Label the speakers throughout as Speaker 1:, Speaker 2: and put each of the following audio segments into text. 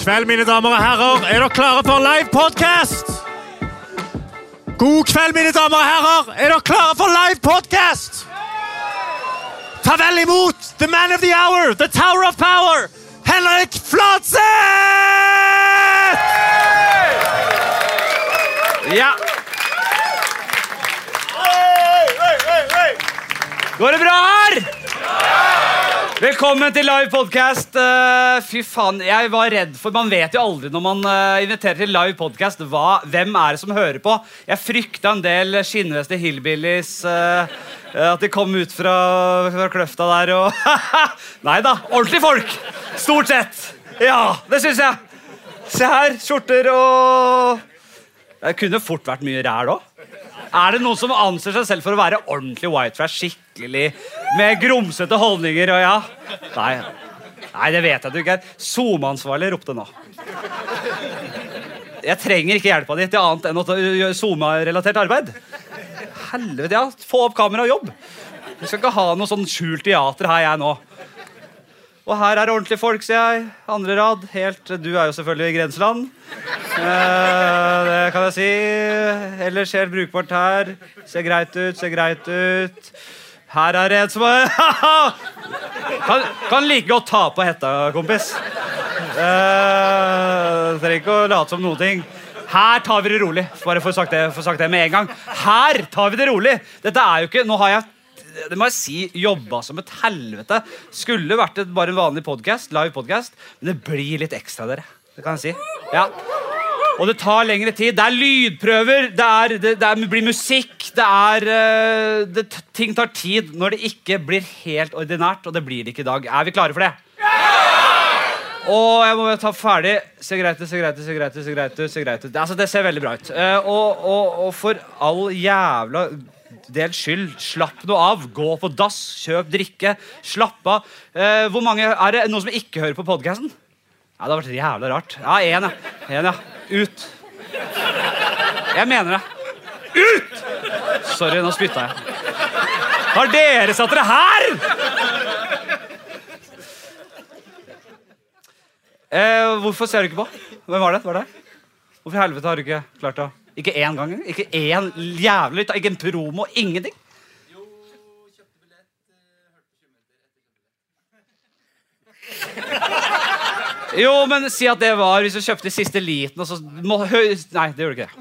Speaker 1: kveld, mine damer og herrer. Er dere klare for live podcast? God kveld, mine damer og herrer. Er dere klare for live podcast? Ta vel imot the man of the hour, the tower of power, Henrik Flatseth! Ja.
Speaker 2: Går det bra her? Velkommen til live podcast. Eh, Fy faen, jeg var redd for Man vet jo aldri når man eh, inviterer til live podcast, hva, hvem er det som hører på. Jeg frykta en del skinnveste hillbillies. eh, eh, at de kom ut fra, fra kløfta der og Nei da, ordentlige folk. Stort sett. Ja, det syns jeg. Se her. Skjorter og Det kunne fort vært mye ræl òg. Er det noen som anser seg selv for å være ordentlig white trash, skikkelig med grumsete holdninger og ja? Nei, Nei det vet jeg at du ikke er. SoMe-ansvarlig ropte nå. Jeg trenger ikke hjelpa di til annet enn å ta- gjøre SoMe-relatert arbeid. Helvete, ja. Få opp kamera og jobb. Du skal ikke ha noe sånn skjult teater her, jeg nå. Og her er ordentlige folk, sier jeg. Andre rad. Helt Du er jo selvfølgelig i grenseland. Eh, det kan jeg si. Ellers helt brukbart her. Ser greit ut, ser greit ut. Her er det en som er kan, kan like godt ta på hetta, kompis. Eh, trenger ikke å late som noen ting. Her tar vi det rolig. Bare for sagt det, for sagt det med en gang. Her tar vi det rolig. Dette er jo ikke Nå har jeg det må jeg si, jobba som et helvete. Skulle vært et, bare en vanlig podcast, live podcast, men det blir litt ekstra, dere. Det kan jeg si. Ja. Og det tar lengre tid. Det er lydprøver, det, er, det, det er, blir musikk, det er eh, det, Ting tar tid når det ikke blir helt ordinært, og det blir det ikke i dag. Er vi klare for det? Og jeg må bare ta ferdig. Ser greit ut, ser greit ut, ser greit ut. ser greit ut, ser greit ut. Altså, Det ser veldig bra ut. Eh, og, og, og for all jævla del skyld, slapp noe av. Gå på dass, kjøp drikke, slapp av. Eh, hvor mange, Er det noen som ikke hører på podkasten? Ja, det har vært jævla rart. Ja, én, ja. En, ja. Ut. Jeg mener det. Ut! Sorry, nå spytta jeg. Har dere satt dere her? Eh, hvorfor ser du ikke på? Hvem var det? Var det? Hvorfor i helvete har du ikke klart det? Ikke én gang? engang? Ikke én jævlig lytt? Ikke en promo? Ingenting? Jo, men si at det var hvis du kjøpte i siste liten, og så må hø Nei, det gjorde du ikke det.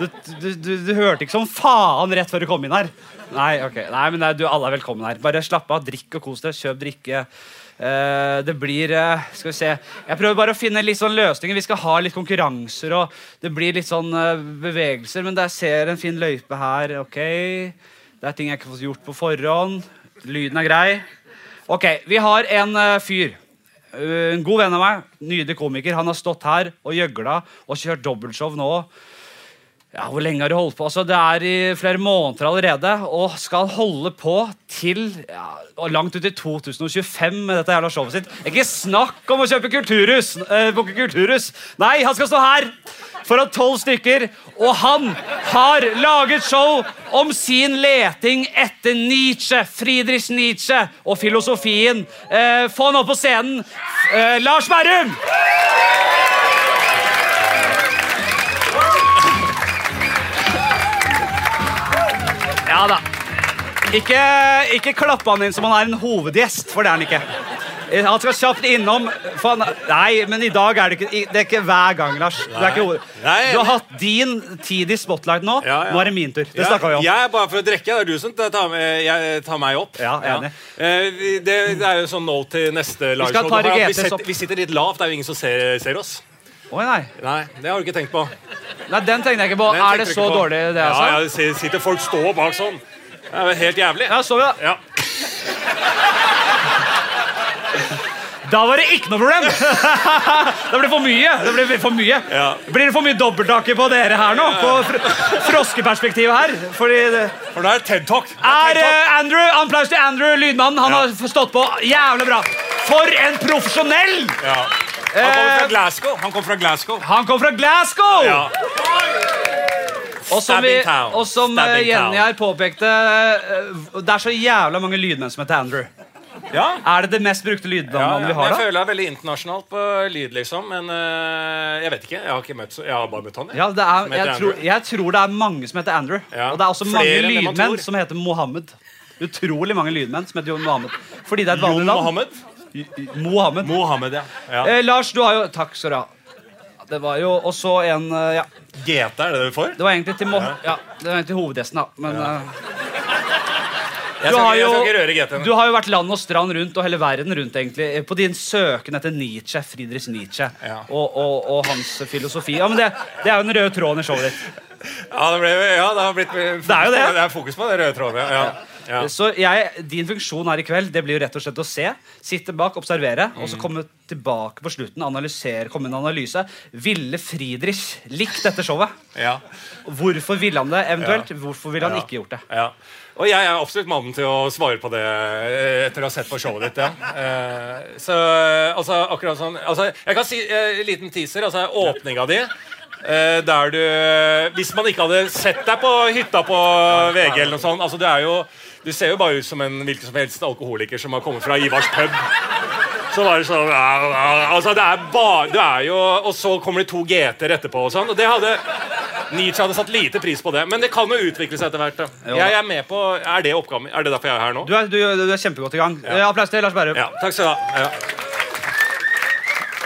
Speaker 2: Du, du, du, du hørte ikke som faen rett før du kom inn her. Nei, ok. Nei, men nei, du, alle er velkommen her. Bare slapp av, drikk og kos deg. Kjøp drikke. Eh, det blir eh, Skal vi se Jeg prøver bare å finne litt sånn løsninger. Vi skal ha litt konkurranser, og det blir litt sånn eh, bevegelser. Men der ser jeg en fin løype her. Ok. Det er ting jeg ikke får gjort på forhånd. Lyden er grei. Ok, vi har en eh, fyr. Uh, En god venn av meg, nydelig komiker, han har stått her og gjøgla og kjørt dobbeltshow nå. Ja, Hvor lenge har de holdt på? Altså, Det er i flere måneder allerede. Og skal holde på til ja, og langt ut i 2025 med dette jævla showet sitt. Ikke snakk om å kjøpe kulturhus! eh, Booke kulturhus! Nei, han skal stå her foran tolv stykker. Og han har laget show om sin leting etter Nietzsche, Friedrich Nietzsche og filosofien. Eh, få han opp på scenen. Eh, Lars Berrum! Ja da. Ikke, ikke klapp han inn som han er en hovedgjest, for det er han ikke. Han skal kjapt innom for han, Nei, men i dag er det ikke i- Det er ikke hver gang, Lars. Du, er ikke, hoved-
Speaker 3: Nei.
Speaker 2: du har hatt din tid i spotlight nå.
Speaker 3: Ja, ja.
Speaker 2: Nå er det min tur. Det
Speaker 3: Ja,
Speaker 2: snakka vi om.
Speaker 3: Jeg er bare for å drikke. Det er du som tar, med, jeg, tar meg opp.
Speaker 2: Ja, enig.
Speaker 3: Eh, vi- Det, det er jo sånn nå til neste live
Speaker 2: skal ta
Speaker 3: Vi,
Speaker 2: Rigetes
Speaker 3: sitter-
Speaker 2: opp.
Speaker 3: vi sitter litt lavt. Det er jo ingen som ser, ser oss.
Speaker 2: Oi, nei.
Speaker 3: Nei, det har du ikke tenkt på.
Speaker 2: nei, den tenkte jeg ikke på.
Speaker 3: Den
Speaker 2: er det
Speaker 3: tenkte du ikke
Speaker 2: så
Speaker 3: på.
Speaker 2: dårlig, det jeg
Speaker 3: Ja,
Speaker 2: sa?
Speaker 3: ja, det sit- sitter folk stå bak sånn. Det er jo helt jævlig.
Speaker 2: Ja, så vi da.
Speaker 3: Ja.
Speaker 2: Da var det ikke noe problem! det ble for mye. Det ble for mye.
Speaker 3: Ja.
Speaker 2: Blir det for mye dobbelttaker på dere her nå? På fr froskeperspektivet her? Fordi det
Speaker 3: For det er TED Talk. Det TED
Speaker 2: er
Speaker 3: Talk.
Speaker 2: eh, Andrew, Applaus til Andrew, lydmannen. Han har stått på jævlig bra. For en profesjonell!
Speaker 3: Ja. Han kommer fra
Speaker 2: eh,
Speaker 3: Glasgow. Han kommer fra Glasgow.
Speaker 2: Han kom fra Glasgow!
Speaker 3: Ja.
Speaker 2: og som, vi,
Speaker 3: Stabbing Town.
Speaker 2: og som eh,
Speaker 3: Stabbing Town.
Speaker 2: Jenny her påpekte, eh, det er så jævla mange lydmenn som heter Andrew.
Speaker 3: Ja.
Speaker 2: Er det det mest brukte lydnavnet vi
Speaker 3: men
Speaker 2: har,
Speaker 3: jeg
Speaker 2: da?
Speaker 3: føler det er veldig internasjonalt på lyd, liksom. Men eh, jeg vet ikke. Jeg har ikke møtt så Jeg har bare møtt han. jeg.
Speaker 2: Ja, det er,
Speaker 3: Som heter
Speaker 2: jeg, tror,
Speaker 3: Andrew.
Speaker 2: jeg tror det er mange som heter Andrew.
Speaker 3: Ja,
Speaker 2: Og det er også mange
Speaker 3: flere enn det man
Speaker 2: lydmenn
Speaker 3: tror.
Speaker 2: som heter Mohammed. Utrolig mange lydmenn som heter Jon Mohammed. Fordi det er et
Speaker 3: Jon
Speaker 2: vanlig navn.
Speaker 3: Mohammed.
Speaker 2: Mohammed.
Speaker 3: Mohammed, ja. ja.
Speaker 2: Eh, Lars, du har jo Takk skal du ha. Det var jo også en eh, Ja,
Speaker 3: GT, er det det vi får?
Speaker 2: det var egentlig til Mo ja, det var egentlig hovedgjesten, da. Men eh,
Speaker 3: Jeg
Speaker 2: Du
Speaker 3: skal,
Speaker 2: har
Speaker 3: ikke- jeg skal
Speaker 2: jo-
Speaker 3: ikke røre GT.
Speaker 2: du har jo vært land og strand rundt og hele verden rundt, egentlig, eh, på din søken etter Nietzsche, Friedrich Nietzsche,
Speaker 3: Ja.
Speaker 2: og, og, og hans filosofi. Ja, men det, det er jo den røde tråden i showet ditt.
Speaker 3: Ja, det, ble, ja, det har blitt Det
Speaker 2: er jo det.
Speaker 3: Det er fokus på den røde tråden, ja. ja. ja.
Speaker 2: Så jeg, din funksjon her i kveld Det blir jo rett og slett å se. Sitte bak, observere, og så
Speaker 3: Mm.
Speaker 2: komme tilbake på slutten. Analysere, komme med en analyse. Ville Friedrich likt dette showet?
Speaker 3: ja.
Speaker 2: Hvorfor ville han det eventuelt? Hvorfor ville han
Speaker 3: Ja.
Speaker 2: ikke gjort det?
Speaker 3: Ja. Og jeg er absolutt mannen til å svare på det eh, etter å ha sett på showet ditt. Ja. Eh, Så eh, altså, akkurat sånn altså, Jeg kan si en liten teaser. Altså åpninga di. eh, Der du Hvis man ikke hadde sett deg på hytta på VG eller noe sånt altså, Du er jo Du ser jo bare ut som en hvilken som helst alkoholiker som har kommet fra Ivars pub. Så var det sånn ja, ja, Altså, det er bare Du er jo Og så kommer det to GT-er etterpå og sånn. Og det hadde Nietzsche hadde satt lite pris på det. Men det kan jo utvikle seg etter hvert. da.
Speaker 2: Jo da.
Speaker 3: Jeg er med på Er det oppgaven min? Er det derfor jeg er her nå?
Speaker 2: Du er, du, du er kjempegodt i gang. Eh, Applaus til Lars Berrum.
Speaker 3: Ja. Takk skal du ha. Ja.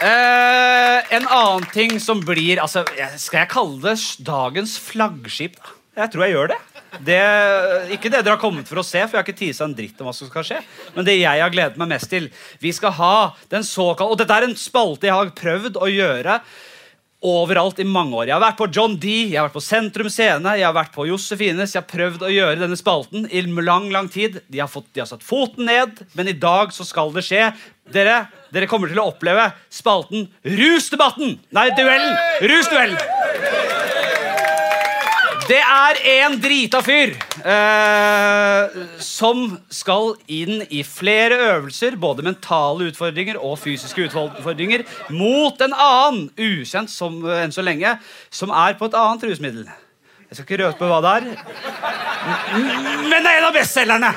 Speaker 2: Eh, en annen ting som blir altså, jeg- Skal jeg kalle det s- dagens flaggskip? Jeg tror jeg gjør det. det. Ikke det dere har kommet for å se, for jeg har ikke tisa en dritt om hva som skal skje. Men det jeg har gledet meg mest til Vi skal ha den såkalte Og dette er en spalte jeg har prøvd å gjøre overalt i mange år. Jeg har vært på John D, jeg har vært på Sentrum Scene, jeg har vært på Josefines. Jeg har prøvd å gjøre denne spalten i lang, lang tid. De har, fått, de har satt foten ned, men i dag så skal det skje. Dere, dere kommer til å oppleve spalten Rusdebatten! Nei, duellen! Rusduellen! Det er en drita fyr eh, som skal inn i flere øvelser, både mentale utfordringer og fysiske utfordringer, mot en annen, ukjent som, eh, enn så lenge, som er på et annet rusmiddel. Jeg skal ikke røpe hva det er. M- Men det er en av bestselgerne!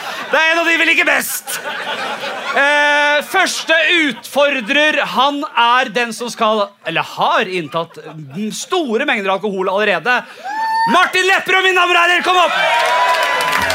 Speaker 2: Det er en av de vi liker best! Eh, første utfordrer, han er den som skal, eller har inntatt mm, store mengder alkohol allerede. Martin Lepperød, mine damer og herrer, kom opp!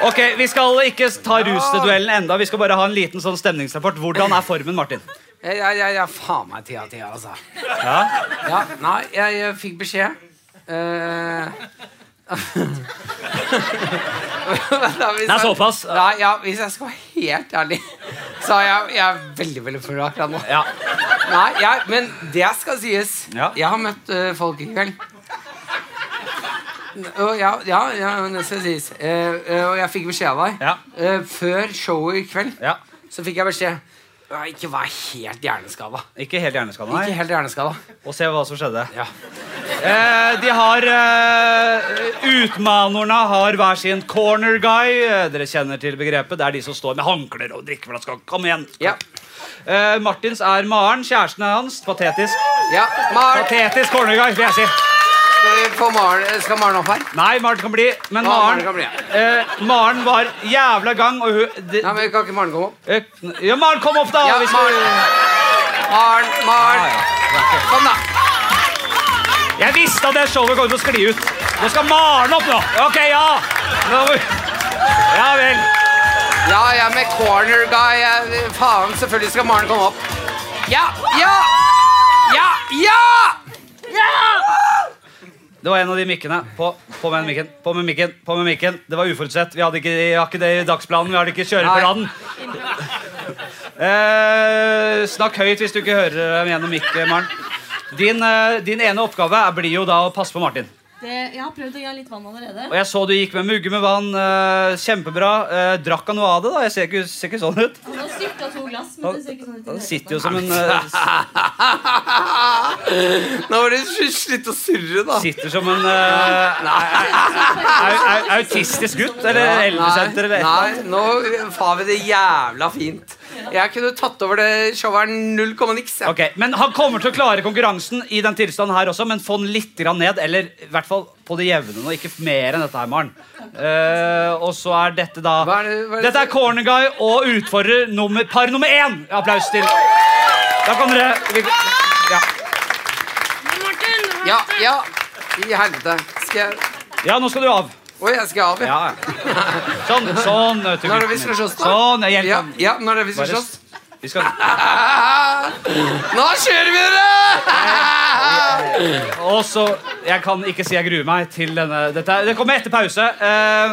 Speaker 2: Ok, Vi skal ikke ta rusduellen enda, vi skal bare ha en liten sånn stemningsrapport. Hvordan er formen, Martin?
Speaker 4: Jeg, jeg, jeg, jeg faen meg tida tida, altså.
Speaker 2: Ja.
Speaker 4: Ja, nei, jeg, eh, fikk beskjed. Eh, da, hvis
Speaker 2: Det er
Speaker 4: jeg-
Speaker 2: såpass.
Speaker 4: Nei, ja, hvis jeg skal være helt ærlig, så er jeg, jeg er veldig veldig full akkurat nå.
Speaker 2: ja.
Speaker 4: Nei, jeg, Men det skal sies.
Speaker 2: Ja.
Speaker 4: Jeg har møtt eh, folk i kveld. Og ja, ja, ja, det skal sies. Eh, eh, og jeg fikk beskjed av deg
Speaker 2: Ja.
Speaker 4: eh, før showet i kveld.
Speaker 2: ja.
Speaker 4: Så fikk jeg beskjed. «Ja, Ikke vær helt hjerneskada.
Speaker 2: Ikke helt hjerneskada,
Speaker 4: Ikke
Speaker 2: nei.
Speaker 4: helt hjerneskada.
Speaker 2: Og se hva som skjedde.
Speaker 4: Ja.
Speaker 2: Eh, de har eh, Utmanerne har hver sin corner guy. Eh, Dere kjenner til begrepet. Det er de som står med håndklær og drikkeflasker. Kom igjen.
Speaker 4: Ja.
Speaker 2: Eh, Martins er Maren, kjæresten hans. Patetisk.
Speaker 4: ja. Maren,
Speaker 2: Patetisk corner guy, vil jeg si.
Speaker 4: skal, vi få Maren, skal Maren opp her?
Speaker 2: Nei, Maren kan bli. Men
Speaker 4: Ja, Maren
Speaker 2: Maren
Speaker 4: kan bli, ja.
Speaker 2: eh, Maren var jævla gang, og hun de,
Speaker 4: Nei, men Kan ikke Maren komme opp?
Speaker 2: eh, Ja, Maren, kom opp, da!
Speaker 4: Ja,
Speaker 2: vi skal-
Speaker 4: Maren. Maren, Maren. Kom, da.
Speaker 2: Jeg visste at det showet kom til å skli ut. Nå skal Maren opp, nå. Ok, ja. Nå, må vi- ja vel.
Speaker 4: Ja, jeg er med corner guy. Jeg, faen, selvfølgelig skal Maren komme opp. Ja! Ja! Ja! Ja!
Speaker 2: Det var en av de mikkene. På, på med den mikken. På med mikken. på med mikken. Det var uforutsett. Vi hadde ikke, vi har ikke det i dagsplanen. Vi har det ikke i kjøreplanen. Eh, snakk høyt hvis du ikke hører dem gjennom mikk, Maren. Din, eh, din ene oppgave er- blir jo da å passe på Martin.
Speaker 5: Det, jeg har prøvd å gi litt vann allerede.
Speaker 2: Og jeg så du gikk med mugge med vann. eh, kjempebra. Eh, drakk han noe av det, da? Jeg ser ikke, ser ikke sånn ut.
Speaker 5: Han har styrta to glass, men det ser ikke sånn ut. i
Speaker 2: Han
Speaker 5: det hele
Speaker 2: sitter
Speaker 5: tatt.
Speaker 2: jo som en eh,
Speaker 4: Nå var det sl- slutt å surre, da.
Speaker 2: Sitter som en eh, nei, au- au- autistisk gutt eller eldresenter eller
Speaker 4: Nei, nei, nå får vi det jævla fint. Jeg kunne tatt over det showet her null komma niks. jeg.
Speaker 2: Ok, Men han kommer til å klare konkurransen i den tilstanden her også, men få den litt grann ned. Eller i hvert fall på det jevne nå, ikke mer enn dette her, Maren. Eh, og så er dette da
Speaker 4: Hva er det- hva er det-
Speaker 2: Dette er Corner Guy og utfordrer nummer, par nummer én. Applaus til Da kan dere vi, ja.
Speaker 4: Ja, ja. I helvete. Skal jeg
Speaker 2: ja, nå skal du av.
Speaker 4: Oi, jeg skal av, ja.
Speaker 2: Ja. Sånn. sånn vet du,
Speaker 4: Når er det vi
Speaker 2: gutten
Speaker 4: skal
Speaker 2: min.
Speaker 4: slåss, da?
Speaker 2: Sånn, jeg
Speaker 4: Ja,
Speaker 2: hjelper.
Speaker 4: ja, når er det vi skal
Speaker 2: Bare-
Speaker 4: slåss?
Speaker 2: Vi skal
Speaker 4: Nå kjører vi, dere!
Speaker 2: Og så, Jeg kan ikke si jeg gruer meg til denne dette, er- Det kommer etter pause. Eh,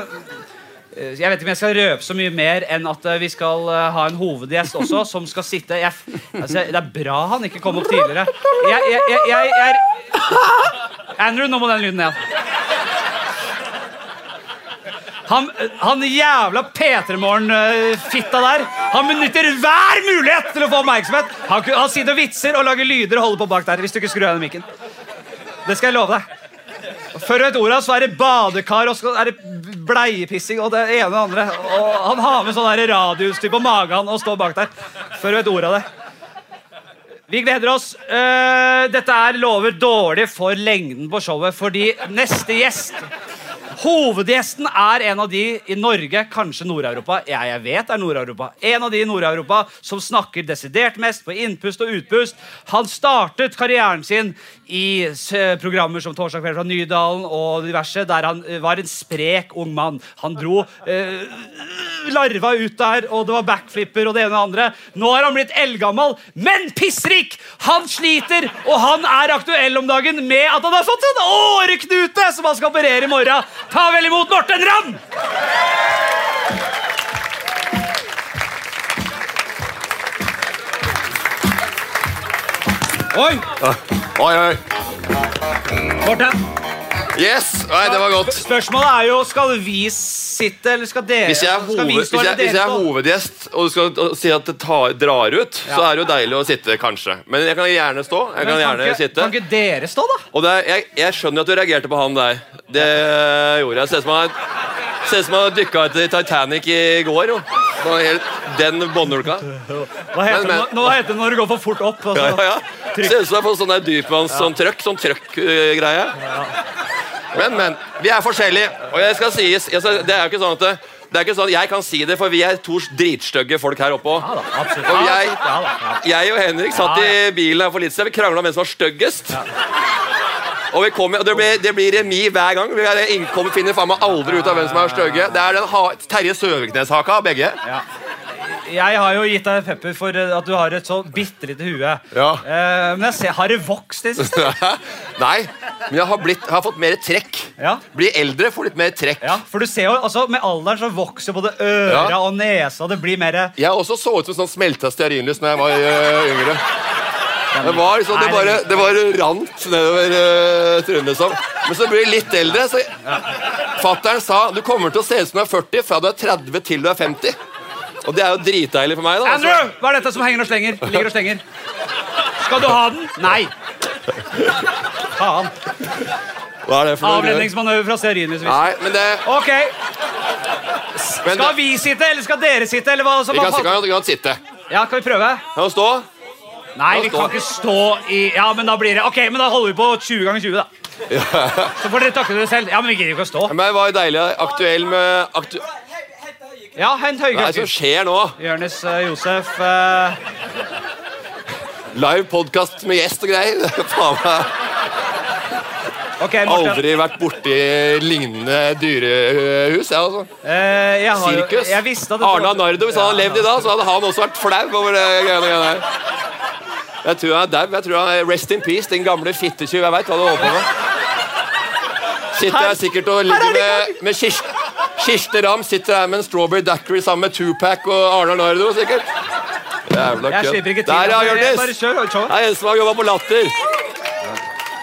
Speaker 2: eh, jeg vet ikke om jeg skal røpe så mye mer enn at eh, vi skal eh, ha en hovedgjest også, som skal sitte jeg, f- altså, Det er bra han ikke kom opp tidligere. Jeg, jeg, jeg, jeg, jeg er Andrew, nå må den lyden ned. Han, han jævla P3morgen-fitta der Han benytter hver mulighet til å få oppmerksomhet. Han, ku- han sitter og vitser og lager lyder og holder på bak der. Hvis du ikke skrur av den mikken. Det skal jeg love deg. Og Før du vet ordet av så er det badekar og så er det bleiepissing og det ene og det andre. Og han har med sånn der radiostyr på magen og står bak der. Før du vet ordet av det. Vi gleder oss. Eh, dette er lover dårlig for lengden på showet, fordi neste gjest Hovedgjesten er en av de i Norge, kanskje Nord-Europa Ja, jeg vet det er Nord-Europa En av de i Nord-Europa som snakker desidert mest på innpust og utpust. Han startet karrieren sin i s- eh, programmer som Torsdag kveld fra Nydalen og diverse, der han eh, var en sprek ung mann. Han dro eh, larva ut der, og det var backflipper og det ene og det andre. Nå er han blitt eldgammel, men pissrik! Han sliter, og han er aktuell om dagen med at han har fått en åreknute som han skal operere i morgen. Ta vel imot Morten Ramm! Oi!
Speaker 6: Oi, oi.
Speaker 2: Morten,
Speaker 6: Yes! Nei, det var godt.
Speaker 2: spørsmålet er jo skal vi sitte, eller skal dere
Speaker 6: Hvis jeg er,
Speaker 2: skal
Speaker 6: hoved,
Speaker 2: vi
Speaker 6: hvis
Speaker 2: stå,
Speaker 6: jeg,
Speaker 2: eller
Speaker 6: hvis jeg
Speaker 2: dere
Speaker 6: er
Speaker 2: stå?
Speaker 6: hovedgjest og du skal og si at det tar, drar ut, så er det jo deilig å sitte, kanskje. Men jeg kan gjerne stå. Jeg kan
Speaker 2: Men
Speaker 6: gjerne
Speaker 2: ikke,
Speaker 6: sitte.
Speaker 2: kan ikke dere stå, da?
Speaker 6: Og det er, jeg, jeg skjønner at du reagerte på han der. Det gjorde jeg. Ser ut som han ser ut som han dykka etter Titanic i går. Jo. Det var helt, den båndulka.
Speaker 2: Hva heter,
Speaker 6: Men- men-
Speaker 2: det nå- nå heter det når det går for fort opp? Altså.
Speaker 6: Ja, ja, ja. Ser ut som jeg har fått sånn der dypmanns sånn trøkk, sånn trøkk-greie. Men, men. Vi er forskjellige. Og jeg skal sies, jeg skal, det er jo ikke sånn at det, det er ikke sånn at Jeg kan si det, for vi er to dritstygge folk her oppe
Speaker 2: Ja da,
Speaker 6: òg.
Speaker 2: absolutt. Ja,
Speaker 6: Og jeg-
Speaker 2: absolutt, ja da, ja.
Speaker 6: Jeg og Henrik satt i bilen her for litt siden. Vi krangla om hvem som var styggest. Og vi kommer, og det, blir, det blir remis hver gang. Vi er innkommet finner faen meg aldri ut av hvem som er stygge. Det er den ha, Terje Søviknes-haka, begge.
Speaker 2: Jeg har jo gitt deg pepper for eh, at du har et så bitte lite hue.
Speaker 6: Ja.
Speaker 2: Eh, men jeg ser, har det vokst i det siste?
Speaker 6: Nei, men jeg har, blitt, jeg har fått mer trekk.
Speaker 2: Ja.
Speaker 6: Bli eldre, får litt mer trekk.
Speaker 2: Ja, for du ser jo, altså, Med alderen så vokser både øra
Speaker 6: Ja.
Speaker 2: og nesa. Det blir mer eh,
Speaker 6: Jeg også så ut som sånn smelta stearinlys da jeg var øh, yngre. Det var liksom, det bare, det bare rant nedover øh, trynet. Liksom. Men så blir jeg litt eldre. så Fattern sa du kommer til å se ut som du er 40 fra du er 30 til du er 50. Og det er jo dritdeilig for meg. da. altså.
Speaker 2: Andrew! Hva er dette som henger og slenger? Ligger og slenger. Skal du ha den? Nei. Faen.
Speaker 6: Hva er det for noe?
Speaker 2: Avledningsmanøver fra stearinlysvis.
Speaker 6: Nei, men det,
Speaker 2: Ok,
Speaker 6: men
Speaker 2: Skal
Speaker 6: det
Speaker 2: vi sitte, eller skal dere sitte? eller hva? som-
Speaker 6: vi kan, vi kan, vi kan sitte.
Speaker 2: Ja, Kan vi prøve?
Speaker 6: Kan du stå?
Speaker 2: Nei,
Speaker 6: Da
Speaker 2: vi
Speaker 6: står-
Speaker 2: kan ikke stå i Ja, men da blir det Ok, men da holder vi på 20 ganger 20, da. Så får dere takle dere selv. Ja, men vi gidder jo ikke å stå.
Speaker 6: Men det var jo deilig. Aktuell med aktu
Speaker 2: Ja, hent høye
Speaker 6: Hva er det som
Speaker 2: krefter.
Speaker 6: skjer nå?
Speaker 2: Jonis eh, Josef. eh,
Speaker 6: Live podkast med gjest og greier. Det er Faen meg
Speaker 2: ok, Morten.
Speaker 6: aldri vært borti lignende dyrehus, jeg, altså.
Speaker 2: Eh, jeg har jo,
Speaker 6: Sirkus.
Speaker 2: jeg visste at det-
Speaker 6: Arne Arnardo, hvis han hadde levd i dag, så hadde han også vært flau over det greiene der. Jeg tror han er dau. Jeg tror han er Rest in peace, din gamle fittetyv. Jeg veit hva du holder på med. Sitter her sikkert og ligger med, med Kirsten, Kirsten Ramm sitter her med en strawberry daiquiri sammen med Tupac og Arne Arnardo, sikkert. Jævla
Speaker 2: Jeg
Speaker 6: kødd.
Speaker 2: slipper ikke til.
Speaker 6: Der, ja,
Speaker 2: altså, jeg Bare
Speaker 6: Jonis!
Speaker 2: kjør, kjør.
Speaker 6: Det er en som har jobba på Latter.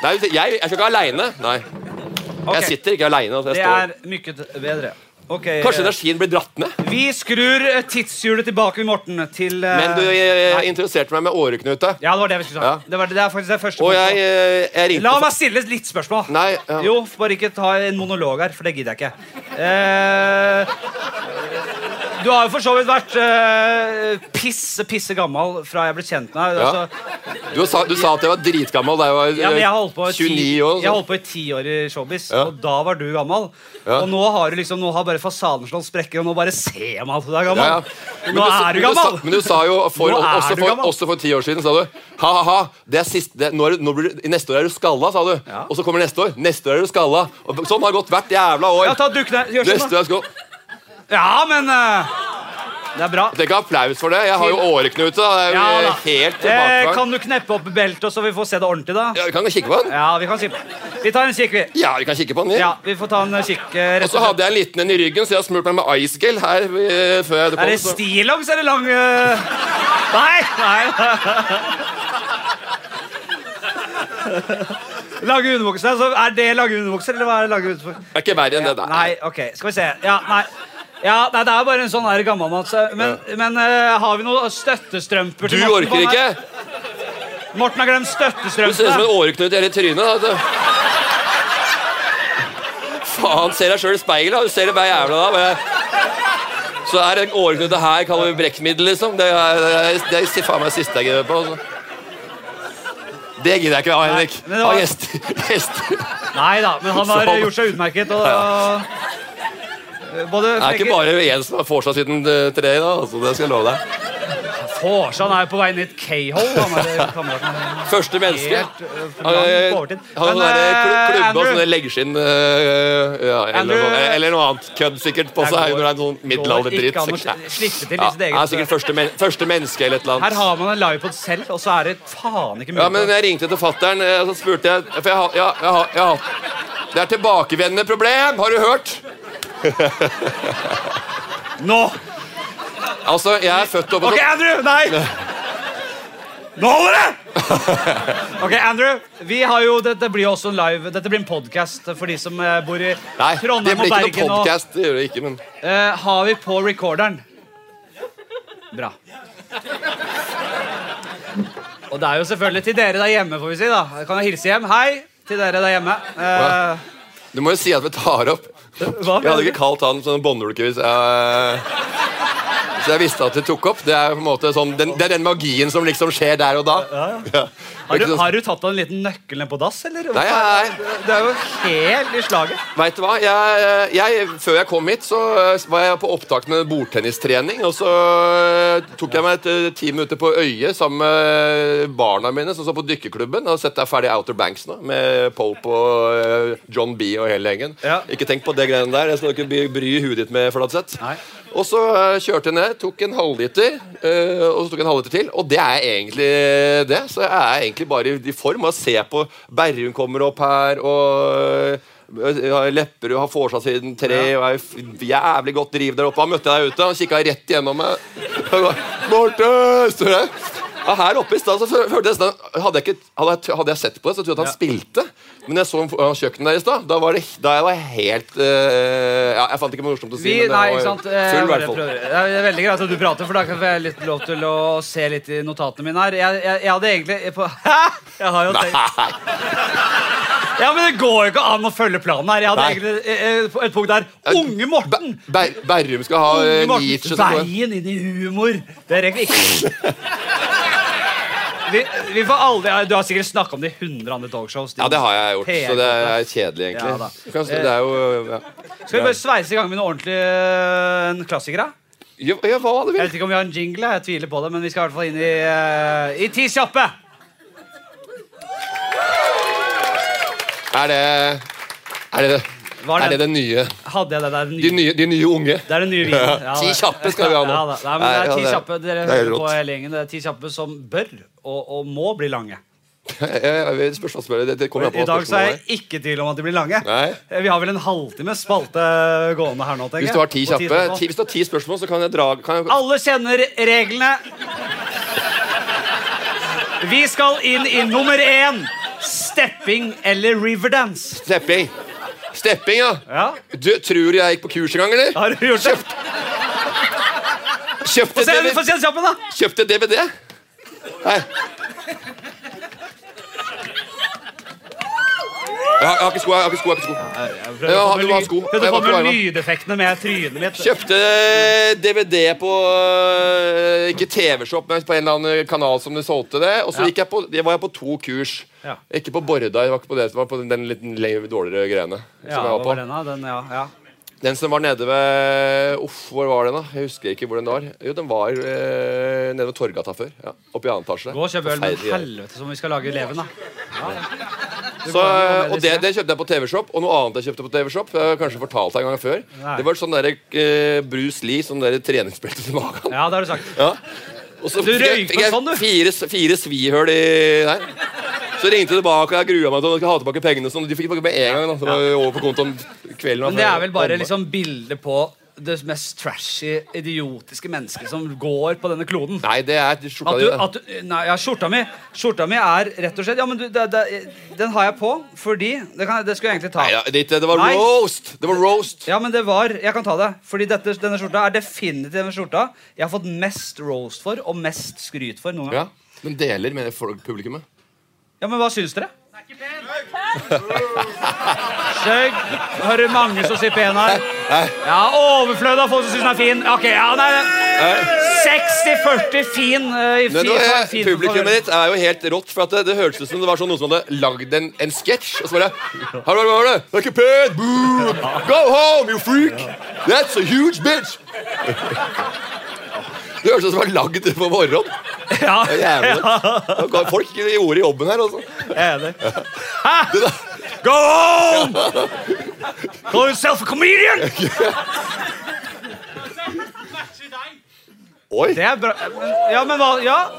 Speaker 6: Nei, jeg, jeg skal ikke aleine. Nei.
Speaker 2: Ok.
Speaker 6: Jeg sitter ikke aleine.
Speaker 2: Det
Speaker 6: Kanskje
Speaker 2: er mye bedre. Ok, eh,
Speaker 6: energien blir dratt med?
Speaker 2: Vi skrur eh, tidshjulet tilbake, Morten, til eh,
Speaker 6: Men du eh, introduserte meg med åreknute.
Speaker 2: Ja, det var det vi skulle
Speaker 6: Ja.
Speaker 2: sagt. Det, var, det er faktisk det første.
Speaker 6: Og jeg,
Speaker 2: punktet.
Speaker 6: eh, jeg ringte
Speaker 2: La meg stille litt spørsmål.
Speaker 6: Nei, ja.
Speaker 2: Jo, bare ikke ta en monolog her, for det gidder jeg ikke. Eh, du har jo for så vidt vært eh, pisse, pisse gammel fra jeg ble kjent med deg.
Speaker 6: Ja.
Speaker 2: Altså,
Speaker 6: Du sa, du sa at jeg var dritgammel da jeg var
Speaker 2: Ja, men jeg har holdt på i
Speaker 6: eh,
Speaker 2: ti-
Speaker 6: 29 år.
Speaker 2: Jeg har
Speaker 6: så-
Speaker 2: holdt på i ti år i showbiz,
Speaker 6: Ja.
Speaker 2: og da var du gammel.
Speaker 6: Ja.
Speaker 2: Og nå har du liksom, nå har bare fasaden slått sprekker, og nå bare ser man at du er gammel.
Speaker 6: Ja, ja. Men
Speaker 2: Nå
Speaker 6: sa-
Speaker 2: er du
Speaker 6: men
Speaker 2: gammel!
Speaker 6: sa- Men du sa jo for,
Speaker 2: Nå er
Speaker 6: også,
Speaker 2: du
Speaker 6: for,
Speaker 2: gammel.
Speaker 6: også for ti år siden sa du ha-ha-ha, det er siste, det, nå er, du- nå blir, du- neste år er du skalla, sa du.
Speaker 2: Ja.
Speaker 6: Og så kommer neste år. Neste år er du skalla. Og sånn har det gått hvert jævla år.
Speaker 2: Ja, ta dukk ned. Gjør
Speaker 6: Neste
Speaker 2: sånn, da.
Speaker 6: år er du skalla.
Speaker 2: Ja, men eh, Det er bra.
Speaker 6: Tenk applaus for det. Jeg har jo åreknute. da. Det er
Speaker 2: Ja,
Speaker 6: jo
Speaker 2: da.
Speaker 6: helt
Speaker 2: Eh,
Speaker 6: tilbakefall.
Speaker 2: kan du kneppe opp beltet, så vi får se det ordentlig, da?
Speaker 6: Ja, vi kan kikke på den.
Speaker 2: Ja, vi kan si Vi tar en kikk, vi.
Speaker 6: Ja, vi kan kikke på den. Ja.
Speaker 2: Ja, vi får ta en eh, kikk. eh,
Speaker 6: Og
Speaker 2: Rett
Speaker 6: så hadde jeg en liten en i ryggen, så jeg har smurt meg med ice gel her. eh, før jeg hadde
Speaker 2: Er det
Speaker 6: kommet, så-
Speaker 2: stillongs eller lang eh? Nei, nei. Lange underbukser. Altså, er det lange underbukser, eller hva er lange underbukser?
Speaker 6: Det er ikke verre enn det der.
Speaker 2: Nei, ok. Skal vi se. Ja, nei. Ja, nei, Det er bare en sånn her gammelmann. så- Men, men eh, har vi noen støttestrømper?
Speaker 6: Du
Speaker 2: til Morten på
Speaker 6: orker
Speaker 2: den her?
Speaker 6: ikke.
Speaker 2: Morten har glemt
Speaker 6: Du ser ut som en
Speaker 2: støttestrømpene.
Speaker 6: åreknut i hele trynet. Da. vet du. Faen, ser deg sjøl i speilet. da. Du ser det hver jævla da. Bare. Så er det åreknute her kaller vi brekkmiddel, liksom. Det er, det er, det er faen meg det siste jeg gidder på. Altså. Det gidder jeg ikke ha, Henrik. Ah,
Speaker 2: men det var-
Speaker 6: Ha gjester. gjester.
Speaker 2: Nei da, men han har
Speaker 6: Så-
Speaker 2: eh, gjort seg utmerket. Og, eh, både
Speaker 6: Det er ikke
Speaker 2: frekke-
Speaker 6: bare én som har vorsa siden eh, tre, da. Altså, det skal jeg love deg.
Speaker 2: Hårsand er jo på vei ned i et K-hole. han er kameraten.
Speaker 6: Første menneske.
Speaker 2: Helt, eh, for
Speaker 6: Han
Speaker 2: langt på
Speaker 6: har
Speaker 2: overtid. Men,
Speaker 6: sånne
Speaker 2: eh,
Speaker 6: klubber og
Speaker 2: Andrew,
Speaker 6: sånne leggskinn eh, ja, eller,
Speaker 2: Andrew-
Speaker 6: noe sånt. eller noe annet kødd sikkert på
Speaker 2: Det
Speaker 6: seg
Speaker 2: går-
Speaker 6: når det er noen
Speaker 2: går
Speaker 6: middelalderdritt.
Speaker 2: ikke an å
Speaker 6: sikkert.
Speaker 2: sli- slippe til
Speaker 6: Ja,
Speaker 2: sitt eget- eh,
Speaker 6: han er sikkert første, men første menneske eller et eller
Speaker 2: Her
Speaker 6: annet.
Speaker 2: har man en livepod selv, og så er det faen ikke mulig.
Speaker 6: Ja, men jeg ringte til fattern, eh, og så spurte jeg For jeg har ja, jeg har- jeg har- Det er tilbakevendende problem, har du hørt? eh,
Speaker 2: Nå!
Speaker 6: Altså, jeg er født opp
Speaker 2: OK, Andrew! Nei! Nå holder det! OK, Andrew. Vi har jo, dette blir jo også en live Dette blir en podkast for de som eh, bor i
Speaker 6: Nei, det
Speaker 2: Trondheim
Speaker 6: blir
Speaker 2: og
Speaker 6: ikke
Speaker 2: Bergen.
Speaker 6: noe
Speaker 2: Og,
Speaker 6: podkast. Det gjør det ikke, men
Speaker 2: eh, har vi på recorderen? Bra. Og det er jo selvfølgelig til dere der hjemme, får vi si. da Kan jeg hilse hjem? Hei til dere der hjemme. Eh,
Speaker 6: du må jo si at vi tar opp.
Speaker 2: hva
Speaker 6: Jeg
Speaker 2: mener
Speaker 6: hadde
Speaker 2: du?
Speaker 6: ikke kalt han sånn bondulke hvis jeg hvis jeg visste at det tok opp. Det er på en måte sånn, den, det er den magien som liksom skjer der og da. Ja.
Speaker 2: Har du,
Speaker 6: Ikke sånn-
Speaker 2: har du tatt av en liten nøkkel ned på dass, eller?
Speaker 6: Nei, nei, nei.
Speaker 2: Det er jo helt i slaget.
Speaker 6: Vet du hva? Jeg, jeg, før jeg kom hit, så eh, var jeg på opptak med bordtennistrening. Og så eh, tok jeg meg et eh, ti minutter på øyet sammen med barna mine som så på dykkerklubben. Og sett deg ferdig Outer Banks nå, med Pope og eh, John B og hele gjengen.
Speaker 2: Ja.
Speaker 6: Ikke tenk på det greiene der. Jeg skal ikke bry, bry huet ditt med Fladseth.
Speaker 2: Nei.
Speaker 6: Og så eh, kjørte jeg ned, tok en halvliter, eh, og så tok jeg en halvliter til. Og det er egentlig det. Så jeg er egentlig bare i- i form av å se på Berrum kommer opp her, og eh, ja, Lepperud har vorsa siden tre, og er f- jævlig godt driv der oppe. Han møtte jeg der ute, han kikka rett gjennom meg. Han ba, Morten! Står jeg. Ja, her oppe i stad så fø- følte jeg nesten hadde, jeg ikke- hadde, jeg- hadde jeg sett på det, så trodde jeg at han spilte. Men jeg så han foran kjøkkenet der i stad. Da, var det- da jeg var helt eh, ja, Jeg fant ikke noe morsomt å si.
Speaker 2: Vi,
Speaker 6: men det
Speaker 2: nei,
Speaker 6: var
Speaker 2: ikke sant? Eh,
Speaker 6: Full, i
Speaker 2: bare
Speaker 6: hvert fall.
Speaker 2: prøver. Det er veldig greit at du prater, for da kan jeg litt lov til å se litt i notatene mine her. Jeg, jeg, jeg hadde egentlig jeg på, Hæ? Jeg har jo tenkt
Speaker 6: Nei.
Speaker 2: Ja, men det går jo ikke an å følge planen her. Jeg hadde
Speaker 6: Nei.
Speaker 2: egentlig eh, eh, på et punkt der. Unge Morten!
Speaker 6: Ber- Ber Berrum skal ha eh,
Speaker 2: Unge
Speaker 6: Nietzsche.
Speaker 2: Morten.
Speaker 6: som poem.
Speaker 2: Veien inn i humor. Det er egentlig ikke vi, vi får aldri, ja, Du har sikkert snakka om det i 100 andre talkshows.
Speaker 6: Ja, det har jeg gjort,
Speaker 2: PR
Speaker 6: så det er kjedelig,
Speaker 2: Ja, da.
Speaker 6: egentlig. Du kan- det er jo ja.
Speaker 2: Skal vi bare sveise i gang med eh, noen ordentlige klassikere?
Speaker 6: Ja, ja, hva hadde
Speaker 2: Jeg
Speaker 6: vi?
Speaker 2: vet ikke om vi har en jingle, jeg tviler på det, men vi skal i hvert fall inn i, eh, i Ti kjappe!
Speaker 6: Er det Er det
Speaker 2: Var
Speaker 6: er det
Speaker 2: det-
Speaker 6: den nye
Speaker 2: Hadde jeg det der?
Speaker 6: De
Speaker 2: Ny,
Speaker 6: nye, de nye unge?
Speaker 2: det er den nye vinen. Ja,
Speaker 6: Ti
Speaker 2: det-
Speaker 6: kjappe skal vi ha nå.
Speaker 2: Ja, da. Nei, men det er
Speaker 6: Nei,
Speaker 2: ti
Speaker 6: ja, det-
Speaker 2: kjappe dere
Speaker 6: det er helt
Speaker 2: hører på
Speaker 6: rått.
Speaker 2: hele gjengen. Det er ti kjappe som bør og, og må bli lange.
Speaker 6: Spørsmålsspøret, det, det kommer jeg på.
Speaker 2: I dag så er
Speaker 6: spørsmålet.
Speaker 2: jeg ikke i tvil om at de blir lange.
Speaker 6: Nei.
Speaker 2: Eh, Vi har vel en halvtime spalte gående her nå, tenker jeg.
Speaker 6: Hvis du har ti
Speaker 2: Og
Speaker 6: kjappe
Speaker 2: spørsmål.
Speaker 6: ti, Hvis du har ti spørsmål, så kan jeg dra kan jeg,
Speaker 2: Alle kjenner reglene. Vi skal inn i nummer én. Stepping eller Riverdance.
Speaker 6: Stepping. Stepping, ja.
Speaker 2: Ja,
Speaker 6: Du, tror du jeg gikk på kurs en gang, eller?
Speaker 2: Har du gjort det?
Speaker 6: Kjøpte,
Speaker 2: Få se,
Speaker 6: DVD,
Speaker 2: få se kjappen, da!
Speaker 6: kjøpte DVD? Nei. Jeg har, jeg har ikke sko. Jeg har ikke sko. Jeg har ikke sko.
Speaker 2: Jeg
Speaker 6: Ja,
Speaker 2: prøver å få med
Speaker 6: du må ha
Speaker 2: lyd-
Speaker 6: sko.
Speaker 2: prøver
Speaker 6: Jeg
Speaker 2: å
Speaker 6: må
Speaker 2: få
Speaker 6: ikke
Speaker 2: med
Speaker 6: være
Speaker 2: lydeffektene med trynet mitt.
Speaker 6: Kjøpte DVD på eh, Ikke TV-shop, men på en eller annen kanal som du solgte det. Og så
Speaker 2: Ja.
Speaker 6: gikk jeg på, jeg var jeg på to kurs.
Speaker 2: Ja.
Speaker 6: Ikke på Borredag, jeg var ikke på det som var på den, den litt le- dårligere greiene.
Speaker 2: Ja,
Speaker 6: som jeg
Speaker 2: hva
Speaker 6: var på.
Speaker 2: var den, da? Den, ja, ja.
Speaker 6: Den som var nede ved Uff, hvor var den, da? Jeg husker ikke hvor den var. Jo, den var eh, nede ved Torgata før. Ja. Oppe i annen etasje.
Speaker 2: Gå og kjøp øl, men
Speaker 6: Forferdelig greier.
Speaker 2: helvete som vi skal lage leven, da.
Speaker 6: Så, eh, og det, det kjøpte jeg på TV-Shop. Og noe annet jeg kjøpte på TV-Shop, jeg har kanskje fortalt deg en gang før.
Speaker 2: Nei.
Speaker 6: Det var sånn derre eh, Bruce Lee, sånn derre treningsbelte til magen.
Speaker 2: Ja, det har du sagt.
Speaker 6: Ja. Og så
Speaker 2: Du
Speaker 6: fikk jeg,
Speaker 2: røyk
Speaker 6: fikk
Speaker 2: med
Speaker 6: jeg
Speaker 2: sånn, du.
Speaker 6: fire, s- fire svihøl i der. Så ringte jeg tilbake, og jeg grua meg til å skulle ha tilbake pengene. og Sånn. De fikk tilbake med en gang. Da. Så det var over på kontoen kvelden.
Speaker 2: Men det er vel bare liksom bildet på det mest trashy, idiotiske mennesket som går på denne kloden.
Speaker 6: Nei, det er skjorta
Speaker 2: At
Speaker 6: di.
Speaker 2: du,
Speaker 6: det.
Speaker 2: at du, nei, ja, skjorta mi Skjorta mi er rett og slett Ja, men du, det, det, den har jeg på fordi Det, kan, jeg- det skulle jeg egentlig ta.
Speaker 6: Nei, ja, det, det var
Speaker 2: Nei.
Speaker 6: roast! Det var roast.
Speaker 2: Ja, men det var Jeg kan ta det. Fordi dette, denne skjorta er definitivt den skjorta jeg har fått mest roast for og mest skryt for noen gang.
Speaker 6: Ja. Men deler med folk- publikummet.
Speaker 2: Ja, men hva syns dere? Skjøgg. Hører mange som sier pen her. Ja, Overflødig av folk som syns den er fin. Ok, ja, nei, det- 60-40 fin. eh, i
Speaker 6: Men
Speaker 2: fin,
Speaker 6: nå, eh,
Speaker 2: fin
Speaker 6: publikummet ditt er jo helt rått, for at det, det hørtes ut som det var sånn noen som hadde lagd en, en sketsj. Og så bare Hallo, hva var det? Det er ikke pent! Boo! Go home, you freak! That's a huge bitch! Det hørtes ut som det var lagd på morgenen.
Speaker 2: Ja,
Speaker 6: Det er Jævlig rått. Og Folk gjorde jobben her, altså.
Speaker 2: jeg er enig. Hæ? Go home! Call yourself a comedian!
Speaker 6: Oi!
Speaker 2: Det er bra. men- Ja, men hva Ja.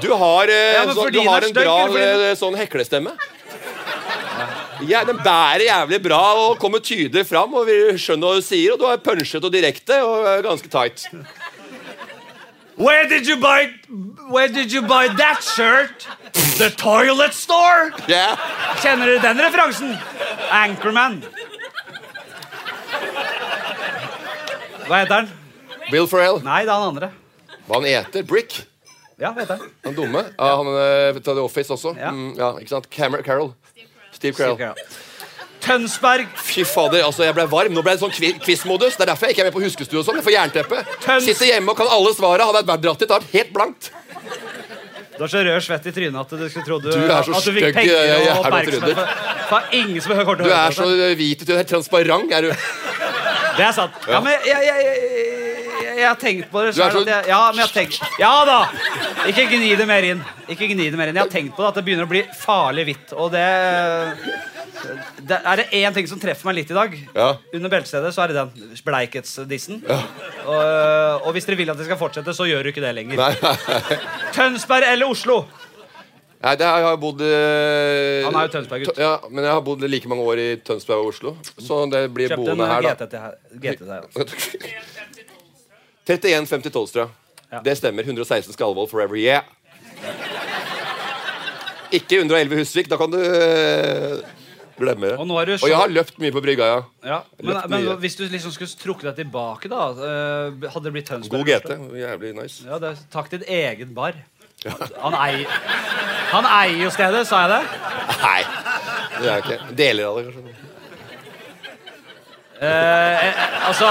Speaker 6: Du har, eh,
Speaker 2: Ja, men
Speaker 6: sånn,
Speaker 2: fordi
Speaker 6: du
Speaker 2: den
Speaker 6: har
Speaker 2: er
Speaker 6: en
Speaker 2: stygg,
Speaker 6: bra
Speaker 2: eller fordi den-
Speaker 6: eh, sånn heklestemme. Ja, den bærer jævlig bra og kommer tydelig fram. Og vi skjønner hva du sier, og du er punchet og direkte og eh, ganske tight.
Speaker 2: Where did you buy Where did you buy that shirt? The toilet store?
Speaker 6: Ja.
Speaker 2: Kjenner du den referansen? Anchorman. Hva heter han?
Speaker 6: Will Ferrell.
Speaker 2: Nei, det er han andre.
Speaker 6: Hva han heter? Brick?
Speaker 2: Ja, hva heter han?
Speaker 6: Han dumme? Ja, han eh, fra The Office også.
Speaker 2: Ja.
Speaker 6: Mm, ja, ikke sant? Cameron Carroll. Steve Carroll.
Speaker 2: Tønsberg.
Speaker 6: Fy fader, altså jeg ble varm. Nå ble det sånn kvi- quiz-modus. Det er derfor jeg ikke er med på huskestue og sånn. Jeg får jernteppe.
Speaker 2: Tøns-
Speaker 6: Sitter hjemme og kan alle svara. Hadde jeg vært dratt dit, da hadde jeg vært helt blankt.
Speaker 2: Du har så rød svett i trynet at du skulle tro du,
Speaker 6: Du er så
Speaker 2: at du fikk
Speaker 6: stygg,
Speaker 2: penger
Speaker 6: jeg- jeg er
Speaker 2: og
Speaker 6: noe
Speaker 2: oppmerksomhet.
Speaker 6: tryner.
Speaker 2: for- for ingen som kommer til å
Speaker 6: Du
Speaker 2: høre
Speaker 6: er
Speaker 2: på
Speaker 6: så
Speaker 2: dette.
Speaker 6: hvit i trynet. Helt transparent er du.
Speaker 2: Det er sant. Ja, men jeg, jeg, jeg, jeg, jeg har tenkt på det
Speaker 6: Du er
Speaker 2: selv
Speaker 6: så-
Speaker 2: at jeg, Ja, men jeg har tenkt Ja da! Ikke gni det mer inn. Ikke gni det mer inn. Jeg har tenkt på det at det begynner å bli farlig hvitt, og det det er det én ting som treffer meg litt i dag.
Speaker 6: Ja.
Speaker 2: Under beltestedet så er det den bleiketsdissen. Og, og hvis dere vil at det skal fortsette, så gjør du ikke det lenger. Tønsberg eller Oslo?
Speaker 6: Nei, det, jeg har bodd eh,
Speaker 2: Han er jo Tønsberg-gutt.
Speaker 6: Tø- Ja, men jeg har bodd like mange år i Tønsberg og Oslo, så det blir
Speaker 2: Kjøpte en
Speaker 6: boende her, da.
Speaker 2: GT til her. GT til her.
Speaker 6: 3150 Tolstra.
Speaker 2: Ja.
Speaker 6: Det stemmer. 116 Skalvold forever. Yeah! Ikke 111 Husvik. Da kan du eh, glemme det.
Speaker 2: Og nå er du så-
Speaker 6: jeg har løpt mye på brygga, ja.
Speaker 2: Ja. Men,
Speaker 6: Løpt
Speaker 2: men
Speaker 6: mye.
Speaker 2: hvis du liksom skulle trukket deg tilbake, da, eh, hadde det blitt Tønsberg?
Speaker 6: God GT. Jævlig nice.
Speaker 2: Ja, det er, takk til din egen bar. Han eier Han eier jo stedet, sa jeg det?
Speaker 6: Nei, det er jeg ikke. Deler av det, kanskje.
Speaker 2: Eh, Altså,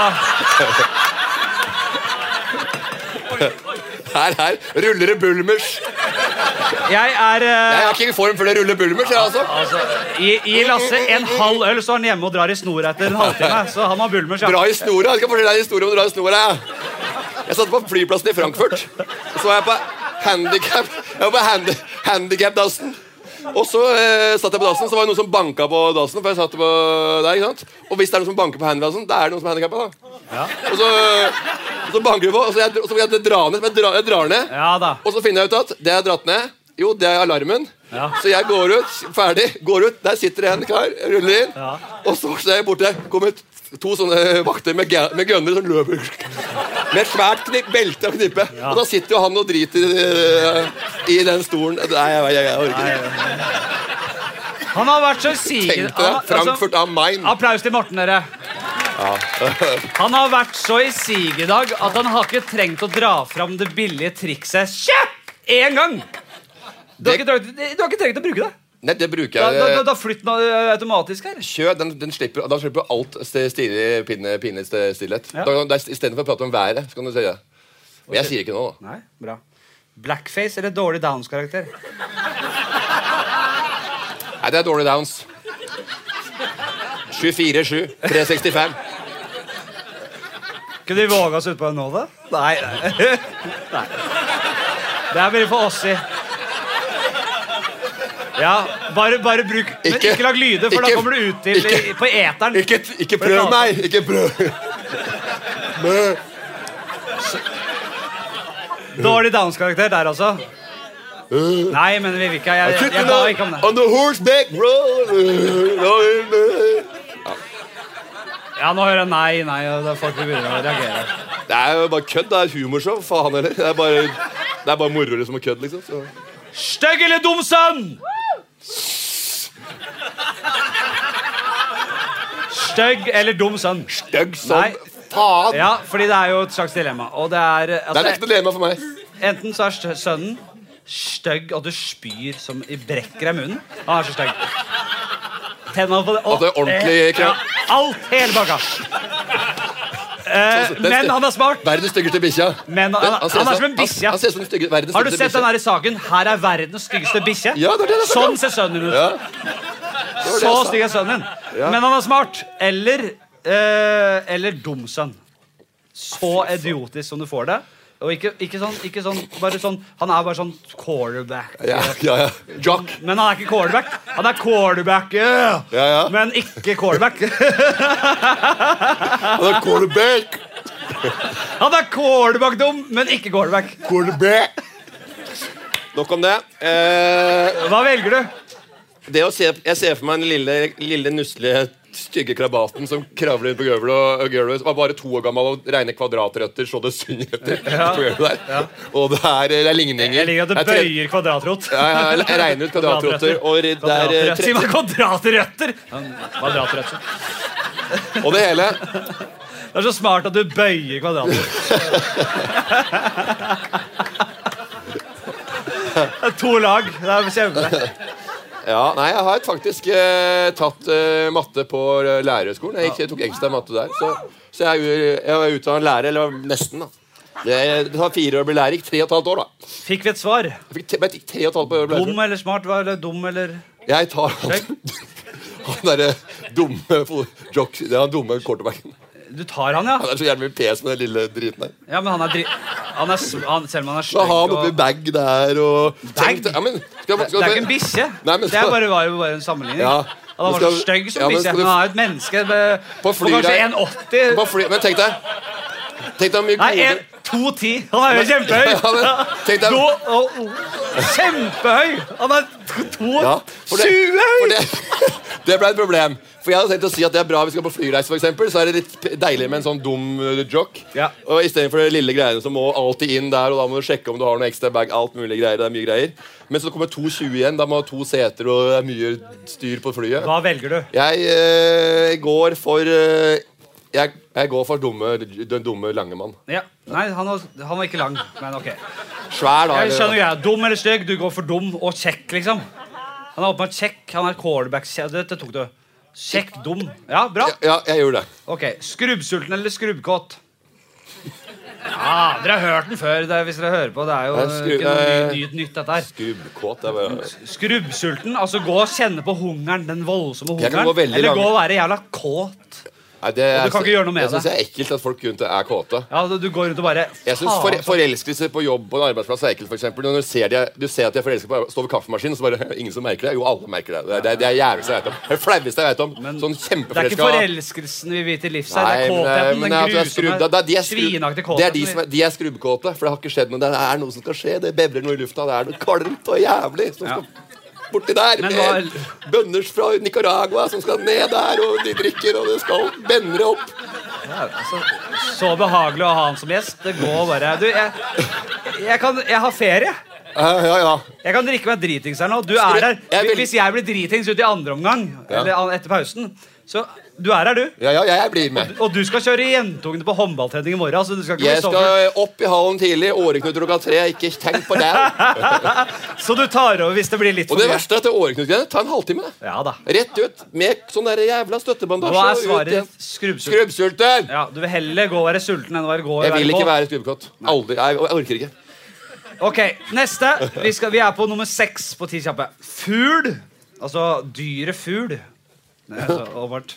Speaker 6: Her, her ruller det Bulmers.
Speaker 2: jeg er
Speaker 6: Jeg
Speaker 2: eh,
Speaker 6: er ikke i form før det ruller Bulmers, jeg, altså.
Speaker 2: altså, gi, gi Lasse en halv øl, så er han hjemme og drar i snora etter en halvtime. Så han har bulmers. Ja.
Speaker 6: Dra i snora. Jeg skal fortelle deg en historie om å dra i snora. Jeg satt på flyplassen i Frankfurt. Så var jeg på handicap Jeg var på handi handicap-dassen. Og så eh, satt jeg på dassen, så var det noen som banka på dassen. For jeg satt på der, ikke sant? Og hvis det er noen som banker på handidassen, da er det noen som er handikappa. Og så, og så banker vi på, og så jeg, og så må jeg dra ned. Men jeg, drar- jeg drar ned.
Speaker 2: Ja da.
Speaker 6: Og så finner jeg ut at det jeg har dratt ned, jo, det er alarmen.
Speaker 2: Ja.
Speaker 6: Så jeg går ut, ferdig, går ut, der sitter det en kar, ruller inn.
Speaker 2: Ja.
Speaker 6: Og så ser jeg borte, kommer to sånne vakter med, ga- med gønnere som løper. Med et svært knip, belte og knippe. Og da sitter jo han og driter eh, i den stolen. Nei, jeg, jeg, jeg orker ikke.
Speaker 2: Han har vært så sigende
Speaker 6: Tenkte det. Frankfurt am Main.
Speaker 2: altså, Applaus til Morten, dere. Han har vært så i siget i dag at han har ikke trengt å dra fram det billige trikset kjapp én gang. Du har, ikke trengt, du har ikke trengt å bruke det.
Speaker 6: Nei, det bruker
Speaker 2: Da, da, da,
Speaker 6: jeg.
Speaker 2: da flytter den eh, automatisk her.
Speaker 6: Kjør, den, den slipper, Da slipper du alt sti- stilig, pinlig, pinlig sti- stillhet.
Speaker 2: Ja.
Speaker 6: Da kan- da- Istedenfor å prate om været, så kan du si det. Men jeg sier ikke noe, da.
Speaker 2: Nei, bra. Blackface eller dårlig Downs-karakter?
Speaker 6: Nei, det er dårlig downs. 24-7. 365.
Speaker 2: Kunne vi våga oss utpå en nå, da? Nei. nei. nei. Det er bare for oss i. Ja, bare, bare bruk Men
Speaker 6: Ikke-
Speaker 2: ikke, lag lyder, for
Speaker 6: ikke-
Speaker 2: da kommer du ut til
Speaker 6: ikke-
Speaker 2: på eteren.
Speaker 6: Ikke, ikke prøv meg! Ikke prøv! Mø.
Speaker 2: sånn Dårlig Downs-karakter der altså. Nei, men vi vil ikke. Jeg, jeg, jeg ba ikke om det.
Speaker 6: On the horseback road.
Speaker 2: Ja, nå hører jeg nei, nei, og da folk begynner å reagere.
Speaker 6: Det er jo bare kødd. Det er humorshow. Faen heller. Det er bare, det er bare moro liksom, og kødd, liksom. Så.
Speaker 2: Stygg eller dum sønn? Stygg eller dum sønn?
Speaker 6: Stygg som
Speaker 2: Nei.
Speaker 6: faen!
Speaker 2: Ja, fordi det er jo et slags dilemma. Og det er eh,
Speaker 6: Det er
Speaker 2: altså,
Speaker 6: ekte dilemma for meg.
Speaker 2: Enten så er stø- sønnen stygg og du spyr som i brekker deg munnen. Han er så stygg. Tenna på det. og-
Speaker 6: At det er ordentlig
Speaker 2: Ja,
Speaker 6: krem.
Speaker 2: alt. Hele pakka. Eh,
Speaker 6: Den
Speaker 2: men
Speaker 6: sty-
Speaker 2: han er smart.
Speaker 6: Verdens styggeste bikkja.
Speaker 2: Men han-
Speaker 6: Den-
Speaker 2: han
Speaker 6: ser
Speaker 2: er som en
Speaker 6: han-
Speaker 2: bikkja.
Speaker 6: Han ser ut som den stygge, verdens
Speaker 2: Har du
Speaker 6: styggeste
Speaker 2: sett den
Speaker 6: bikkja.
Speaker 2: her i saken? Her er verdens styggeste bikkje.
Speaker 6: Ja, det er det jeg snakker om.
Speaker 2: sånn ser sønnen ut.
Speaker 6: Ja. Det var det jeg
Speaker 2: Så
Speaker 6: sa.
Speaker 2: stygg er sønnen din. Men han er smart. Eller eh, Eller dum sønn. Så idiotisk som du får det. Og ikke, ikke, sånn, ikke sånn Bare sånn Han er bare sånn quarterback.
Speaker 6: Ja, ja, ja. Jock.
Speaker 2: Men han er ikke quarterback. Han er quarterback, yeah.
Speaker 6: Ja, ja.
Speaker 2: men ikke quarterback.
Speaker 6: Han er quarterback.
Speaker 2: Han er quarterback-dum, men ikke quarterback.
Speaker 6: Quarterback. Nok om det. Eh,
Speaker 2: Hva velger du?
Speaker 6: det å se, jeg ser for meg den lille, lille nusselige, stygge krabaten som kravler rundt på gulvet og, og gulvet, var bare to år gammel og regner kvadratrøtter så det synger etter. på gulvet der. Og det er, det er ligninger.
Speaker 2: Jeg liker at
Speaker 6: Det
Speaker 2: du
Speaker 6: er tre-
Speaker 2: bøyer kvadratrot.
Speaker 6: Ja, ja, jeg regner ut kvadratrøtter, og det er eh,
Speaker 2: Kvadratrøtter.
Speaker 6: tre-
Speaker 2: Si meg kvadratrøtter! Kvadratrøtter.
Speaker 6: Og det hele.
Speaker 2: Det er så smart at du bøyer kvadratrøtter. Det er to lag. Det er kjempe.
Speaker 6: Ja, nei, jeg har faktisk eh, tatt eh, matte på eh, lærerhøgskolen. Jeg, gikk, jeg tok ekstra matte der. Så, så jeg, er u- jeg er utdannet lærer, eller nesten, da. Det, det tar fire år å bli lærer. Gikk tre og et halvt år, da.
Speaker 2: Fikk vi et svar?
Speaker 6: Jeg fikk te, men jeg gikk tre og et halvt år å bli
Speaker 2: Dum
Speaker 6: lærer.
Speaker 2: eller smart? Hva er det? Dum eller
Speaker 6: Jeg tar han, han derre dumme fo- jock... Det er han dumme quarterbacken.
Speaker 2: Du tar han, ja?
Speaker 6: Han er så jævlig pes med den lille driten der.
Speaker 2: Ja, men han er dri... Han er, s- han, selv om han er
Speaker 6: Så har han
Speaker 2: og-
Speaker 6: oppi bag der og Tenk det- ja, men, skal,
Speaker 2: Det det er ikke en bikkje.
Speaker 6: Nei, men
Speaker 2: Det er
Speaker 6: skal-
Speaker 2: bare, var jo bare en sammenligning.
Speaker 6: Ja.
Speaker 2: Han
Speaker 6: Men
Speaker 2: var så
Speaker 6: skal-
Speaker 2: stygg som
Speaker 6: ja, men
Speaker 2: bikkje.
Speaker 6: skal du-
Speaker 2: Han er et menneske med,
Speaker 6: På
Speaker 2: på,
Speaker 6: flyreis-
Speaker 2: kanskje
Speaker 6: På
Speaker 2: 1,80
Speaker 6: fly, men tenk deg Tenk deg hvor mye
Speaker 2: Nei,
Speaker 6: gode
Speaker 2: en- 2,10. Han er jo
Speaker 6: Ja,
Speaker 2: kjempehøy.
Speaker 6: men tenk deg
Speaker 2: To, og, kjempehøy! Han er to, to
Speaker 6: Ja, for det,
Speaker 2: 20 høy!
Speaker 6: for det, det ble et problem. For jeg hadde tenkt å si at det er bra vi skal på flyreise, for eksempel, så er det litt p- deilig med en sånn dum eh, jock.
Speaker 2: Ja.
Speaker 6: Og Istedenfor de lille greiene som må alltid inn der, og da må du sjekke om du har noe ekstra bag. alt mulig greier, det er mye greier. Men så kommer 2.20 igjen, da må du ha to seter og det er mye styr på flyet.
Speaker 2: Hva velger du?
Speaker 6: Jeg eh, går for eh, jeg, jeg går for dumme, den dumme Langemann.
Speaker 2: Ja. Nei, han var, han var ikke lang, men ok.
Speaker 6: Svær, da.
Speaker 2: Jeg skjønner
Speaker 6: eller-
Speaker 2: greia. Dum eller stygg? Du går for dum og kjekk, liksom. Han er åpenbart kjekk. Han er quarterback. Dette tok du. Kjekk, dum. Ja, bra.
Speaker 6: Ja, jeg gjør det.
Speaker 2: Ok, Skrubbsulten eller skrubbkåt? Ja, dere har hørt den før. Det er, hvis dere hører på, det er jo
Speaker 6: Ja, skru-
Speaker 2: ikke noe
Speaker 6: eh,
Speaker 2: ny, nytt, nytt dette her.
Speaker 6: Gubbkåt. Det er bare
Speaker 2: Skrubbsulten, altså gå og kjenne på hungeren, den voldsomme
Speaker 6: Jeg kan
Speaker 2: hungeren.
Speaker 6: gå veldig
Speaker 2: Eller
Speaker 6: lang-
Speaker 2: gå og være jævla kåt.
Speaker 6: Nei, det
Speaker 2: Og du kan ikke gjøre noe med
Speaker 6: jeg synes
Speaker 2: det.
Speaker 6: det er ekkelt at folk rundt deg er kåte.
Speaker 2: Ja, altså, du, du går rundt og bare
Speaker 6: Jeg synes for,
Speaker 2: faen,
Speaker 6: Forelskelse på jobb på en arbeidsplass er ekkelt. For eksempel. Når du ser, de, er- du ser at de er forelsket på står ved kaffemaskinen, så bare Ingen som merker det? Jo, alle merker det. Det er det, er det jævligste jeg vet om. Det er det flaueste jeg vet om.
Speaker 2: Men Det
Speaker 6: sånn
Speaker 2: er ikke
Speaker 6: kjempeforelska
Speaker 2: forelskelsen vi vil til livs her.
Speaker 6: Nei,
Speaker 2: Det er
Speaker 6: men, eh,
Speaker 2: kåtheten,
Speaker 6: men
Speaker 2: den
Speaker 6: at du er skrudd- da- da- de
Speaker 2: grusomme,
Speaker 6: er skrudd-
Speaker 2: svinaktige
Speaker 6: Det er de som
Speaker 2: kåtheten.
Speaker 6: er, de er skrubbkåte, for det har ikke skjedd noe. Det er noe som skal skje. Det bevler noe i lufta. Det er noe kaldt og jævlig som skal borti der.
Speaker 2: Men
Speaker 6: Med
Speaker 2: hva-
Speaker 6: bønder fra Nicaragua som skal ned der, og de drikker, og det skal bendre opp.
Speaker 2: Altså, Så behagelig å ha han som gjest. Det går bare Du, jeg, jeg kan Jeg har ferie.
Speaker 6: Eh, ja, ja.
Speaker 2: Jeg kan drikke meg dritings her nå. Du er her.
Speaker 6: jeg vil-
Speaker 2: Hvis jeg blir dritings ut i andre omgang,
Speaker 6: Ja.
Speaker 2: eller an- etter pausen, så Du er her, du.
Speaker 6: Ja, ja, jeg- jeg blir med.
Speaker 2: Og du skal kjøre jentungene på håndballtrening i morgen. Så du skal ikke
Speaker 6: Jeg
Speaker 2: bli sommer.
Speaker 6: skal opp i hallen tidlig. Åreknuter klokka tre. Ikke tenk på det.
Speaker 2: Så du tar over hvis det blir litt for
Speaker 6: Og det
Speaker 2: mye.
Speaker 6: verste er at det åreknutgreiene tar en halvtime. det.
Speaker 2: Ja da.
Speaker 6: Rett ut med sånn der jævla støttebandasje.
Speaker 2: Hva er
Speaker 6: og ut
Speaker 2: svaret
Speaker 6: igjen.
Speaker 2: ditt? Skrubbsulten.
Speaker 6: Skrubbsulten!
Speaker 2: Ja, Du vil heller gå og være sulten enn å være gå og
Speaker 6: Jeg vil ikke
Speaker 2: på.
Speaker 6: være skrubbkott. Aldri. Jeg, jeg orker ikke.
Speaker 2: Ok, neste. Vi, skal, vi er på nummer seks på ti kjappe. Fugl. Altså dyret fugl. Nei, altså, Åbart.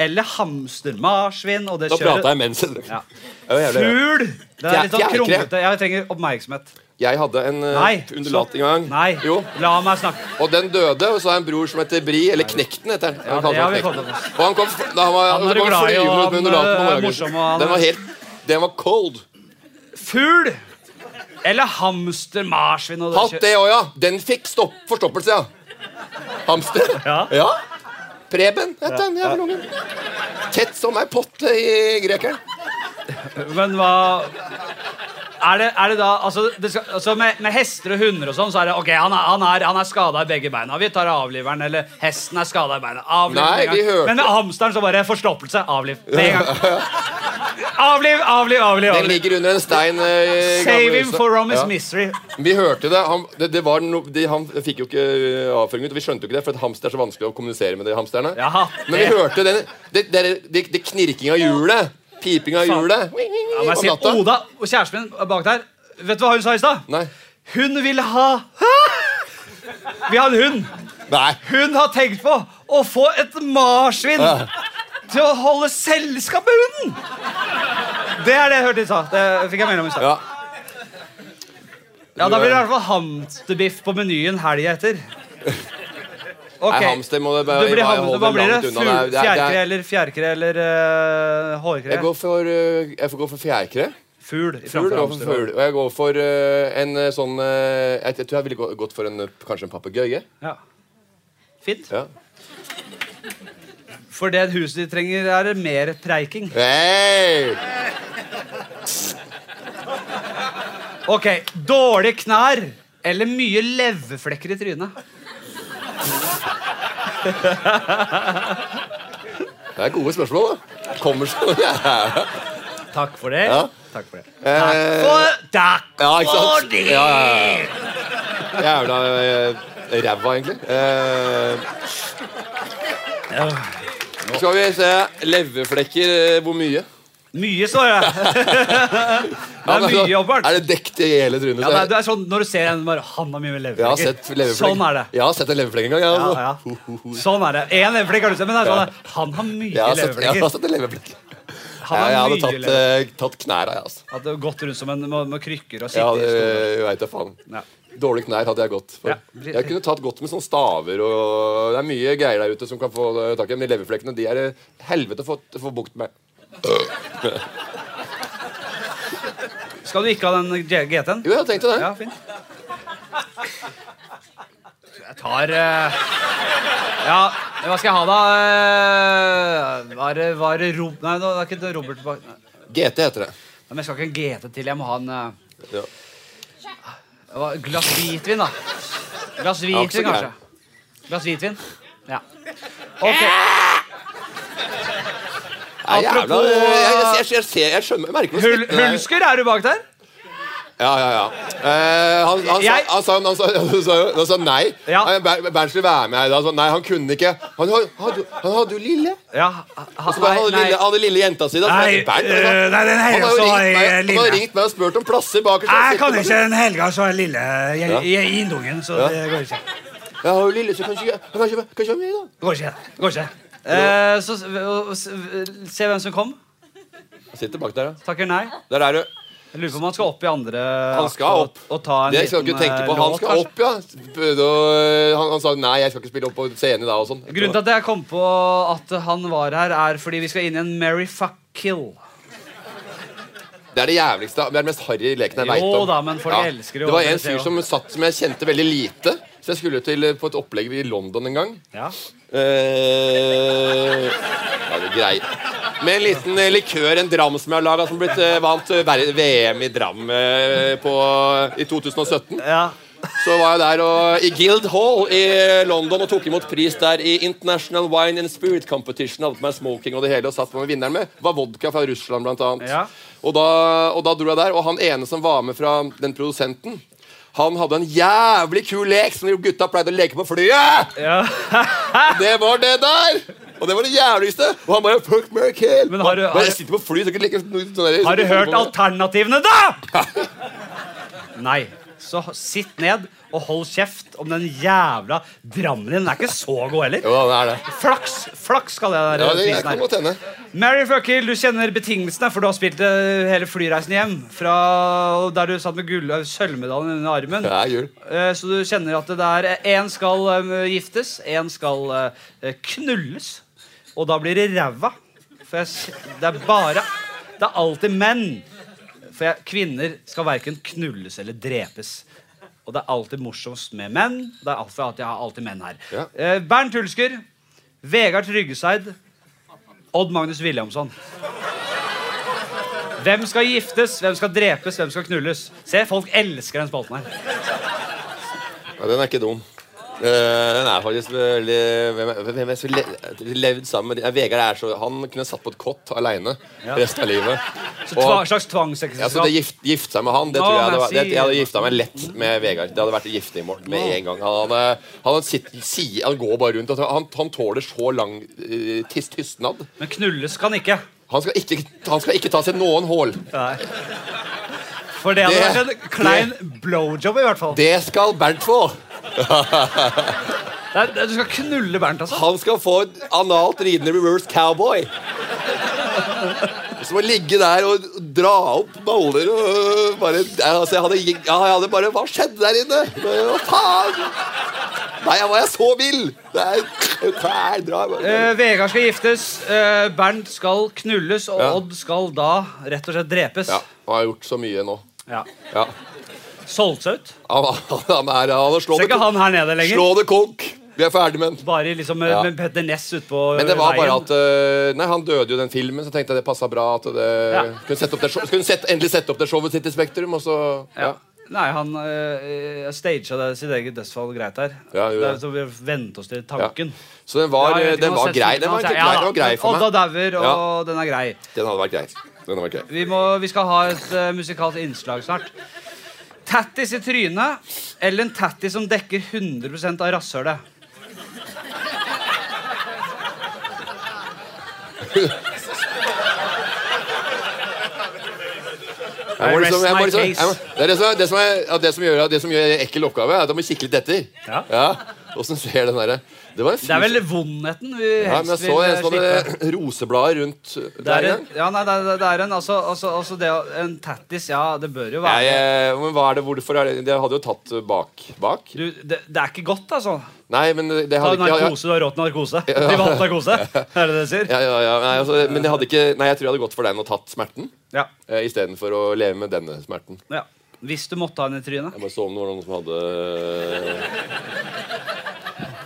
Speaker 2: Eller hamster, marsvin og det
Speaker 6: Da prata jeg mens.
Speaker 2: Ja.
Speaker 6: Det var jævlig rart.
Speaker 2: Fugl! Det er litt sånn
Speaker 6: Fjærkre.
Speaker 2: kronglete. Jeg trenger oppmerksomhet.
Speaker 6: Jeg hadde en eh,
Speaker 2: Nei.
Speaker 6: undulat en gang.
Speaker 2: Nei,
Speaker 6: Jo.
Speaker 2: la meg snakke.
Speaker 6: Og den døde, og så har jeg en bror som heter Bri, eller Knekten heter han.
Speaker 2: Ja,
Speaker 6: Han kalte
Speaker 2: det har vi
Speaker 6: seg Knekten.
Speaker 2: fått med oss.
Speaker 6: Og han kom, f- da han var,
Speaker 2: Han er
Speaker 6: han
Speaker 2: jo
Speaker 6: kom
Speaker 2: glad i, og
Speaker 6: flyvende
Speaker 2: han,
Speaker 6: ut med undulaten
Speaker 2: eh,
Speaker 6: på
Speaker 2: er
Speaker 6: morgenen.
Speaker 2: morsom, og han-
Speaker 6: Den var helt Den var cold.
Speaker 2: Fugl! Eller hamster, marsvin og
Speaker 6: Hatt det òg, ja. Den fikk stopp, forstoppelse, ja. Hamster.
Speaker 2: Ja.
Speaker 6: Preben het den jævla ungen. Tett som ei potte i grekeren.
Speaker 2: Men hva Er det, er det da Altså, det skal, altså med, med hester og hunder og sånn, så er det OK, han er, han er, han er skada i begge beina. Vi tar avliveren. Eller hesten er skada i beina. Avliv
Speaker 6: Nei,
Speaker 2: med en
Speaker 6: de
Speaker 2: gang.
Speaker 6: hørte-
Speaker 2: Men med hamsteren så bare forstoppelse. Avliv. Med en gang. Avliv, avliv, avliv.
Speaker 6: Den
Speaker 2: avliv.
Speaker 6: ligger under en stein. eh, i
Speaker 2: Save
Speaker 6: gamle
Speaker 2: him
Speaker 6: huset.
Speaker 2: for Romans
Speaker 6: Ja.
Speaker 2: misery.
Speaker 6: Vi hørte det. Han, det, det var no, de, han fikk jo ikke eh, avføring ut, og vi skjønte jo ikke det, for at hamster er så vanskelig å kommunisere med de hamsterne.
Speaker 2: Jaha,
Speaker 6: Men vi
Speaker 2: det-
Speaker 6: hørte den, det, det, det, det knirking av hjulet. Piping av
Speaker 2: Faen.
Speaker 6: hjulet.
Speaker 2: Ja, men jeg
Speaker 6: om
Speaker 2: sier,
Speaker 6: natta.
Speaker 2: Oda og kjæresten min bak der, vet du hva hun sa i stad?
Speaker 6: Nei.
Speaker 2: Hun vil ha Vi har en hund.
Speaker 6: Nei.
Speaker 2: Hun har tenkt på å få et marsvin
Speaker 6: Ja.
Speaker 2: til å holde selskap med hunden! Det er det jeg hørte i stad. Det fikk jeg melding om i stad.
Speaker 6: Ja.
Speaker 2: Ja, da blir det i hvert fall hamsterbiff på menyen helga etter. Ok.
Speaker 6: Nei, hamster må
Speaker 2: Du
Speaker 6: det bare,
Speaker 2: blir
Speaker 6: bare
Speaker 2: hamster.
Speaker 6: holde
Speaker 2: Hva blir det?
Speaker 6: langt unna. Det er-
Speaker 2: Fugl-
Speaker 6: det er- det
Speaker 2: Fjærkre
Speaker 6: er-
Speaker 2: eller fjærkre eller eh,
Speaker 6: Jeg
Speaker 2: hårkre?
Speaker 6: går for, eh, jeg får gå for fjærkre.
Speaker 2: Fugl. i
Speaker 6: Fugl,
Speaker 2: framfor
Speaker 6: og
Speaker 2: hamster.
Speaker 6: fugl. Og jeg går for eh, en eh, sånn eh, Jeg jeg tror jeg ville gå- gått for en, eh, kanskje en papegøye.
Speaker 2: Ja. Fint.
Speaker 6: Ja.
Speaker 2: For det huset de trenger, er mer preiking.
Speaker 6: Hey!
Speaker 2: Ok, Dårlige knær eller mye leverflekker i trynet?
Speaker 6: Det er gode spørsmål, da. Kommer sånn. Ja,
Speaker 2: Takk for det.
Speaker 6: Ja.
Speaker 2: Takk for det.
Speaker 6: Eh,
Speaker 2: Og takk
Speaker 6: ja ikke
Speaker 2: for
Speaker 6: sant?
Speaker 2: det!
Speaker 6: Ja, ja, ja. Jævla eh, ræva, egentlig. Eh, skal vi se Leverflekker, eh, hvor mye?
Speaker 2: Mye, står det. Det er mye jobbart.
Speaker 6: altså, Er det dekt i hele trynet?
Speaker 2: Ja, nei, du er sånn, når du ser en bare, han har mye med
Speaker 6: jeg har
Speaker 2: leverflekker.
Speaker 6: sett leverflekk.
Speaker 2: Sånn er det.
Speaker 6: Jeg har sett en leverflekk en gang. jeg, altså.
Speaker 2: Ja, ja. Sånn er det. Én leverflekk har du sett, men det er sånn der, han har mye
Speaker 6: Jeg har sett, jeg har
Speaker 2: leverflekker.
Speaker 6: sett en leverflekk.
Speaker 2: Han
Speaker 6: Ja,
Speaker 2: har
Speaker 6: jeg hadde
Speaker 2: mye
Speaker 6: tatt,
Speaker 2: leverflekker.
Speaker 6: eh, tatt knær av, jeg, altså.
Speaker 2: At du har gått rundt som en med, med krykker og
Speaker 6: Ja,
Speaker 2: sitter
Speaker 6: det
Speaker 2: i skoene.
Speaker 6: veit jeg faen.
Speaker 2: Ja.
Speaker 6: Dårlige knær hadde jeg gått for.
Speaker 2: Ja.
Speaker 6: Jeg kunne tatt godt med sånne staver og Det er mye greier der ute som kan få eh, tak i, men de leverflekkene de er det helvete å få, få bukt med.
Speaker 2: Skal du ikke ha den GT-en?
Speaker 6: Jo, jeg tenkte det.
Speaker 2: Ja, fint. Jeg tar eh, Ja, hva skal jeg ha, da? Eh, Var det, var det Rob... Nei, nå er ikke det Robert bak... Nei,
Speaker 6: GT heter det.
Speaker 2: men jeg skal ikke ha en GT til. Jeg må ha en eh,
Speaker 6: Ja.
Speaker 2: hva- glass hvitvin, da. Glass
Speaker 6: var ikke så
Speaker 2: hvitvin,
Speaker 6: gæren.
Speaker 2: kanskje. Glass hvitvin. Ja. Ok.
Speaker 6: Nei, jævla,
Speaker 2: Apropos,
Speaker 6: eh, jeg, jeg, jeg, jeg, ser- jeg skjønner, jeg merker noe
Speaker 2: Hul,
Speaker 6: smitte der.
Speaker 2: hulsker, er du bak der?
Speaker 6: Ja, ja, ja. Eh, han, han,
Speaker 2: Jeg-
Speaker 6: sa, han, sa, han, sa, han, sa, han sa nei.
Speaker 2: Ja.
Speaker 6: Han- Ber- Bernt skulle være med her i dag. så Nei, han kunne ikke. Han, han, hadde- han hadde jo lille.
Speaker 2: Ja. ha- ha-
Speaker 6: Så bare hadde lille, hadde lille jenta si da, som
Speaker 1: Nei,
Speaker 6: heter Bernt,
Speaker 2: eh,
Speaker 1: øh,
Speaker 6: eller hva?
Speaker 1: nei, den her
Speaker 6: altså. han har jo
Speaker 1: så
Speaker 6: ringt
Speaker 1: jeg,
Speaker 6: meg,
Speaker 1: eh,
Speaker 6: han har
Speaker 1: lille.
Speaker 6: ringt meg og spurt om plasser bak oss.
Speaker 1: Jeg kan ikke den helga så er lille jeg,
Speaker 6: Ja.
Speaker 1: jeg er innungen, så det går ikke.
Speaker 6: Jeg har jo lille, så kanskje jeg kan ikke kan ikke være med, da.
Speaker 2: Det går ikke. det Går ikke. Eh, så s- og- og s- se hvem som kom.
Speaker 6: Han sitter bak der, ja.
Speaker 2: Takker nei.
Speaker 6: Der er du.
Speaker 2: Jeg lurer på om han skal opp i andre
Speaker 6: Han
Speaker 2: akt
Speaker 6: skal
Speaker 2: og-
Speaker 6: opp.
Speaker 2: Og ta en
Speaker 6: Det skal du ikke
Speaker 2: liten,
Speaker 6: tenke
Speaker 2: eh,
Speaker 6: på. Han
Speaker 2: låt,
Speaker 6: skal
Speaker 2: kanskje.
Speaker 6: opp, ja. Prøvde å- Han, han sa nei, jeg skal ikke spille opp på scenen i dag og sånn.
Speaker 2: Grunnen til at jeg kom på at han var her, er fordi vi skal inn i en Mary fuck kill.
Speaker 6: Det er det jævligste Det er den mest harry leken
Speaker 2: Jo
Speaker 6: jeg veit om.
Speaker 2: da, men folk elsker jo
Speaker 6: det var
Speaker 2: å
Speaker 6: en
Speaker 2: se
Speaker 6: fyr
Speaker 2: også.
Speaker 6: som satt som jeg kjente veldig lite. Så jeg skulle til eh, på et opplegg i London en gang.
Speaker 2: Ja.
Speaker 6: Eh, ja, det er grei. Med en liten eh, likør, en dram som jeg har laga, som blitt, eh, vant eh, ver- VM i Dram eh, på, i 2017.
Speaker 2: Ja.
Speaker 6: Så var jeg der og, i Guild Hall i London og tok imot pris der i International Wine and Spirit Competition. Hadde på meg smoking og det hele og satt på meg vinneren med. Var vodka fra Russland, blant annet.
Speaker 2: Ja.
Speaker 6: Og, da, og da dro jeg der, og han ene som var med fra den produsenten han hadde en jævlig kul lek som de gutta pleide å leke på flyet! Det var det der! Og det var det jævligste. Og han bare Fuck, Mary Kill.
Speaker 2: Men har du-
Speaker 6: Bare,
Speaker 2: har-
Speaker 6: jeg sitter på fly, så kan jeg ikke leke sånn der-
Speaker 2: Har du hørt alternativene, da?! Nei. Så sitt ned og hold kjeft om den jævla drammen din. Den er ikke så god heller.
Speaker 6: Jo da, det er det.
Speaker 2: Flaks flaks skal det
Speaker 6: Ja,
Speaker 2: der.
Speaker 6: det jeg
Speaker 2: prisen her.
Speaker 6: kan godt hende.
Speaker 2: Mary Fucker, du kjenner betingelsene, for du har spilt eh, hele flyreisen hjem. Fra der du satt med gull, eh, sølvmedaljen under armen.
Speaker 6: Det er jul.
Speaker 2: Eh, Så du kjenner at det der Én skal eh, giftes, én skal eh, knulles. Og da blir det ræva. For jeg, s- det er bare Det er alltid menn. For jeg, kvinner skal verken knulles eller drepes. Og det er alltid morsomst med menn. Det er alltid, at jeg har alltid menn her.
Speaker 6: Ja.
Speaker 2: Eh, Bernt Hulsker, Vegard Tryggeseid, Odd Magnus Williamson. Hvem skal giftes, hvem skal drepes, hvem skal knulles? Se, folk elsker den spalten her.
Speaker 6: Ja, den er ikke dum. Eh, den er faktisk veldig Hvem er hvem er det som le- levd sammen med de- Nei, Vegard er så Han kunne satt på et kott aleine
Speaker 2: Ja.
Speaker 6: resten av livet.
Speaker 2: Så
Speaker 6: Og-
Speaker 2: tva, slags
Speaker 6: ja, så det
Speaker 2: tvangsekteskap.
Speaker 6: gift, gift seg med han, det
Speaker 2: Nå,
Speaker 6: tror jeg,
Speaker 2: men
Speaker 6: det var,
Speaker 2: jeg
Speaker 6: det, jeg hadde
Speaker 2: sier-
Speaker 6: gifta meg lett med Vegard. Det hadde vært giftermål med en gang. Han, hadde- han, hadde sitt, si, han går bare rundt og han, han tåler så lang eh, tis- tystnad.
Speaker 2: Men knulles kan ikke.
Speaker 6: Han skal ikke, han skal ikke ta seg noen hål.
Speaker 2: For det hadde
Speaker 6: Det-
Speaker 2: vært en klein blowjob, i hvert fall.
Speaker 6: Det skal Bernt få.
Speaker 2: Nei, du skal knulle Bernt, altså.
Speaker 6: Han skal få en analt ridende reverse cowboy. Som å ligge der og dra opp baller og øh, bare ja, altså, jeg, hadde, gikk- ja, jeg hadde bare Hva skjedde der inne? Hva faen? Nei, jeg var jeg så vill! Det er, klær, dra,
Speaker 2: Eh, Vegard skal giftes, eh, Bernt skal knulles, og
Speaker 6: Ja.
Speaker 2: Odd skal da rett og slett drepes.
Speaker 6: Ja, han har gjort så mye nå.
Speaker 2: Ja.
Speaker 6: Ja.
Speaker 2: Solgt seg ut.
Speaker 6: Han, han, han er han har
Speaker 2: Ser
Speaker 6: slått det,
Speaker 2: ikke han her nede
Speaker 6: konk.
Speaker 2: lenger.
Speaker 6: slå det konk. Vi er ferdig med den.
Speaker 2: Bare liksom med,
Speaker 6: Ja.
Speaker 2: med Petter Ness utpå
Speaker 6: Men det var bare at øh, Nei, han døde jo i den filmen, så tenkte jeg det passa bra. at det,
Speaker 2: Ja.
Speaker 6: Kunne, sette opp det, show- skulle sette, endelig sette opp det showet sitt i Spektrum, og så ja.
Speaker 2: ja. Nei, han uh, staged det sitt eget dødsfall greit her.
Speaker 6: Ja,
Speaker 2: det
Speaker 6: gjorde
Speaker 2: er, så vi vente oss til tanken.
Speaker 6: Så den var,
Speaker 2: Ja,
Speaker 6: øh,
Speaker 2: jeg vet ikke
Speaker 6: den
Speaker 2: om han har
Speaker 6: var
Speaker 2: sett
Speaker 6: grei.
Speaker 2: filmen,
Speaker 6: Den var,
Speaker 2: altså.
Speaker 6: grei,
Speaker 2: Ja,
Speaker 6: den var grei for
Speaker 2: Odda
Speaker 6: meg.
Speaker 2: dauer, og
Speaker 6: Ja.
Speaker 2: den er grei.
Speaker 6: Den hadde vært grei. Den hadde vært grei.
Speaker 2: Vi, må, vi skal ha et eh, musikalsk innslag snart. Tattis i trynet eller en tattis som dekker 100 av rasshølet?
Speaker 6: Jeg må
Speaker 2: I
Speaker 6: liksom, jeg må
Speaker 2: rest my
Speaker 6: liksom, jeg må, det, er det, som, det, som er, ja, det som gjør at- det som gjør en ekkel oppgave, er at jeg må kikke litt etter.
Speaker 2: Ja.
Speaker 6: Åssen ser den derre Det var en
Speaker 2: Det er vel
Speaker 6: fyr
Speaker 2: vondheten vi
Speaker 6: ja, men
Speaker 2: helst
Speaker 6: jeg så en
Speaker 2: vil øh,
Speaker 6: som
Speaker 2: slippe.
Speaker 6: hadde roseblader rundt
Speaker 2: Det
Speaker 6: der
Speaker 2: er
Speaker 6: igjen.
Speaker 2: en, ja, nei, det er, det er en altså, altså, altså det, å- En tattis, ja, det bør jo
Speaker 6: Jeg,
Speaker 2: være
Speaker 6: eh, men hva er det, hvorfor er det Det hadde jo tatt eh, bak. bak.
Speaker 2: du, det, det er ikke godt, altså.
Speaker 6: Nei, men det
Speaker 2: Ta
Speaker 6: hadde ikke ja, ja.
Speaker 2: narkose, du har rått narkose. Privat narkose, er det det du sier?
Speaker 6: Ja, ja, ja, nei, altså, men jeg hadde ikke Nei, jeg tror jeg hadde gått for den og tatt smerten.
Speaker 2: Ja.
Speaker 6: Eh, Istedenfor å leve med denne smerten.
Speaker 2: ja. Hvis du måtte ha den i trynet.
Speaker 6: Jeg bare så om det var noen som hadde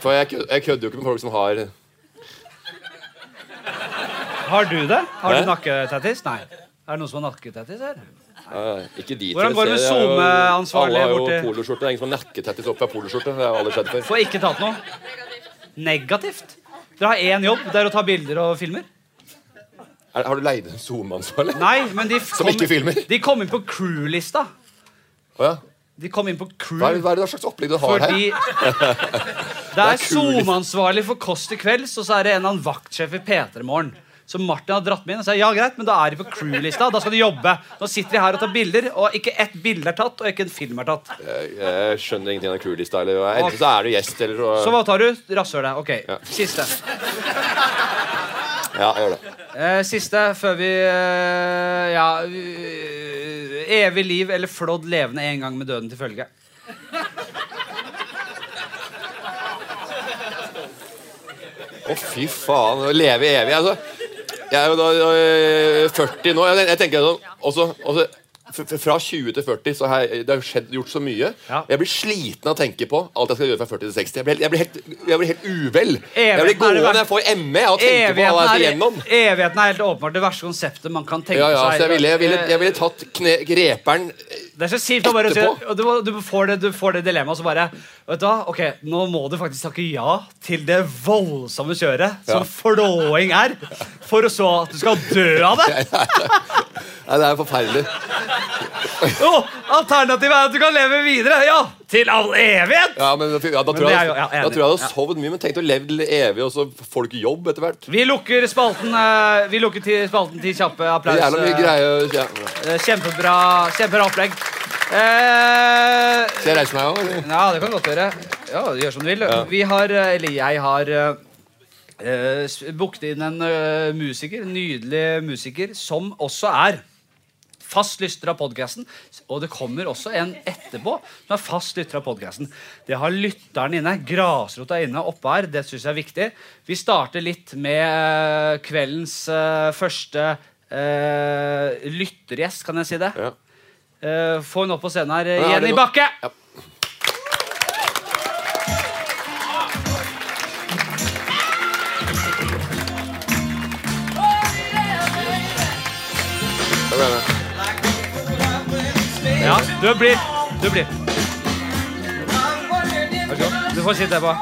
Speaker 6: For jeg, kød, jeg kødder jo ikke med folk som har
Speaker 2: Har du det? Har
Speaker 6: Hæ?
Speaker 2: du nakketattis? Nei. Er det noen som har nakketattis her?
Speaker 6: eh, Ikke de
Speaker 2: Hvordan går det med
Speaker 6: ser, jeg er jo-
Speaker 2: SoMe-ansvarlig
Speaker 6: Alle har jo
Speaker 2: borti-
Speaker 6: poloskjorte. Det er ingen som har nakketattis opp av poloskjorte. Det har jeg aldri sett før.
Speaker 2: Får ikke tatt noe? Negativt? Dere har én jobb, det er å ta bilder og filmer?
Speaker 6: Er, har du leid en SoMe-ansvarlig?
Speaker 2: Nei, men de
Speaker 6: Som ikke filmer?
Speaker 2: De kom inn på crew-lista.
Speaker 6: Å ja.
Speaker 2: De kom inn på
Speaker 6: Hva er,
Speaker 2: crew
Speaker 6: hva er det slags opplegg du har her?
Speaker 2: fordi Det er
Speaker 6: crew-lista.
Speaker 2: SoMe-ansvarlig for Kåss til kvelds, og så er det en eller annen vaktsjef i P3 Morgen. Så Martin har dratt med inn og sier ja greit, men da er de på crew-lista. Da skal de jobbe. Nå sitter de her og tar bilder, og ikke ett bilde er tatt, og ikke en film er tatt.
Speaker 6: Jeg, jeg skjønner ingenting av kulista. Eller, hva. enten så er du gjest, eller så,
Speaker 2: Så hva tar du? Rasshølet. Ok. Siste.
Speaker 6: Ja, jeg gjør det.
Speaker 2: Eh, siste før vi eh, Ja eh, Evig liv eller flådd levende en gang med døden til følge.
Speaker 6: Å, fy faen. Å leve eh, evig. Altså. Jeg er jo da øh, 40 nå. Jeg, jeg tenker sånn også, også, f- f- fra 20 til 40 så har jeg, det har skjedd, gjort så mye.
Speaker 2: Ja.
Speaker 6: Jeg blir sliten av å tenke på alt jeg skal gjøre fra 40 til 60. Jeg blir, helt- jeg blir, helt, jeg blir helt uvel. jeg blir
Speaker 2: Evigheten er det
Speaker 6: gående,
Speaker 2: verste.
Speaker 6: jeg får ME av å tenke på hva jeg
Speaker 2: Evigheten er,
Speaker 6: skal
Speaker 2: e-
Speaker 6: gjennom.
Speaker 2: evigheten er helt åpenbart det verste konseptet man kan tenke
Speaker 6: Ja, ja,
Speaker 2: seg. Eh,
Speaker 6: så jeg ville, jeg ville, jeg ville tatt kne, greperen
Speaker 2: Det er så kjipt å bare si
Speaker 6: Etterpå?
Speaker 2: og du, du får det, du får det dilemmaet, og så bare Vet du hva, ok, nå må du faktisk takke ja til det voldsomme kjøret som
Speaker 6: Ja.
Speaker 2: flåing er, for å så at du skal dø av det.
Speaker 6: Nei, det er forferdelig.
Speaker 2: Jo, alternativet er at du kan leve videre. Ja, til all evighet.
Speaker 6: Ja, men, ja, da, tror
Speaker 2: det
Speaker 6: jeg,
Speaker 2: er jo- ja,
Speaker 6: da
Speaker 2: enig.
Speaker 6: tror jeg jeg hadde sovet mye, men tenkte å leve evig, og så får du ikke jobb etter hvert.
Speaker 2: Vi lukker spalten eh, Vi lukker til spalten til kjappe
Speaker 6: Det er
Speaker 2: applaus.
Speaker 6: jævla mye
Speaker 2: eh,
Speaker 6: greier. Ja.
Speaker 2: eh, Kjempebra, kjempebra opplegg. Eh,
Speaker 6: Skal jeg reise meg òg, eller?
Speaker 2: Ja, det kan du godt gjøre. Ja, Gjør som du vil. Vi har, eh, eller jeg har eh, s- booket inn en eh, musiker, en nydelig musiker, som også er fast lytter av podkasten. Og det kommer også en etterpå som er fast lytter av podkasten. Det har lytteren inne, grasrota inne oppe her. Det syns jeg er viktig. Vi starter litt med eh, kveldens eh, første eh, lyttergjest, kan jeg si det.
Speaker 6: Ja.
Speaker 2: Eh, få henne opp på scenen her.
Speaker 6: er det
Speaker 2: Jenny
Speaker 6: no-
Speaker 2: Bakke!
Speaker 6: Ja. Da ble det.
Speaker 2: Ja, du blir. Du blir. Vær så god. Du får sitte derpå.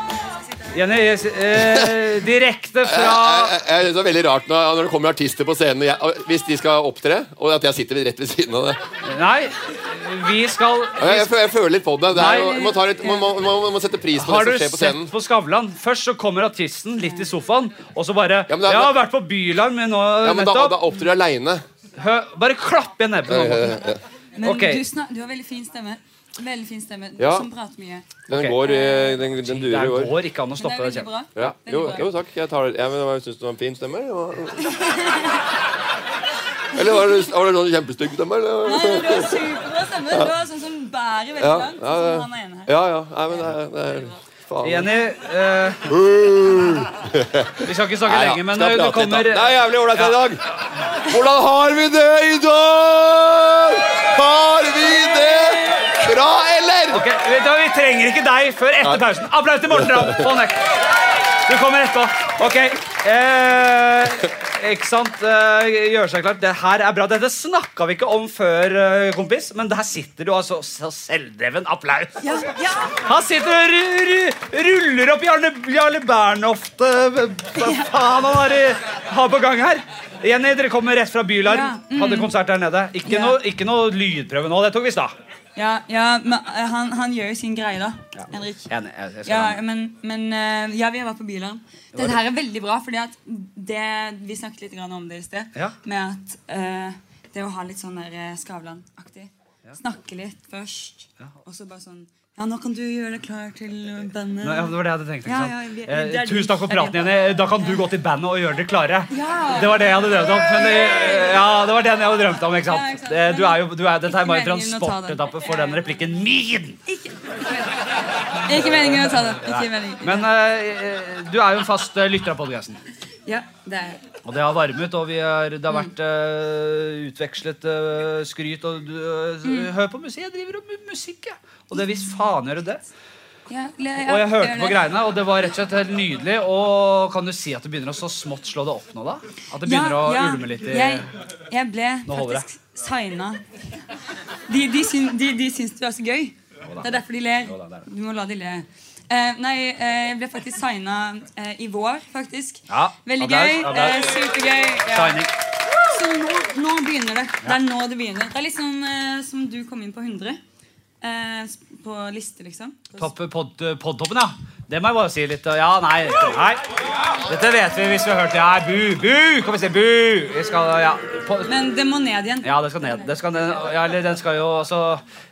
Speaker 2: Jenny, jeg s- eh, direkte
Speaker 6: Jeg,
Speaker 2: fra
Speaker 6: jeg, jeg synes eh, det er veldig rart når, når det kommer artister på scenen og jeg, og hvis de skal opptre, og at jeg sitter rett ved siden av det.
Speaker 2: Nei, vi skal
Speaker 6: eh, Jeg, jeg, føler- jeg føler litt på det. det er, jo-
Speaker 2: Nei.
Speaker 6: man, tar litt, man, man, man, man må sette pris på
Speaker 2: har
Speaker 6: det
Speaker 2: du
Speaker 6: som skjer på scenen.
Speaker 2: sett på Skavlan? Først så kommer artisten litt i sofaen, og så bare
Speaker 6: Ja, men da-
Speaker 2: 'Jeg har vært på Bylarm nå
Speaker 6: Ja, men da, da
Speaker 2: nettopp.'
Speaker 6: opptrer du aleine.
Speaker 2: Hø- Bare klapp igjen nebbet. nå, Morten.
Speaker 7: Men
Speaker 2: Ok.
Speaker 7: du, snak, du har veldig fin stemme. Veldig fin stemme,
Speaker 6: Ja.
Speaker 7: som prater mye.
Speaker 6: Den
Speaker 2: Ok.
Speaker 6: går i Den, den
Speaker 2: Det
Speaker 6: durer i år.
Speaker 2: går ikke an å
Speaker 7: Men det
Speaker 2: stoppe
Speaker 7: er veldig
Speaker 2: det. kjempe.
Speaker 7: bra.
Speaker 6: Ja.
Speaker 7: Veldig
Speaker 6: Jo,
Speaker 7: bra.
Speaker 6: jo, takk. Jeg tar det. Ja, men, jeg syns du var en fin stemme. eller hva? Eller var det, var det sånn kjempestygg stemme? Eller?
Speaker 7: Nei, du har superbra stemme. Du har sånn som bærer veldig
Speaker 6: Ja,
Speaker 7: langt.
Speaker 6: ja,
Speaker 7: sånn
Speaker 6: ja.
Speaker 7: som han er ene her.
Speaker 6: Ja, ja. Nei, men det er, det er faen.
Speaker 2: Jenny, eh, vi skal ikke snakke
Speaker 6: Nei, ja,
Speaker 2: lenge, men
Speaker 6: skal
Speaker 2: eh, du
Speaker 6: prate litt, da.
Speaker 2: kommer
Speaker 6: Det er jævlig ålreit i dag. Hvordan har vi det i dag? Har vi det bra, eller?
Speaker 2: Ok, vet du hva, Vi trenger ikke deg før etter pausen. Applaus til Morten Ramm! Få han vekk. Du kommer etterpå. Ok. Eh, ikke sant? Eh, gjør seg klart. Det her er bra. Dette snakka vi ikke om før, eh, kompis, men der sitter du altså så selvdreven. Applaus!
Speaker 7: Ja, ja.
Speaker 2: Han sitter og ru- ru- ruller opp Jarle, Jarle Bernhoft eh, Hva faen han har, i- har på gang her? Jenny, dere kommer rett fra Bylarm.
Speaker 7: Ja. mm.
Speaker 2: Hadde konsert der nede. Ikke,
Speaker 7: Ja.
Speaker 2: noe, ikke noe lydprøve nå. Det tok vi i stad.
Speaker 7: ja, ja men eh, han, han gjør jo sin greie, da. Henrik.
Speaker 2: Enig, jeg- jeg skal ha
Speaker 7: Ja,
Speaker 2: den.
Speaker 7: men, men eh, ja, vi har vært på Bylarm. Dette her er veldig bra, fordi at det, vi snakket litt grann om det i sted.
Speaker 2: Ja.
Speaker 7: Med at eh, det å ha litt sånn der eh, Skavlan-aktig. Snakke litt først, og så bare sånn Ja, nå kan du gjøre deg klar til eh, bandet.
Speaker 2: Nei, ja, det var det jeg hadde tenkt. ikke
Speaker 7: Ja,
Speaker 2: sant?
Speaker 7: ja, vi-
Speaker 2: Eh,
Speaker 7: det er
Speaker 2: Tusen takk for
Speaker 7: de-
Speaker 2: praten, Jenny. Da kan du gå til bandet og gjøre dere klare.
Speaker 7: Ja.
Speaker 2: Det var det jeg hadde drømt om. Men det, ja, det var den jeg hadde drømt om, ikke
Speaker 7: Ja, ikke
Speaker 2: sant?
Speaker 7: sant.
Speaker 2: Eh, Du er jo, du er, dette er bare en
Speaker 7: Ikke meningen å ta den.
Speaker 2: transportetappe for den replikken min!
Speaker 7: Ikke, ikke meningen å ta det. Ikke meningen.
Speaker 2: Men eh, du er jo en fast eh, lytter av podkasten.
Speaker 7: ja, det er
Speaker 2: Og det har varmet, og vi har, det har vært eh, utvekslet eh, skryt. Og du,
Speaker 7: Mm.
Speaker 2: eh, hør på musikk. Jeg driver og mu- musikk, jeg. Og det visst faen gjør du det.
Speaker 7: ja, le- ja,
Speaker 2: Og jeg hørte
Speaker 7: gjør
Speaker 2: på
Speaker 7: det.
Speaker 2: greiene, og det var rett og slett helt nydelig. Og kan du si at det begynner å så smått slå det opp nå, da? At det begynner å ulme litt i
Speaker 7: jeg, jeg ble
Speaker 2: Nå holder
Speaker 7: faktisk signa. De, de, syn, de, de syns du er så gøy. Det er derfor de ler.
Speaker 2: Jo da, det er
Speaker 7: Du må la de le. Eh, nei, eh, jeg ble faktisk signa eh, i vår, faktisk.
Speaker 2: Ja,
Speaker 7: Veldig
Speaker 2: applaus,
Speaker 7: gøy.
Speaker 2: applaus.
Speaker 7: eh, supergøy. Ja.
Speaker 2: Signing.
Speaker 7: Så nå, nå begynner det. Det er nå det begynner. Det er litt sånn eh, som du kom inn på 100. eh, s- på liste, liksom.
Speaker 2: Topp, pod, podtoppen, ja. Det må jeg bare si litt. Ja, nei, nei. Dette vet vi hvis vi har hørt det. Nei, bu, bu! Kom og se, bu! Vi skal, ja. På,
Speaker 7: Men det må ned igjen.
Speaker 2: ja, det skal ned. Det skal, ned. ja, eller den skal jo altså,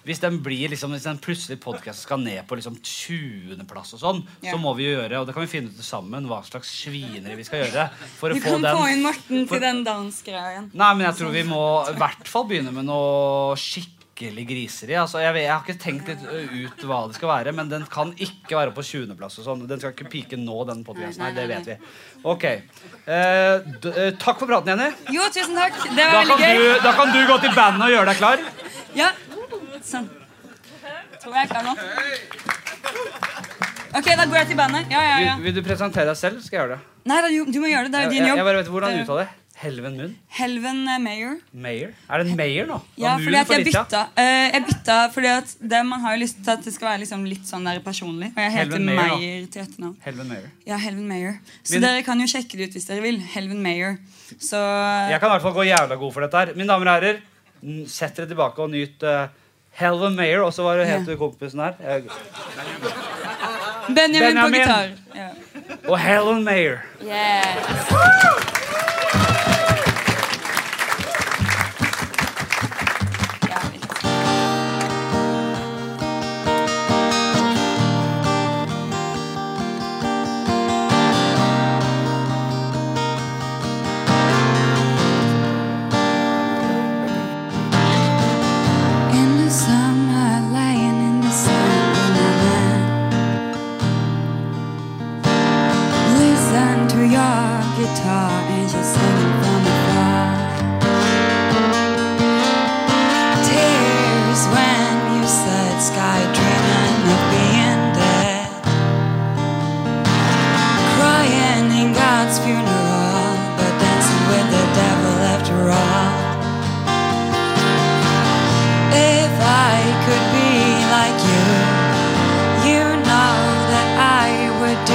Speaker 2: Hvis den blir liksom, hvis den plutselig podkasten skal ned på liksom 20.-plass og sånn,
Speaker 7: Ja.
Speaker 2: så må vi jo gjøre Og det kan vi finne ut sammen hva slags svineri vi skal gjøre for
Speaker 7: Du
Speaker 2: å få
Speaker 7: kan få
Speaker 2: den
Speaker 7: inn Morten til den dansgreia igjen.
Speaker 2: Nei, men jeg tror vi må i hvert fall begynne med noe skikkelig griseri. Altså, jeg, vet, jeg har ikke tenkt litt ø, ut hva det skal være, men den kan ikke være på 20.-plass. og sånn. Den skal ikke pike nå, den podkasten her. Det vet vi. Ok. Eh, d eh, takk for praten, Jenny.
Speaker 7: Jo, tusen takk. Det
Speaker 2: Da
Speaker 7: var
Speaker 2: kan,
Speaker 7: veldig gøy.
Speaker 2: du, da kan du gå til bandet og gjøre deg klar.
Speaker 8: Ja. Sånn. Tror jeg er klar nå. OK, da går jeg til bandet. Ja, ja, ja.
Speaker 2: Vil, vil du presentere deg selv? Skal jeg gjøre det?
Speaker 8: Nei, da, du, du må gjøre det. Det er
Speaker 2: Jeg,
Speaker 8: jo
Speaker 2: jeg,
Speaker 8: din
Speaker 2: jeg
Speaker 8: jobb.
Speaker 2: bare vet hvordan
Speaker 8: Det
Speaker 2: du
Speaker 8: er-
Speaker 2: uttaler det. Helven Munn?
Speaker 8: Helven eh, Mayer.
Speaker 2: Mayer? Er det en Mayer nå? Det
Speaker 8: Ja,
Speaker 2: var
Speaker 8: fordi
Speaker 2: Moon
Speaker 8: at
Speaker 2: for
Speaker 8: jeg
Speaker 2: litt siden.
Speaker 8: bytta. eh, jeg bytta fordi at det, Man har jo lyst til at det skal være liksom litt sånn der personlig. Og jeg heter
Speaker 2: Helven Mayer, da.
Speaker 8: Meyer til etternavn.
Speaker 2: Helven Mayer.
Speaker 8: Ja, Helven Mayer. Så
Speaker 2: Min-
Speaker 8: dere kan jo sjekke det ut hvis dere vil. Helven Mayer. Så
Speaker 2: Jeg kan i hvert fall gå jævla god for dette her. Mine damer og herrer, n- sett dere tilbake og nyt uh, Helven Mayer. Og så var det helt
Speaker 8: Ja.
Speaker 2: kompisen her. Jeg-
Speaker 8: Benjamin, på
Speaker 2: Benjamin.
Speaker 8: gitar. Ja.
Speaker 2: Og Helen Mayer.
Speaker 8: Yes. Jævlig. In the summer, lying in the sun in the night. Listen to your guitar and she's singing from afar. Tears when you said sky dreaming of being dead. Crying in God's funeral, but dancing with the devil after all. If I could be like you. You know that I would do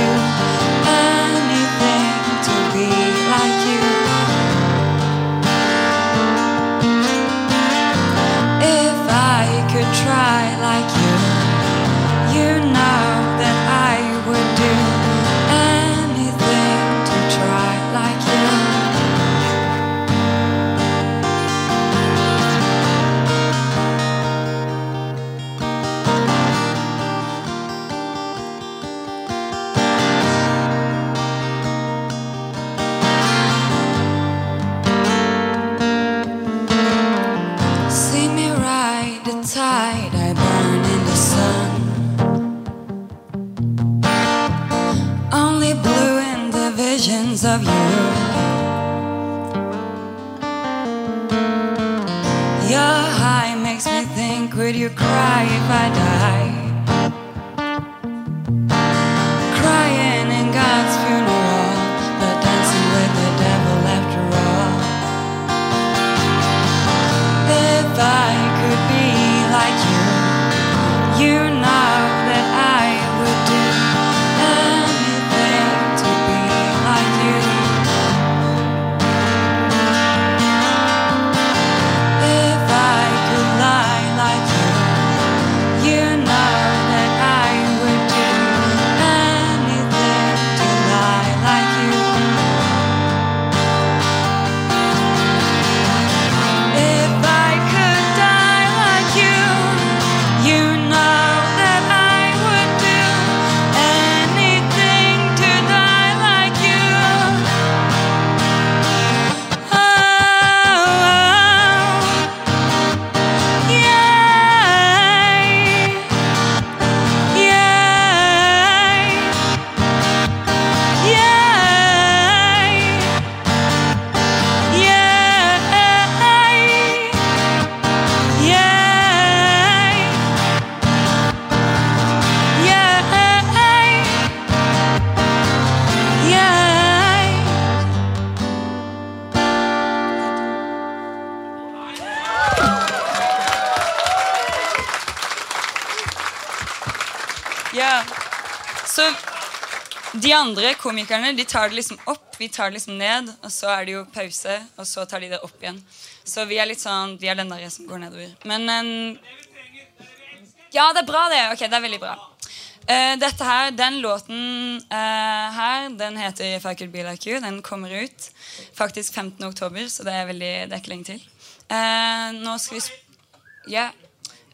Speaker 8: anything to be like you. If I could try like you, you know that I would do anything to try like you. See me ride the tide I burn in the sun. Only blue in the visions of you. Your high makes me think, would you cry if I die? Crying in God's funeral, but dancing with the devil after all. If I could be like you, you know that I would do anything to be like you. If I could lie like you, you know that I would do anything to lie like you. If I could die like you, you know that I would do anything to die like you. Oh, yeah, yeah, yeah. Yeah. Så de andre komikerne de tar det liksom opp, vi tar det liksom ned, og så er det jo pause, og så tar de det opp igjen. Så vi er litt sånn Vi er den der som går nedover. Men en- Ja, det er bra, det. Ok, det er veldig bra. Eh, dette her, Den låten eh, her, den heter If I Could Be Like You. Den kommer ut faktisk 15. oktober, så det er, veldig, det er ikke lenge til. Eh, nå skal vi sp ja.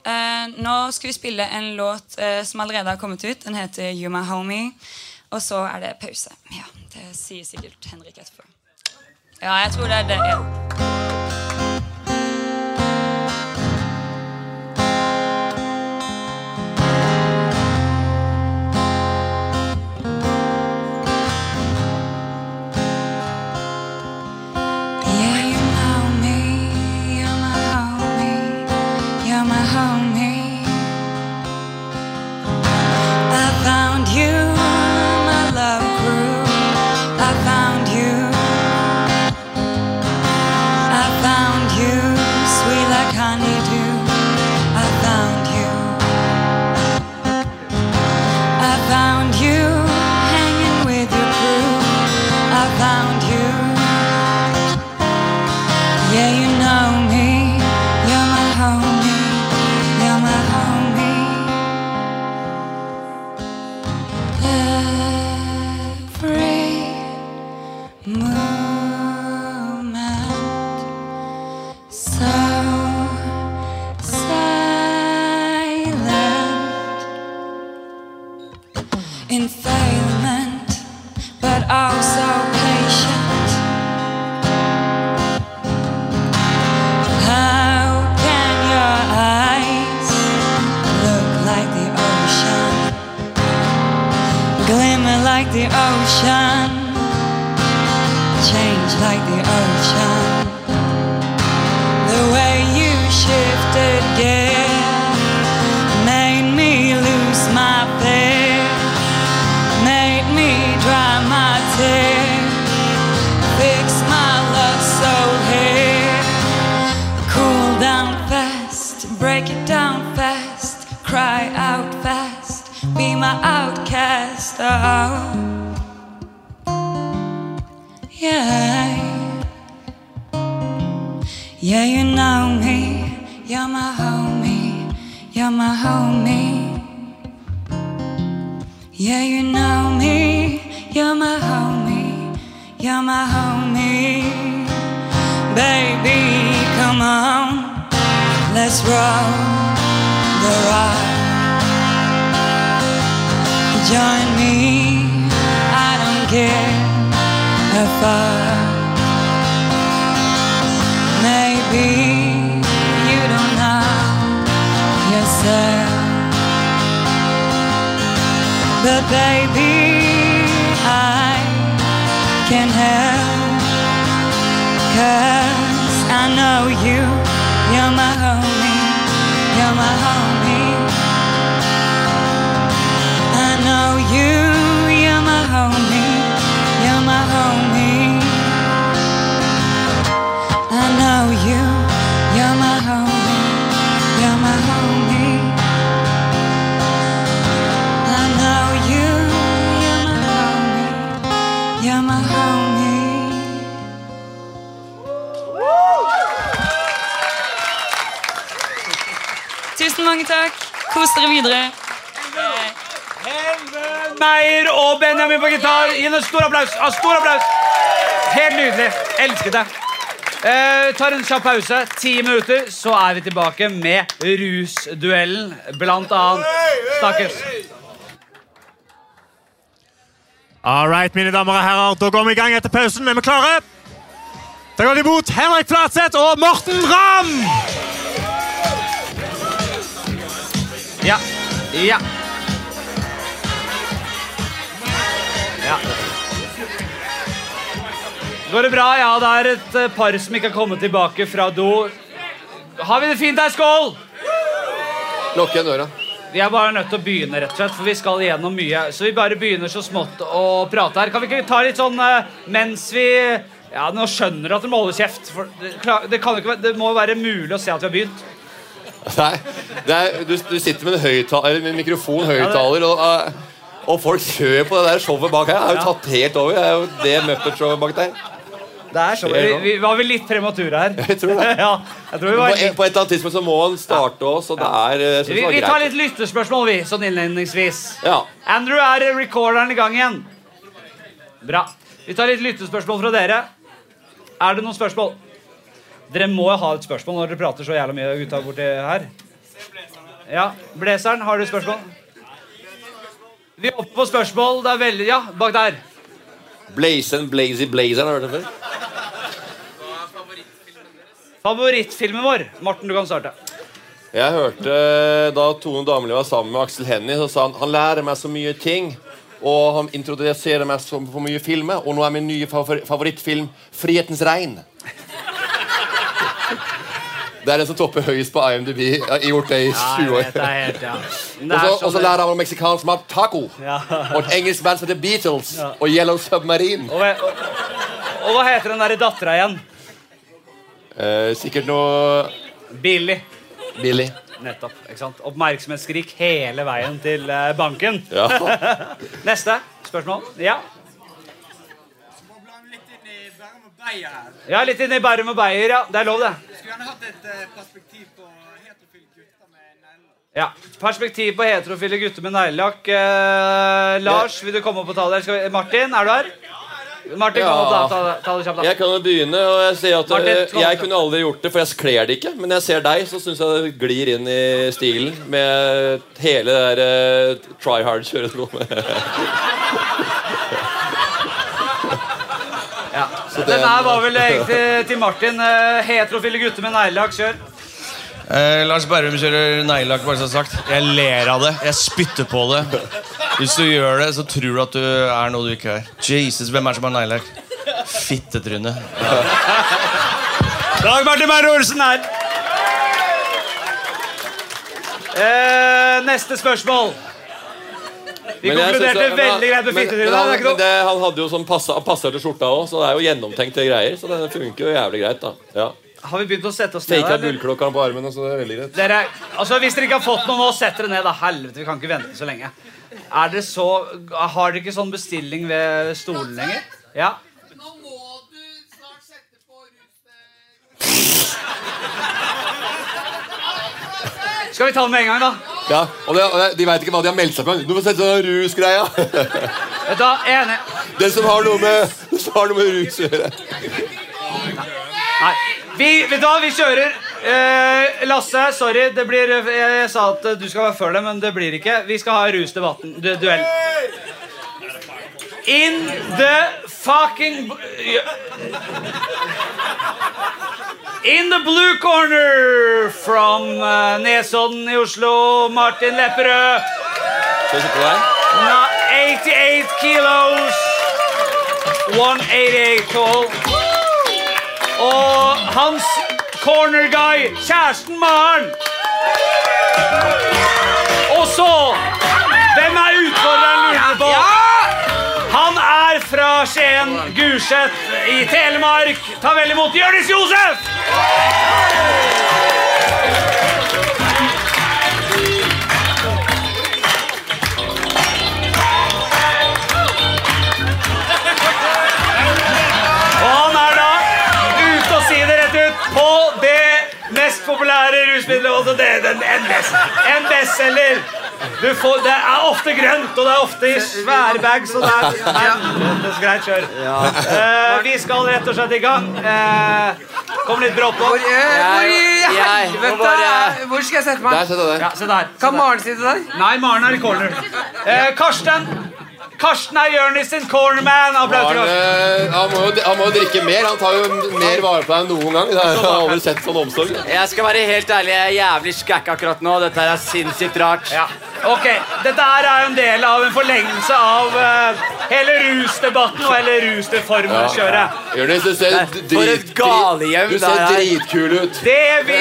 Speaker 8: Eh, nå skal vi spille en låt eh, som allerede har kommet ut. Den heter You My Homie. Og så er det pause. Ja, Det sier sikkert Henrik etterpå. Ja, jeg tror det er det. Ja. Yeah, you know me, you're my homie. You're the ocean. Change like the ocean. The way you shifted gear made me lose my fear. Made me dry my tear. Fix my love so here. Cool down fast, break it down fast, cry out fast, be my outcast. Oh, yeah. Yeah, you know me, you're my homie, you're my homie. Yeah, you know me, you're my homie, you're my homie. Baby, come on, let's roll the ride. Join me, I don't care how far. Maybe you don't know yourself, but baby, I can help. Cause I know you, you're my homie, you're my homie. I know you, you're my homie, you're my homie. I know you, you're my homie, you're my homie. I know you, you're my homie, you're my homie. Tusen mange takk. Kos dere videre.
Speaker 2: Helve Meier og Benjamin på gitar. Gi henne en stor applaus. Ja, stor applaus. Helt nydelig. Elsket deg. Eh, tar en kjapp pause. Ti minutter, så er vi tilbake med rusduellen. Blant annet Snakkes.
Speaker 1: All right, mine damer og herrer, da går vi i gang etter pausen. Er vi klare? Da går de imot Henrik Flatseth og Morten Ramm!
Speaker 2: Ja. Ja. Ja. Går det bra? Ja, det er et eh, par som ikke har kommet tilbake fra do. Har vi det fint her? Skål!
Speaker 6: Lukk igjen døra.
Speaker 2: Vi er bare nødt til å begynne, rett og slett, for vi skal igjennom mye. Så vi bare begynner så smått å prate her. Kan vi ikke ta litt sånn eh, mens vi Ja, nå skjønner du at du må holde kjeft. For det, klar- det, kan jo ikke, være- det må jo være mulig å se at vi har begynt.
Speaker 6: Nei, det er, du, du sitter med en, høyttaler- eller med en mikrofon, høyttaler, og, eh, og folk kjører på det der showet bak her. Jeg har jo tatt helt over. Jeg er jo det Muppet-showet bak der.
Speaker 2: Det er så, vi, vi var vel litt premature her.
Speaker 6: Jeg tror det.
Speaker 2: ja, jeg tror vi
Speaker 6: På,
Speaker 2: var
Speaker 6: et- på et eller annet tidspunkt så må han starte også, og det er eh, jeg synes
Speaker 2: vi,
Speaker 6: det var
Speaker 2: vi tar
Speaker 6: greit.
Speaker 2: litt lyttespørsmål, vi, sånn innledningsvis.
Speaker 6: Ja.
Speaker 2: Andrew, er eh, recorderen i gang igjen? Bra. Vi tar litt lyttespørsmål fra dere. Er det noen spørsmål? Dere må jo ha et spørsmål når dere prater så jævla mye gutta borti her. Ja, Blazeren, har du spørsmål? Vi er oppe på spørsmål. Det er veldig Ja, bak der.
Speaker 6: Blazen, Blazy Blazeren, har du hørt det før?
Speaker 2: Favorittfilmen vår. Morten, du kan starte.
Speaker 6: Jeg hørte eh, da Tone Damli var sammen med Aksel Hennie, så sa han han lærer meg så mye ting. Og han introduserer meg så for mye filmer, og nå er min nye favor favorittfilm 'Frihetens regn'. Det er den som topper høyest på IMDb. Jeg har gjort det i
Speaker 2: Nei,
Speaker 6: 20 år.
Speaker 2: dette er helt, ja. Den
Speaker 6: Og
Speaker 2: er
Speaker 6: så- Og så
Speaker 2: sånn-
Speaker 6: lærer han om meksikansk mat taco.
Speaker 2: Ja.
Speaker 6: Og et engelsk band som heter Beatles. Og Yellow Submarine.
Speaker 2: og, og, og hva heter den derre dattera igjen?
Speaker 6: Eh, sikkert noe
Speaker 2: Billy.
Speaker 6: Billy.
Speaker 2: Nettopp. ikke sant? Oppmerksomhetsskrik hele veien til eh, banken.
Speaker 6: Ja.
Speaker 2: Neste spørsmål. Ja.
Speaker 9: litt inn i Bærum og Beia her.
Speaker 2: Jeg er litt inne i Bærum og Beyer, ja. Det er lov, det.
Speaker 9: Skulle gjerne hatt et eh, perspektiv på heterofile gutter med negler.
Speaker 2: Ja. Perspektiv på heterofile gutter med neglelakk. Eh, Lars, vil du komme opp og ta det? Skal vi, Martin, er du her? Martin, kom opp, da. Ta det, ta det kjapt, da.
Speaker 6: Jeg kan jo begynne, og jeg ser at
Speaker 2: Martin,
Speaker 6: eh,
Speaker 2: kom.
Speaker 6: jeg kunne aldri gjort det, for jeg kler det ikke. Men jeg ser deg, så syns jeg det glir inn i stilen med hele det der eh, try hard-kjøret som går med.
Speaker 2: Ja.
Speaker 6: Så det-
Speaker 2: Den her var vel egentlig til Martin. Eh, heterofile gutter med neglelakk, kjør.
Speaker 10: Eh, Lars Berrum kjører neglelakk, bare så sagt. Jeg ler av det. Jeg spytter på det. Hvis du gjør det, så tror du at du er noe du ikke er. Jesus, hvem er det som har neglelakk? Fittetryne.
Speaker 2: Dag Martin Meyer Olsen her. Eh, neste spørsmål. Vi
Speaker 6: Men jeg synes
Speaker 2: konkluderte
Speaker 6: det- men-
Speaker 2: veldig greit med
Speaker 6: men-
Speaker 2: fittetrynet.
Speaker 6: men
Speaker 2: det er
Speaker 6: Han,
Speaker 2: ikke
Speaker 6: men
Speaker 2: noe-
Speaker 6: det, han hadde jo sånn passa, passer til skjorta òg, så det er jo gjennomtenkte greier. Så det funker jo jævlig greit, da. Ja.
Speaker 2: Har vi begynt å sette oss ned?
Speaker 6: Faka
Speaker 2: eller?
Speaker 6: bullklokka på armen, og så er det veldig greit.
Speaker 2: Dere, altså Hvis dere ikke har fått noe nå, sett dere ned. da Helvete, vi kan ikke vente så lenge. Er dere så, Har dere ikke sånn bestilling ved stolen lenger? Ja?
Speaker 9: Nå må du snart sette på rustet.
Speaker 2: Skal vi ta den med en gang, da?
Speaker 6: Ja, og det, og det, De veit ikke hva de har meldt seg på. Du må sette deg den rusgreia.
Speaker 2: Vet du, hva, enig.
Speaker 6: Den som har noe med, den som har noe med rus å gjøre.
Speaker 2: Nei. Vi, vet du hva, vi kjører. Eh, Lasse, sorry. Det blir, jeg, jeg sa at eh, du skal være før det, men det blir ikke. Vi skal ha rusdebatten. Du, duell. In the fucking b- In the blue corner from eh, Nesodden i Oslo, Martin Lepperød.
Speaker 6: Skal jeg sitte der?
Speaker 2: Now 88 kilos. 188 tall. Og hans corner guy, kjæresten Maren. Og så Hvem er utfordreren, lurer jeg på? Han er fra Skien, Gulset i Telemark. Ta vel imot Jonis Josef! Og han er da ute og sier det rett ut på det mest populære rusmiddelet. Altså det, den, en best- en bestselger. Du får, det er ofte grønt, og det er ofte i svære bags. Og det er helvetes greit kjør. Eh, vi skal rett og slett i gang. Eh, kom litt brått på.
Speaker 4: Hvor, eh, hvor i
Speaker 6: Jeg- jeg må
Speaker 4: helvete
Speaker 6: bare-
Speaker 4: er- Hvor skal jeg sette
Speaker 6: Der
Speaker 4: meg?
Speaker 6: setter jeg
Speaker 2: Ja,
Speaker 6: deg.
Speaker 2: se der.
Speaker 4: Kan Maren sitte der?
Speaker 2: Nei, Maren er i corner. Eh, Karsten. Karsten er Jonis sin cornerman. Applaus til
Speaker 6: Han,
Speaker 2: Karsten.
Speaker 6: eh, han, må jo, han må jo drikke mer. Han tar jo mer vare på deg enn noen gang. Jeg har aldri sett sånn omsorg.
Speaker 11: Jeg skal være helt ærlig, jeg er jævlig skækk akkurat nå. Dette her er sinnssykt rart.
Speaker 2: Ja, ok. Dette her er jo en del av en forlengelse av eh, hele rusdebatten og hele rusreformen å kjøre.
Speaker 6: Jonis, du ser
Speaker 11: for et
Speaker 6: drit-
Speaker 11: galehjem
Speaker 6: Du
Speaker 11: det
Speaker 6: ser
Speaker 11: er.
Speaker 6: dritkul ut.
Speaker 2: Det vi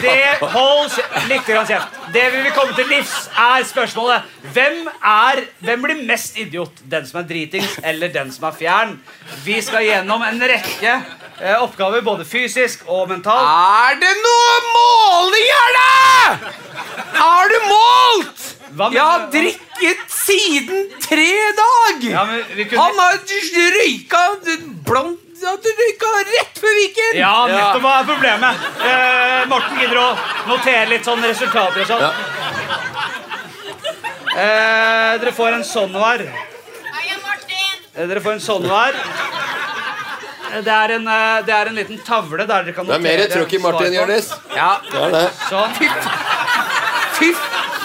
Speaker 2: det Hold kje- litt grann kjeft. Det vi vil komme til livs, er spørsmålet Hvem er Hvem blir mest idiot? Den som er dritings, eller den som er fjern? Vi skal gjennom en rekke eh, oppgaver, både fysisk og mentalt.
Speaker 4: Er det noe måling her, da?! Har du målt?!
Speaker 2: Hva
Speaker 4: Jeg har
Speaker 2: mener du?
Speaker 4: drikket siden tre dag!
Speaker 2: Ja, men vi kunne-
Speaker 4: Han har røyka blond Han røyka rett før Viken!
Speaker 2: Ja, nettopp hva er problemet? Eh, Morten gidder å notere litt sånn resultater og sånn. Eh, dere får en sånn hver. Eh, Dere får en sånn hver. Eh, Det er, en, eh, det er en liten tavle der dere kan
Speaker 6: Det er mer trøkk i
Speaker 2: svar
Speaker 6: Martin,
Speaker 2: på.
Speaker 6: Jonis.
Speaker 4: Ja.
Speaker 6: Det er det.
Speaker 2: Sånn.
Speaker 4: Fy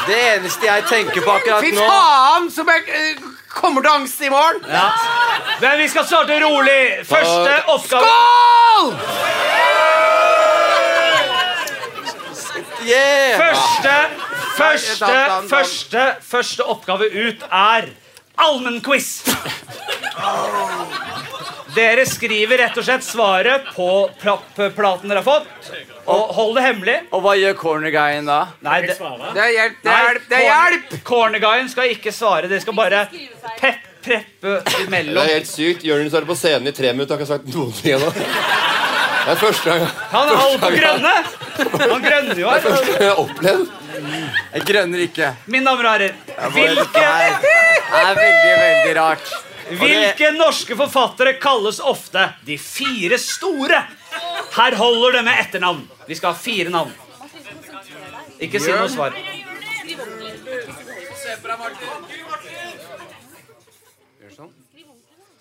Speaker 11: Det eneste jeg tenker på akkurat
Speaker 4: fy
Speaker 11: nå
Speaker 4: faen som jeg eh, kommer til å angste i morgen!
Speaker 2: Men vi skal starte rolig. Første oppgave
Speaker 4: Skål!
Speaker 11: yeah.
Speaker 2: Første, første,
Speaker 4: Dan, Dan, Dan.
Speaker 2: første, første oppgave ut er allmennquiz. Dere skriver rett og slett svaret på plappplaten dere har fått. Og hold det hemmelig.
Speaker 11: Og hva gjør corner-guyen da?
Speaker 2: Nei, det,
Speaker 4: Det er hjelp! Det
Speaker 2: nei,
Speaker 4: er hjelp! Det er hjelp.
Speaker 2: corner- Cornerguyen skal ikke svare. Dere skal bare pep, preppe
Speaker 6: Det er
Speaker 2: imellom.
Speaker 6: helt sykt. Jonis har vært på scenen i tre minutter og har ikke sagt noen ting ennå. Det er første gang
Speaker 2: Han er holdt på grønne. Han grønner jo her.
Speaker 6: første gang jeg har opplevd.
Speaker 11: Jeg grønner ikke.
Speaker 2: Mine damer og herrer, hvilke,
Speaker 11: Det er veldig, veldig rart.
Speaker 2: hvilke norske forfattere kalles ofte de fire store? Her holder det med etternavn. Vi skal ha fire navn. Ikke si noe svar.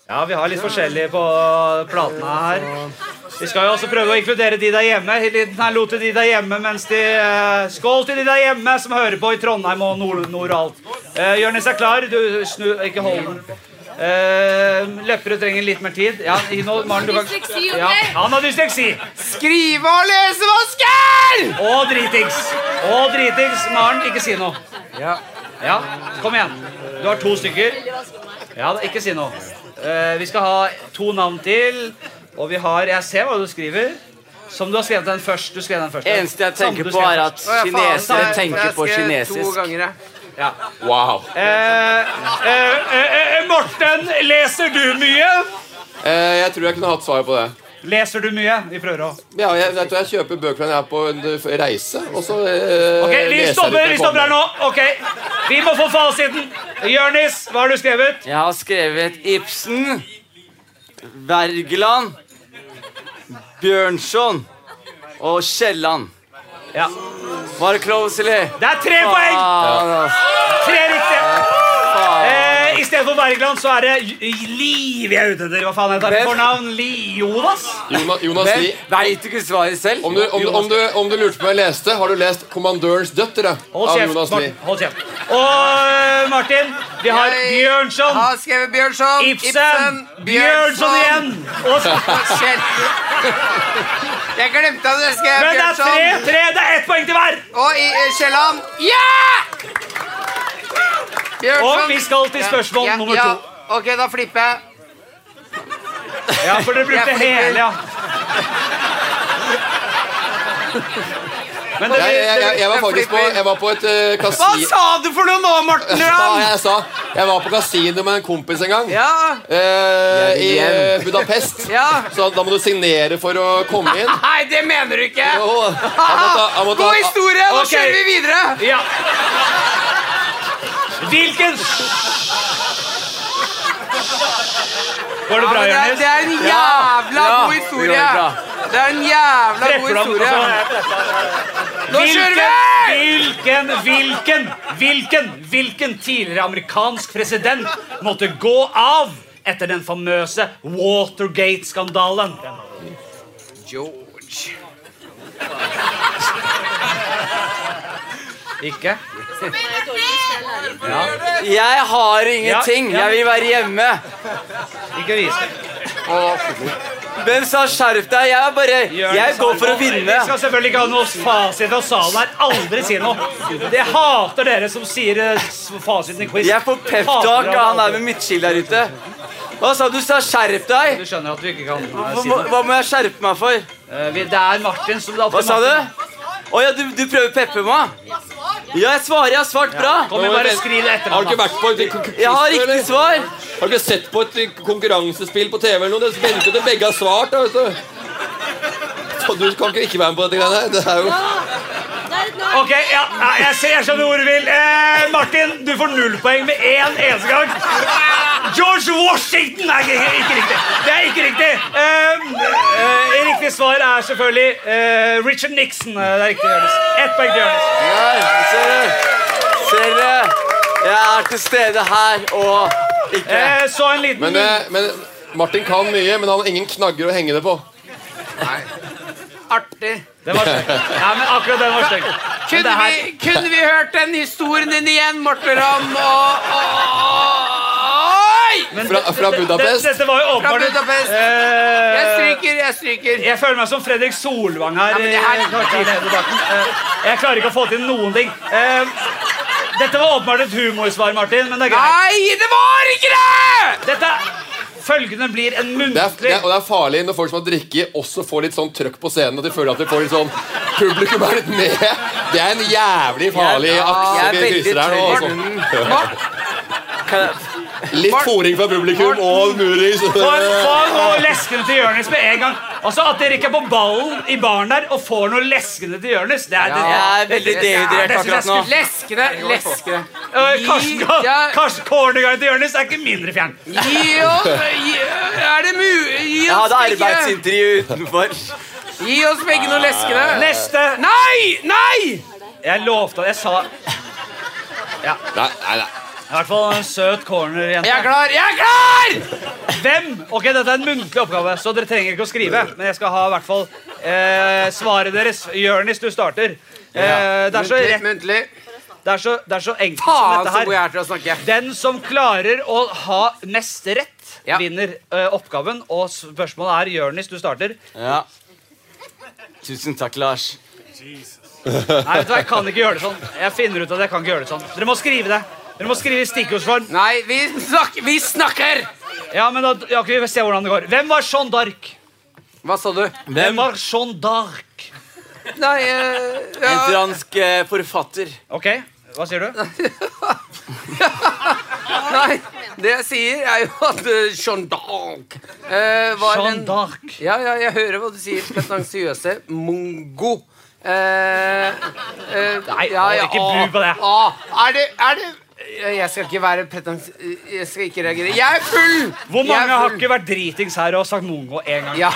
Speaker 2: Ja, vi har litt forskjellig på platene her. Vi skal jo også prøve å inkludere de der hjemme. Liten hallo til de der hjemme mens de eh, Skål til de der hjemme som hører på i Trondheim og nord, nord og alt. Uh, Jørnis er klar. Du snu Ikke hold den. Eh, Uh, Løpere trenger litt mer tid. Ja, Ino, Maren, du kan
Speaker 5: Dysleksi, ok?
Speaker 2: ja, Han har dysleksi.
Speaker 4: Skrive- og lesevansker!
Speaker 2: Og dritings. Og dritings. Maren, ikke si noe. Ja. ja. Kom igjen. Du har to stykker. Ja, da, ikke si noe. Eh, vi skal ha to navn til. Og vi har Jeg ser hva du skriver. Som du har skrevet den først. Du skrev den først.
Speaker 11: Eneste jeg tenker
Speaker 2: Samme du
Speaker 11: på
Speaker 2: skrev
Speaker 11: er at
Speaker 2: først.
Speaker 11: Å, ja, faen, kinesere der- tenker jeg på skrev kinesisk. to
Speaker 4: ganger,
Speaker 2: ja.
Speaker 6: Wow.
Speaker 2: Eh, eh, eh, eh, Morten, leser du mye?
Speaker 6: Eh, jeg tror jeg kunne hatt svar på det.
Speaker 2: Leser du mye? Vi prøver å
Speaker 6: Ja, jeg, jeg tror jeg kjøper bøker når jeg er på en eh, reise, og så eh,
Speaker 2: Ok, Vi
Speaker 6: leser jeg litt når
Speaker 2: stopper, vi
Speaker 6: jeg
Speaker 2: stopper
Speaker 6: kommer.
Speaker 2: her nå. Ok, Vi må få fasiten. Jørnis, hva har du skrevet?
Speaker 11: Jeg har skrevet Ibsen, Wergeland, Bjørnson og Kielland.
Speaker 2: Ja.
Speaker 11: Var det close, eller?
Speaker 2: Det er tre poeng! Tre riktige. Eh, I stedet for Wergeland så er det J- Liv jeg er ute etter. Hva faen heter det
Speaker 11: Men-
Speaker 2: for navn? Li Jonas?
Speaker 6: Jonas, Jonas
Speaker 11: Men
Speaker 6: Lie.
Speaker 11: veit du ikke svaret selv?
Speaker 6: Om du, om, om, du, om du lurte på hva jeg leste, har du lest 'Kommandørens døtre'
Speaker 2: Hold
Speaker 6: av
Speaker 2: kjeft.
Speaker 6: Jonas Lie?
Speaker 2: Martin. Hold kjeft. Og eh, Martin, vi har
Speaker 4: Jeg
Speaker 2: Bjørnson.
Speaker 4: Har skrevet Bjørnson.
Speaker 2: Ibsen. Bjørnson igjen. Og
Speaker 4: Shit. Jeg glemte at jeg skrev
Speaker 2: Men det er tre,
Speaker 4: Bjørnson.
Speaker 2: tre. Det er ett poeng til hver.
Speaker 4: Og i- eh, Kielland. Ja!
Speaker 2: Og vi skal til spørsmål
Speaker 4: Ja,
Speaker 2: nummer
Speaker 4: ja.
Speaker 2: to.
Speaker 4: Ok, da flipper jeg.
Speaker 2: Ja, for dere brukte
Speaker 4: Jeg flipper.
Speaker 2: hele, ja. Men det,
Speaker 6: Jeg, jeg, jeg, jeg var faktisk på, jeg var på et uh,
Speaker 4: Hva
Speaker 6: kasino
Speaker 4: sa du for noe nå, Morten Ramm?
Speaker 6: Jeg sa jeg var på kasino med en kompis en gang.
Speaker 4: Ja.
Speaker 6: eh, I
Speaker 11: hjem.
Speaker 6: eh, Budapest.
Speaker 4: Ja.
Speaker 6: Så da må du signere for å komme inn.
Speaker 4: Nei, det mener du ikke.
Speaker 6: Jo, han må ta, han må ta,
Speaker 4: Ah, God historie! Nå
Speaker 2: Ah, Ok.
Speaker 4: kjører vi videre.
Speaker 2: Ja. Hvilken Går det
Speaker 4: Ja, men
Speaker 2: bra,
Speaker 4: det, er,
Speaker 2: Jonis?
Speaker 4: det er en jævla
Speaker 11: Ja,
Speaker 4: god
Speaker 11: det
Speaker 4: historie.
Speaker 11: går bra.
Speaker 4: Det er en jævla god historie. Nå kjører vi!
Speaker 2: altså Hvilken, hvilken, hvilken, hvilken tidligere amerikansk president måtte gå av etter den famøse Watergate-skandalen?
Speaker 4: George.
Speaker 2: Ikke?
Speaker 11: Jeg har ingenting.
Speaker 2: Ja, ja.
Speaker 11: Jeg vil være hjemme.
Speaker 2: Ikke vis det.
Speaker 11: Hvem sa 'skjerp deg'? Jeg er bare
Speaker 2: Jørgen
Speaker 11: Jeg går for å
Speaker 2: Sandvold.
Speaker 11: vinne.
Speaker 2: Vi skal selvfølgelig ikke ha noe fasit av salen her. Aldri si noe. Jeg hater dere som sier eh, s- fasiten i quiz.
Speaker 11: Jeg får peptalk av han der med midtskill der ute. Hva sa du? Du sa 'skjerp deg'.
Speaker 2: Du skjønner at du ikke kan eh,
Speaker 11: Hva,
Speaker 2: si noe.
Speaker 11: hva må jeg skjerpe meg for?
Speaker 2: Eh, vi- Det er Martin som det er opp
Speaker 11: Hva
Speaker 2: til
Speaker 11: sa du?
Speaker 2: Martin.
Speaker 11: Å ja, du, du prøver å peppe meg? Ja, jeg svarer. Jeg har svart bra.
Speaker 2: Kom igjen, bare skriv det etter
Speaker 6: Har du
Speaker 2: ham.
Speaker 6: ikke
Speaker 2: da.
Speaker 6: vært på et k-
Speaker 11: Jeg har
Speaker 6: eller?
Speaker 11: riktig svar.
Speaker 6: Har du ikke sett på et k- konkurransespill på TV eller noe? Det venter til begge har svart. da, vet du. Så du kan ikke ikke være med på dette greiene her. Det er jo
Speaker 2: Ok, ja, ja, jeg, ser, jeg skjønner hvor du vil. Eh, Martin, du får null poeng med én eneste gang. George Washington! Nei, ikke, ikke riktig. Det er ikke riktig. Eh, eh, riktig svar er selvfølgelig eh, Richard Nixon. Eh, Det er riktig, Jonis. Ett poeng til Jonis.
Speaker 11: Der, ser du. Ser dere? Jeg er til stede her og ikke
Speaker 2: Eh, så en liten
Speaker 6: Men, eh, men Martin kan mye, men han har ingen knagger å henge det på.
Speaker 4: Artig.
Speaker 2: Den var stygg. Ja, men akkurat den var stygg. Men
Speaker 4: Kunne
Speaker 2: det her-
Speaker 4: vi, kunne vi hørt den historien din igjen, Morten Ramm? Og, og, oi!
Speaker 2: Men
Speaker 6: Fra-
Speaker 2: det- det-
Speaker 6: fra
Speaker 2: det-
Speaker 6: Budapest?
Speaker 2: Dette var jo
Speaker 4: Fra
Speaker 2: åpenbart
Speaker 4: Budapest.
Speaker 2: Eh,
Speaker 4: Jeg stryker, jeg stryker.
Speaker 2: Jeg føler meg som Fredrik Solvang her.
Speaker 4: men det
Speaker 2: eh,
Speaker 4: her-
Speaker 2: i kvarterlederdebatten. Eh, Jeg klarer ikke å få til noen ting. Eh, Dette var åpenbart et humorsvar, Martin, men det er greit.
Speaker 4: Nei, det var ikke det!
Speaker 2: Dette Følgende blir en
Speaker 6: Det er, det er,
Speaker 2: muntlig
Speaker 6: og det er farlig når folk som har drikket, også får litt sånn trøkk på scenen. At de føler at de får litt sånn Publikum er litt med. Det er en jævlig farlig akse
Speaker 11: jeg er
Speaker 6: vi
Speaker 11: veldig
Speaker 6: krysser her nå. Altså. Litt fòring fra publikum og murings.
Speaker 2: Få få noe leskende til Jonis med en gang. Altså At dere ikke er på ballen i baren der og får noe leskende til Jonis, det er det-
Speaker 11: Jeg er
Speaker 2: det-
Speaker 11: veldig
Speaker 2: det-
Speaker 11: dehydrert
Speaker 2: det synes jeg
Speaker 11: akkurat nå.
Speaker 2: skulle-
Speaker 4: Leskende, leskende.
Speaker 2: Eh, Karsten,
Speaker 4: Ja.
Speaker 2: Karsten Cornerguy til Jonis er ikke mindre fjern.
Speaker 4: Gi oss gi, Er det mulig? Gi
Speaker 11: Jeg
Speaker 4: oss
Speaker 11: hadde
Speaker 4: begge,
Speaker 11: arbeidsintervju utenfor.
Speaker 4: gi oss begge noe leskende.
Speaker 2: Neste.
Speaker 4: Nei! Nei!
Speaker 2: Jeg lovte at jeg sa i
Speaker 6: Nei, nei, nei.
Speaker 2: hvert fall en søt
Speaker 4: Jeg er
Speaker 2: corner-jente.
Speaker 4: klar! Jeg er klar!
Speaker 2: Hvem? Ok, Dette er en muntlig oppgave, så dere trenger ikke å skrive. Men jeg skal ha i hvert fall eh, svaret deres. Jonis, du starter. Eh, det, er så
Speaker 4: Muntlig,
Speaker 2: rett,
Speaker 4: Muntlig.
Speaker 2: det, er så, det er så enkelt som
Speaker 4: Faen
Speaker 2: dette
Speaker 4: så god jeg
Speaker 2: her.
Speaker 4: er til å snakke.
Speaker 2: Den som klarer å ha mest rett,
Speaker 4: Ja.
Speaker 2: vinner eh, oppgaven. Og spørsmålet er Jonis, du starter.
Speaker 11: Ja. Tusen takk, Lars.
Speaker 2: Nei, vet du hva, jeg kan ikke gjøre det sånn. Jeg finner ut at jeg kan ikke gjøre det sånn. Dere må skrive det. Dere må skrive i stikkordsform.
Speaker 4: Nei, vi, snakker!
Speaker 2: Ja, men da ja, ok, vi får se hvordan det går. Hvem var Jeanne d'Arc?
Speaker 4: Hva sa du?
Speaker 2: Hvem var Jeanne d'Arc?
Speaker 4: Nei, eh, ja.
Speaker 11: En fransk eh, forfatter.
Speaker 2: Ok, hva sier du?
Speaker 4: Nei, det jeg sier, er jo at eh, Jeanne d'Arc eh, var
Speaker 2: Jeanne
Speaker 4: en Ja, ja, jeg hører hva du sier. Pretensiøse mongo. Eh, eh,
Speaker 2: Nei, ikke bru på det.
Speaker 4: ah, er det, er det Eh, jeg skal ikke være pretens... eh, Jeg skal ikke reagere. Jeg er full!
Speaker 2: Hvor
Speaker 4: Jeg er
Speaker 2: mange har
Speaker 4: full.
Speaker 2: ikke vært dritings her og sagt mongo én gang?
Speaker 4: Ja.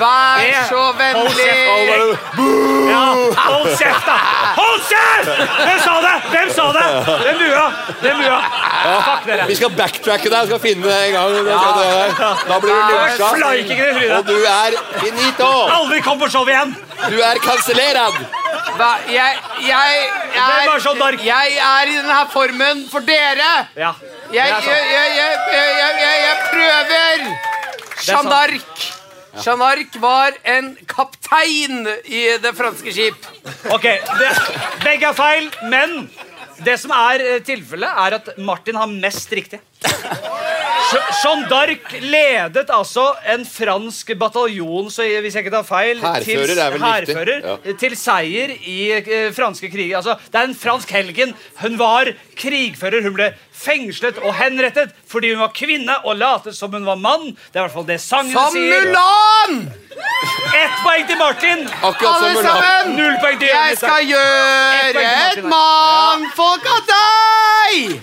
Speaker 4: Vær
Speaker 2: Det-
Speaker 4: så
Speaker 2: Eh, Hold
Speaker 4: vennlig!
Speaker 2: kjeft! Ja, hold kjeft, da! Hold kjeft! Hvem sa det? Hvem sa det? Hvem bua? Hvem bua? Fuck dere.
Speaker 6: Vi skal backtracke deg. Vi skal finne deg en gang. Da skal du- Da blir du lunsja.
Speaker 2: Fleiking i trynet.
Speaker 6: Og du er finito.
Speaker 2: Aldri kom på show igjen!
Speaker 6: Du er kansellert.
Speaker 4: Hva- Jeg, jeg,
Speaker 2: Hvem er Jeanne
Speaker 4: er,
Speaker 2: d'Arc?
Speaker 4: jeg er i denne formen for dere!
Speaker 2: Ja, det
Speaker 4: Jeg,
Speaker 2: er
Speaker 4: jeg,
Speaker 2: sånn. sant.
Speaker 4: jeg, jeg, jeg, jeg, jeg, jeg prøver!
Speaker 2: sant.
Speaker 4: Jeanne d'Arc. Jeanne d'Arc var en kaptein i det franske skip.
Speaker 2: Ok, det, Begge er feil, men det som er eh, tilfellet, er at Martin har mest riktig. Je- Jeanne d'Arc ledet altså en fransk bataljon så jeg- hvis jeg ikke tar feil,
Speaker 6: Hærfører
Speaker 2: til,
Speaker 6: er vel riktig,
Speaker 2: hærfører,
Speaker 6: ja.
Speaker 2: eh, til seier i eh, franske kriger. Altså, det er en fransk helgen. Hun var krigfører. Hun ble fengslet og henrettet fordi hun var kvinne og latet som hun var mann. Det er i hvert fall det sangen
Speaker 4: Som
Speaker 2: sier.
Speaker 4: Mulan!
Speaker 2: Ett poeng til Martin.
Speaker 6: Akkurat som
Speaker 4: Alle
Speaker 6: Mulan.
Speaker 4: sammen!
Speaker 2: Null poeng til
Speaker 4: Jeg
Speaker 2: Jørgen.
Speaker 4: skal gjøre et mannfolk av deg!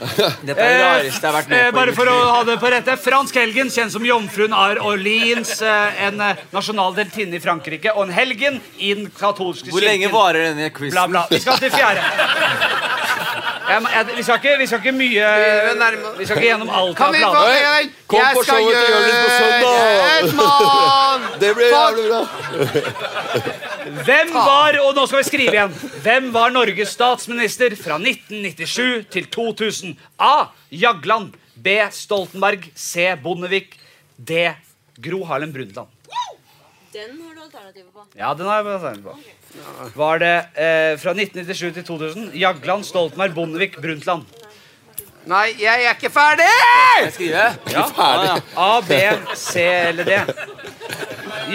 Speaker 11: Dette er det rareste jeg har vært
Speaker 2: Eh,
Speaker 11: med på. i
Speaker 2: bare
Speaker 11: mitt
Speaker 2: for å
Speaker 11: liv.
Speaker 2: ha det på rette. Fransk helgen, kjent som jomfruen av Orleans. eh, En eh, nasjonal deltinne i Frankrike. Og en helgen i den katolske kirken.
Speaker 11: Hvor lenge varer denne
Speaker 2: Bla,
Speaker 11: quizen?
Speaker 2: bla. Vi skal til fjerde. Jeg, må- jeg, vi, skal ikke, vi skal ikke mye
Speaker 4: er nærmere.
Speaker 2: Vi skal ikke gjennom alt
Speaker 4: Kan
Speaker 2: av
Speaker 4: vi få
Speaker 2: planer.
Speaker 6: Hei,
Speaker 4: en?
Speaker 6: kom på
Speaker 4: Jeg skal
Speaker 6: showet til Jørgen på
Speaker 4: gjøre
Speaker 6: søndag.
Speaker 4: et mann...
Speaker 6: Det blir jævlig bra.
Speaker 2: Hvem var og nå skal vi skrive igjen, hvem var Norges statsminister fra 1997 til 2000? A. Jagland. B. Stoltenberg. C. Bondevik. D. Gro Harlem Brundtland.
Speaker 5: Den har du alternativet på.
Speaker 2: Ja, den har jeg bare tegnet på. Var det eh, fra 1997 til 2000? Jagland, Stoltenberg, Bondevik, Brundtland.
Speaker 4: Nei, jeg er ikke ferdig!
Speaker 11: Skal jeg skrive?
Speaker 2: Ja. A, B, C eller D.
Speaker 6: skriv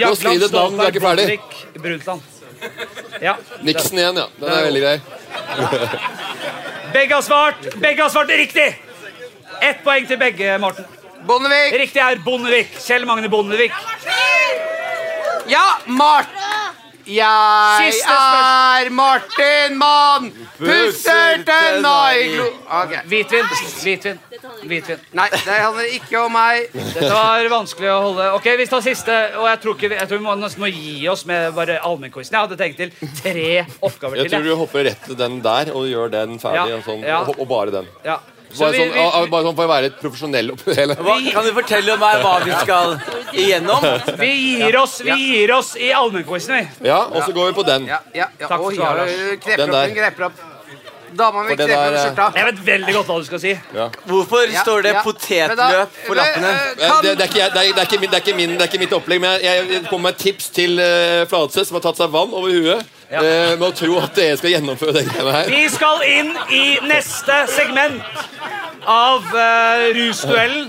Speaker 2: Jagland,
Speaker 6: et navn, du er
Speaker 2: Stoltenberg,
Speaker 6: ikke ferdig.
Speaker 2: Bondevik, Brundtland. Ja.
Speaker 6: Nixon igjen, ja. Den er veldig grei.
Speaker 2: Begge har svart. Begge har svart riktig! Ett poeng til begge, Morten.
Speaker 4: Bondevik.
Speaker 2: Riktig er Bondevik. Kjell Magne Bondevik.
Speaker 4: Ja, Mart. Jeg
Speaker 2: Siste spørsmål.
Speaker 4: er Martin Mann. Pusser tenna i glo... Ok.
Speaker 2: Hvitvin. Hvitvin. Hvitvin.
Speaker 4: Nei, det handler ikke om meg.
Speaker 2: Dette var vanskelig å holde. Ok, Vi tar siste. og Jeg tror, ikke, vi- jeg tror vi må nesten må gi oss med bare allmennquizen. Jeg hadde tenkt til tre oppgaver
Speaker 6: Jeg
Speaker 2: til.
Speaker 6: tror
Speaker 2: jeg.
Speaker 6: du hopper rett til den der og gjør den ferdig.
Speaker 2: Ja,
Speaker 6: Og, sånn,
Speaker 2: ja.
Speaker 6: og, og bare den.
Speaker 2: Ja. Så
Speaker 6: Bare
Speaker 2: vi,
Speaker 6: sånn,
Speaker 2: vi,
Speaker 6: ah, ah, bare sånn for å være et profesjonell oppi det hele.
Speaker 11: Hva, kan du fortelle meg hva vi skal igjennom?
Speaker 2: vi gir oss vi gir oss i allmennquizen, vi.
Speaker 6: Ja, og så går vi på den.
Speaker 4: Ja, ja, ja.
Speaker 2: Takk
Speaker 4: Oi,
Speaker 2: skal du ha,
Speaker 4: ja,
Speaker 2: Lars.
Speaker 4: Kreper
Speaker 6: Den
Speaker 4: opp,
Speaker 6: der.
Speaker 4: hun kreper opp. Dama mi
Speaker 6: For det
Speaker 4: kreper opp
Speaker 6: der, eh,
Speaker 4: skjorta.
Speaker 2: Jeg vet veldig godt hva du skal si.
Speaker 11: Hvorfor
Speaker 4: Ja,
Speaker 11: står det
Speaker 4: ja. Men
Speaker 11: potetløp
Speaker 4: da-
Speaker 11: på lappene?
Speaker 4: men, eh,
Speaker 6: Ja,
Speaker 4: Kan,
Speaker 6: Det, det, er ikke, jeg- det, er, det, er ikke min, det, er ikke min, det er ikke mitt opplegg, men jeg, jeg kommer med et tips til uh, Fladseth, som har tatt seg vann over huet, eh, med å tro at dere skal gjennomføre det greiene her.
Speaker 2: Vi skal inn i neste segment av eh, rusduellen.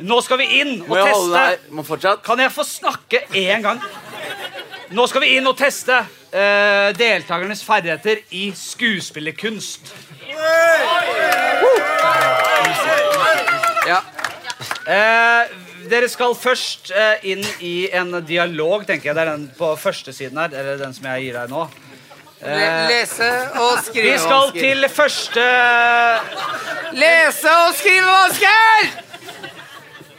Speaker 2: Nå skal vi inn og
Speaker 11: Må jeg holde
Speaker 2: teste
Speaker 11: deg? Må fortsatt?
Speaker 2: Kan jeg få snakke én gang? Nå skal vi inn og teste eh, deltakernes ferdigheter i skuespillerkunst.
Speaker 4: ja.
Speaker 2: Eh, dere skal først eh, inn i en dialog, tenker jeg. Det er den på første siden her. Eller den som jeg gir deg nå.
Speaker 4: Le- Lese og skrive
Speaker 2: Vi skal
Speaker 4: vansker.
Speaker 2: til første
Speaker 4: Lese og skrive vansker!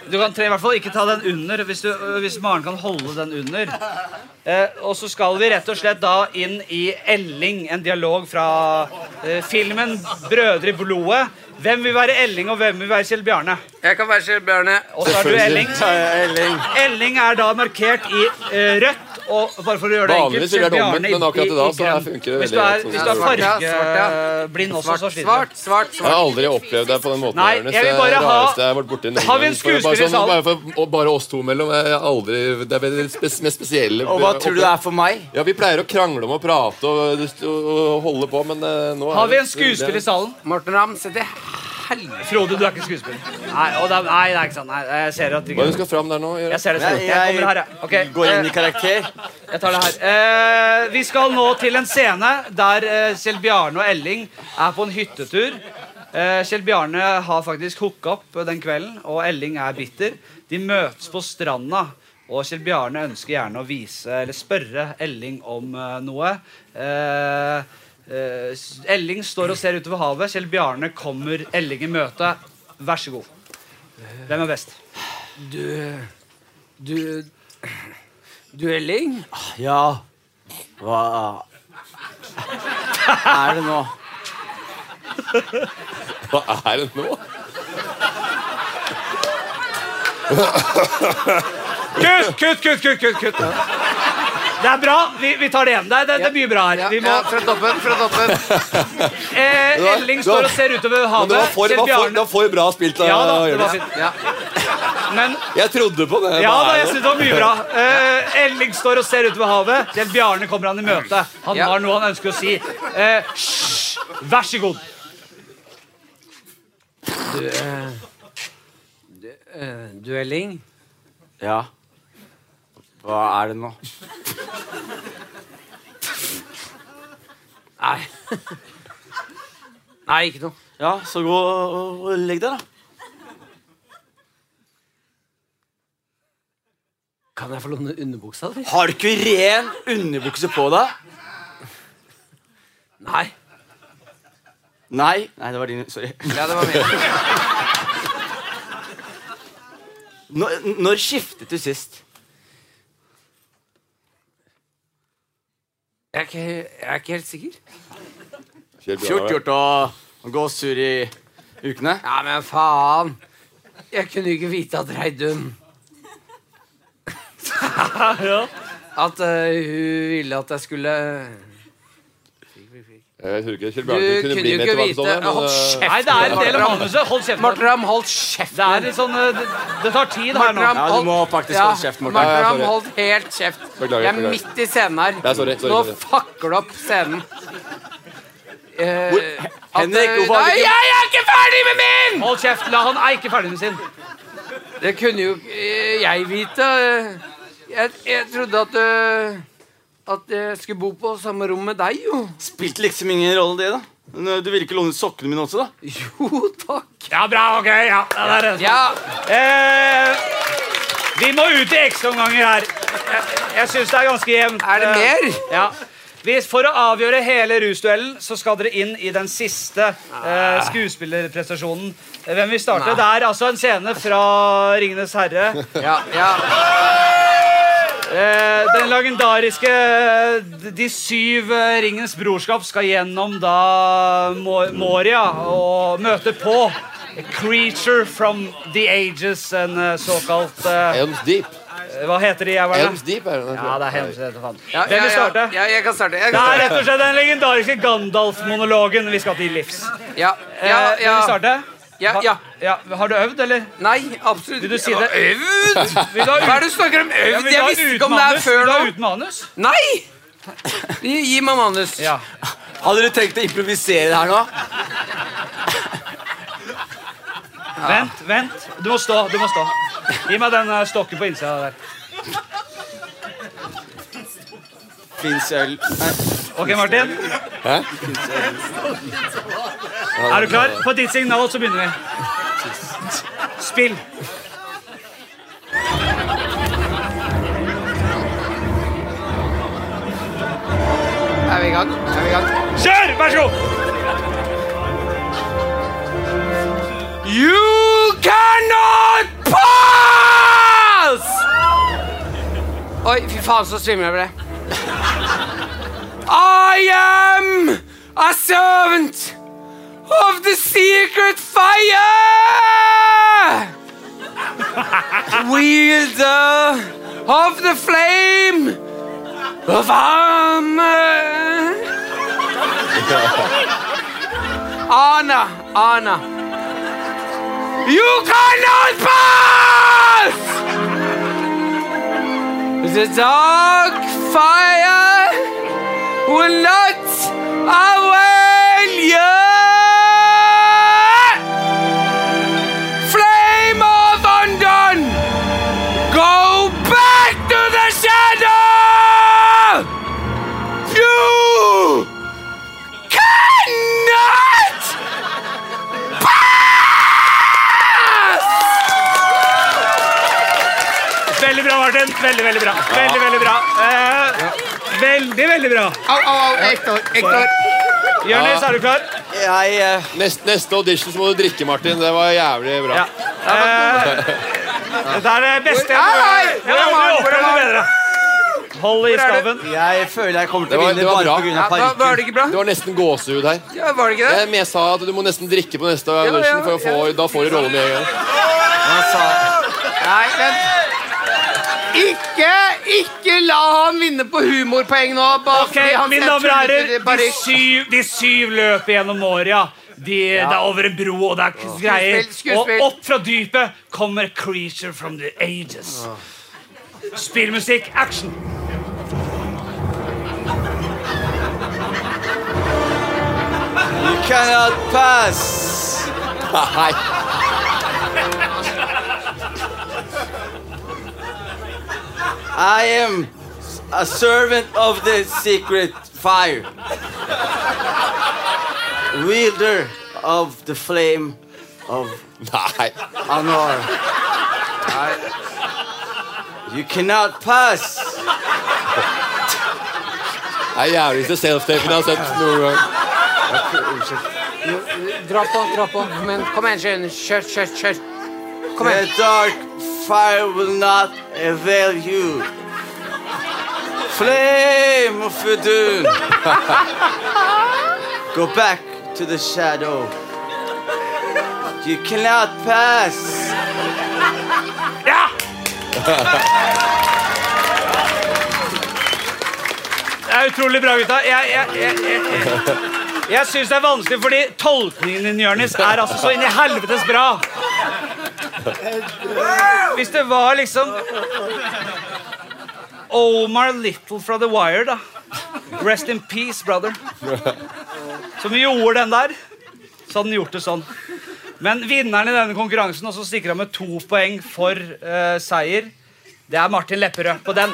Speaker 2: Du kan tre, i hvert fall ikke ta den under, hvis, du, hvis Maren kan holde den under. Eh, og så skal vi rett og slett da inn i Elling, en dialog fra eh, filmen 'Brødre i blodet'. Hvem vil være Elling, og hvem vil være Kjell Bjarne?
Speaker 4: Jeg kan være Kjell Bjarne.
Speaker 2: Og så er du Elling. Elling er da markert i eh, rødt Og bare for å gjøre det
Speaker 6: Vanligvis
Speaker 2: enkelt
Speaker 6: ville det vært
Speaker 2: Bjarne
Speaker 6: omvendt, men akkurat i dag så
Speaker 2: grønn.
Speaker 6: funker det
Speaker 2: Hvis du
Speaker 6: veldig
Speaker 2: er,
Speaker 6: godt.
Speaker 2: hvis du er
Speaker 6: Svart, ja, svart,
Speaker 2: fargeblind også, så sliter
Speaker 4: Svart,
Speaker 2: du.
Speaker 4: svart,
Speaker 6: Jeg har aldri opplevd deg på den måten.
Speaker 2: Nei,
Speaker 6: Ernest.
Speaker 2: jeg vil
Speaker 6: Det er
Speaker 2: bare
Speaker 6: det
Speaker 2: ha-
Speaker 6: rareste jeg har vært borti noen
Speaker 2: Har vi en
Speaker 6: gang. Bare- bare
Speaker 2: skuespiller i
Speaker 6: sånn,
Speaker 2: salen?
Speaker 6: Bare, for, og bare oss to mellom. Jeg har aldri, det er det spes- mest spesielle
Speaker 11: Og hva tror du det er for meg?
Speaker 6: Ja, Vi pleier å krangle om å prate og, og holde på, men eh, nå er
Speaker 2: Har vi
Speaker 6: det-
Speaker 2: en skuespiller i salen?
Speaker 4: Morten Ramm, se til helvete.
Speaker 2: Frode, du er ikke skuespiller. Nei, og det er, nei, det er ikke sant. Nei, jeg ser at du
Speaker 6: Hva er det du skal fram der nå? gjøre?
Speaker 2: Jeg ser det selv.
Speaker 11: Jeg-
Speaker 2: Jeg kommer her, jeg. Ok,
Speaker 11: Går inn
Speaker 2: eh,
Speaker 11: i karakter.
Speaker 2: Jeg tar det her. Eh, vi skal nå til en scene der eh, Kjell Bjarne og Elling er på en hyttetur. Eh, Kjell Bjarne har faktisk hooka opp den kvelden, og Elling er bitter. De møtes på stranda, og Kjell Bjarne ønsker gjerne å vise eller spørre Elling om eh, noe. Eh, eh, s- Elling står og ser utover havet. Kjell Bjarne kommer Elling i møte. Vær så god. Hvem er best?
Speaker 4: Du Du Du Elling?
Speaker 11: Ja. Hva er det nå?
Speaker 6: Hva er det nå?
Speaker 2: Kutt, kutt, kutt, kutt, kutt, kutt. Det er bra. Vi, vi tar det igjen. Det er, det, det er mye bra her. Vi må...
Speaker 4: Ja, fra toppen, fra toppen.
Speaker 2: eh,
Speaker 6: Det var-
Speaker 2: Elling
Speaker 6: det var-
Speaker 2: står og ser utover
Speaker 6: Men
Speaker 2: havet.
Speaker 6: det var for, det
Speaker 2: Kjell
Speaker 6: var for,
Speaker 2: Bjarne-
Speaker 6: det var for bra spilt. av
Speaker 2: Ja da, det var
Speaker 6: Jonis.
Speaker 2: fint.
Speaker 4: Ja.
Speaker 2: Men
Speaker 6: Jeg trodde på det.
Speaker 2: ja
Speaker 6: Hva
Speaker 2: da,
Speaker 6: er
Speaker 2: jeg synes det var mye bra. Eh, Elling står og ser utover havet. Kjell Bjarne kommer han i møte. Han
Speaker 4: Ja.
Speaker 2: har noe han ønsker å si. Eh, hysj! Vær så god.
Speaker 4: Eh, Du Elling?
Speaker 11: Ja. Hva er det nå?
Speaker 4: Nei. Nei, ikke noe.
Speaker 11: Ja, så gå og og legg deg, da.
Speaker 4: Kan jeg få låne underbuksa di?
Speaker 11: Har du ikke ren underbukse på deg?
Speaker 4: Nei.
Speaker 11: Nei. Nei, det var din. Sorry.
Speaker 4: Ja, det var min.
Speaker 11: Når, når skiftet du sist?
Speaker 4: Jeg er ikke, jeg er ikke helt sikker.
Speaker 6: Kjell Bjarne,
Speaker 11: Fjort gjort å å gå sur i ukene.
Speaker 4: Ja, men faen. Jeg kunne jo ikke vite at Reidun At eh, hun ville at jeg skulle
Speaker 6: Jeg tror ikke Kjell
Speaker 4: Du
Speaker 6: Bjarne kunne,
Speaker 4: kunne
Speaker 6: bli
Speaker 4: jo
Speaker 6: med
Speaker 4: ikke
Speaker 6: til sånn,
Speaker 4: vite
Speaker 6: Vatnsålet.
Speaker 4: Hold kjeft!
Speaker 2: Nei, det er en del av
Speaker 4: Morten Ramm.
Speaker 2: manuset. Hold kjeft.
Speaker 4: Morten Ramm, hold kjeft!
Speaker 2: Det er litt sånn eh, Det, det tar tid her
Speaker 4: Morten
Speaker 2: nå.
Speaker 4: Ramm,
Speaker 11: Ja, du
Speaker 4: hold-
Speaker 11: må faktisk
Speaker 4: Ja,
Speaker 11: holde kjeft, Morten.
Speaker 6: Ja,
Speaker 4: Morten
Speaker 6: ja,
Speaker 4: Ramm,
Speaker 6: sorry.
Speaker 4: hold helt kjeft.
Speaker 6: Beklager,
Speaker 4: Jeg er
Speaker 6: beklager.
Speaker 4: midt i scenen her.
Speaker 6: Ja, sorry, sorry,
Speaker 4: Nå
Speaker 6: sorry.
Speaker 4: fucker du opp scenen. Eh, at,
Speaker 11: Henrik,
Speaker 4: eh,
Speaker 11: hvorfor har du
Speaker 4: Nei,
Speaker 11: ikke-
Speaker 4: jeg er ikke ferdig med min!
Speaker 2: Hold kjeft. La han eike ferdig med sin.
Speaker 4: Det kunne jo eh, jeg vite. Jeg, jeg trodde at eh, At jeg skulle bo på samme rom med deg, jo.
Speaker 11: Spilte liksom ingen rolle, det, da. Men, eh, Du ville ikke låne sokkene mine også, da?
Speaker 4: Jo, takk.
Speaker 2: Ja, bra. Ok. Ja, det er det.
Speaker 4: Ja,
Speaker 2: Eh, vi må ut i ekstraomganger her. Jeg, jeg syns det er ganske jevnt.
Speaker 4: Er det
Speaker 2: Eh,
Speaker 4: mer?
Speaker 2: ja. Vi- For å avgjøre hele rusduellen så skal dere inn i den siste
Speaker 4: Ah.
Speaker 2: eh, skuespillerprestasjonen. Eh, Hvem vil starte? Det er altså en scene fra 'Ringenes herre'.
Speaker 4: ja, ja.
Speaker 2: Eh, den legendariske eh, De syv eh, ringens brorskap skal gjennom da Mo- Moria og møte på A creature from the ages, en eh, såkalt eh,
Speaker 6: Elms Deep.
Speaker 2: hva heter de jævlene?
Speaker 6: Elms Deep er det.
Speaker 2: Ja, det er Helms. det heter faen.
Speaker 4: ja,
Speaker 2: Hvem
Speaker 4: ja,
Speaker 2: vil
Speaker 4: ja,
Speaker 2: starte?
Speaker 4: ja, jeg kan starte. Jeg
Speaker 2: Det
Speaker 4: kan
Speaker 2: er
Speaker 4: starte.
Speaker 2: rett og slett den legendariske Gandalf-monologen vi skal til livs.
Speaker 4: Ja,
Speaker 2: Eh,
Speaker 4: ja,
Speaker 2: Vil du
Speaker 4: ja.
Speaker 2: starte?
Speaker 4: ja,
Speaker 2: Ha-
Speaker 4: ja.
Speaker 2: ja. Har du øvd, eller?
Speaker 4: Nei, absolutt.
Speaker 2: Vil du si det?
Speaker 4: Øvd?
Speaker 2: Vil du ha
Speaker 4: Hva er det du snakker om?
Speaker 2: Ja,
Speaker 4: Øvd?
Speaker 2: vil du
Speaker 4: Jeg
Speaker 2: ha
Speaker 4: visste
Speaker 2: uten
Speaker 4: ikke om det her
Speaker 2: manus?
Speaker 4: før
Speaker 2: Vil
Speaker 4: nå.
Speaker 2: du ha uten manus?
Speaker 4: Nei! Gi, gi meg manus.
Speaker 2: Ja.
Speaker 11: Hadde du tenkt å improvisere det her nå?
Speaker 2: Vent, vent. Du må stå. du må stå. Gi meg den eh, stokken på innsida der.
Speaker 11: Fins øl Nei.
Speaker 2: Ok, Martin.
Speaker 6: Hæ?
Speaker 2: Er du klar? På ditt signal så begynner vi. Spill.
Speaker 4: Er vi i gang? Er vi i gang?
Speaker 2: Kjør! Vær så god.
Speaker 4: You cannot pass! Oi, fy faen, så svimmel jeg ble. I am a servant of the secret fire! Wielder of the flame Hva faen? eh? Ana, Ana. You cannot pass! The dark fire will not avail you! Flame of undone! Go back to the shadow! You cannot
Speaker 2: Veldig bra, Martin. Veldig, veldig bra. Veldig, veldig bra. Eh, veldig, veldig bra.
Speaker 12: Au, au, au. Jeg står. Jeg står.
Speaker 2: Jonis, er du klar?
Speaker 6: Nest, neste audition så må du drikke, Martin. Det var jævlig bra.
Speaker 2: Dette er Eh, det beste jeg
Speaker 11: Hvor er han?
Speaker 2: Jeg har aldri opplevd noe bedre. Hold i
Speaker 11: Hvor er
Speaker 2: staven.
Speaker 11: Jeg føler jeg kommer
Speaker 6: Det
Speaker 11: til å
Speaker 6: var, det
Speaker 11: vinne
Speaker 6: var
Speaker 11: bare
Speaker 6: bra.
Speaker 11: pga. parykken.
Speaker 6: Det var nesten gåsehud her.
Speaker 4: Ja, var det ikke det?
Speaker 6: Jeg, men jeg sa at du må nesten drikke på neste audition,
Speaker 11: ja,
Speaker 6: for å få, da får du rollen med en gang.
Speaker 12: Nei, men ikke, ikke la han vinne på humorpoeng nå. Bare
Speaker 2: Ok,
Speaker 12: fordi han
Speaker 2: mine
Speaker 12: ser
Speaker 2: damer og herrer,
Speaker 12: tullete
Speaker 2: de
Speaker 12: parykk.
Speaker 2: syv, de syv løper gjennom Moria. De, Det er over en bro, og det er greier.
Speaker 12: Skuespill, skuespill.
Speaker 2: Og opp fra dypet kommer 'Creature from the Ages'. Spill musikk, action!
Speaker 11: You cannot pass.
Speaker 6: Nei.
Speaker 11: I am a servant of the secret fire. Wielder of the flame of
Speaker 6: Nei.
Speaker 11: honor. I- you cannot pass.
Speaker 6: Det er jævligste self-tapen jeg har sett noen gang.
Speaker 4: Dra på, dra på. Kom igjen, kom igjen, Sjøen. Kjør, kjør, kjør. Kom
Speaker 11: The
Speaker 4: igjen.
Speaker 11: dark fire will not avail you. Flame of Idun. Go back to the shadow. You cannot pass.
Speaker 2: Ja! Det er utrolig bra, gutta. Jeg, jeg, jeg, jeg, jeg, jeg syns det er vanskelig, fordi tolkningen din Jørnis, er altså så inn i helvetes bra. Hvis det var liksom Omar Little fra The Wire, da. Rest in peace, brother. Som gjorde den der. Så hadde den gjort det sånn. Men vinneren i denne konkurransen også stikker av med to poeng for eh, seier. Det er Martin Lepperød på den.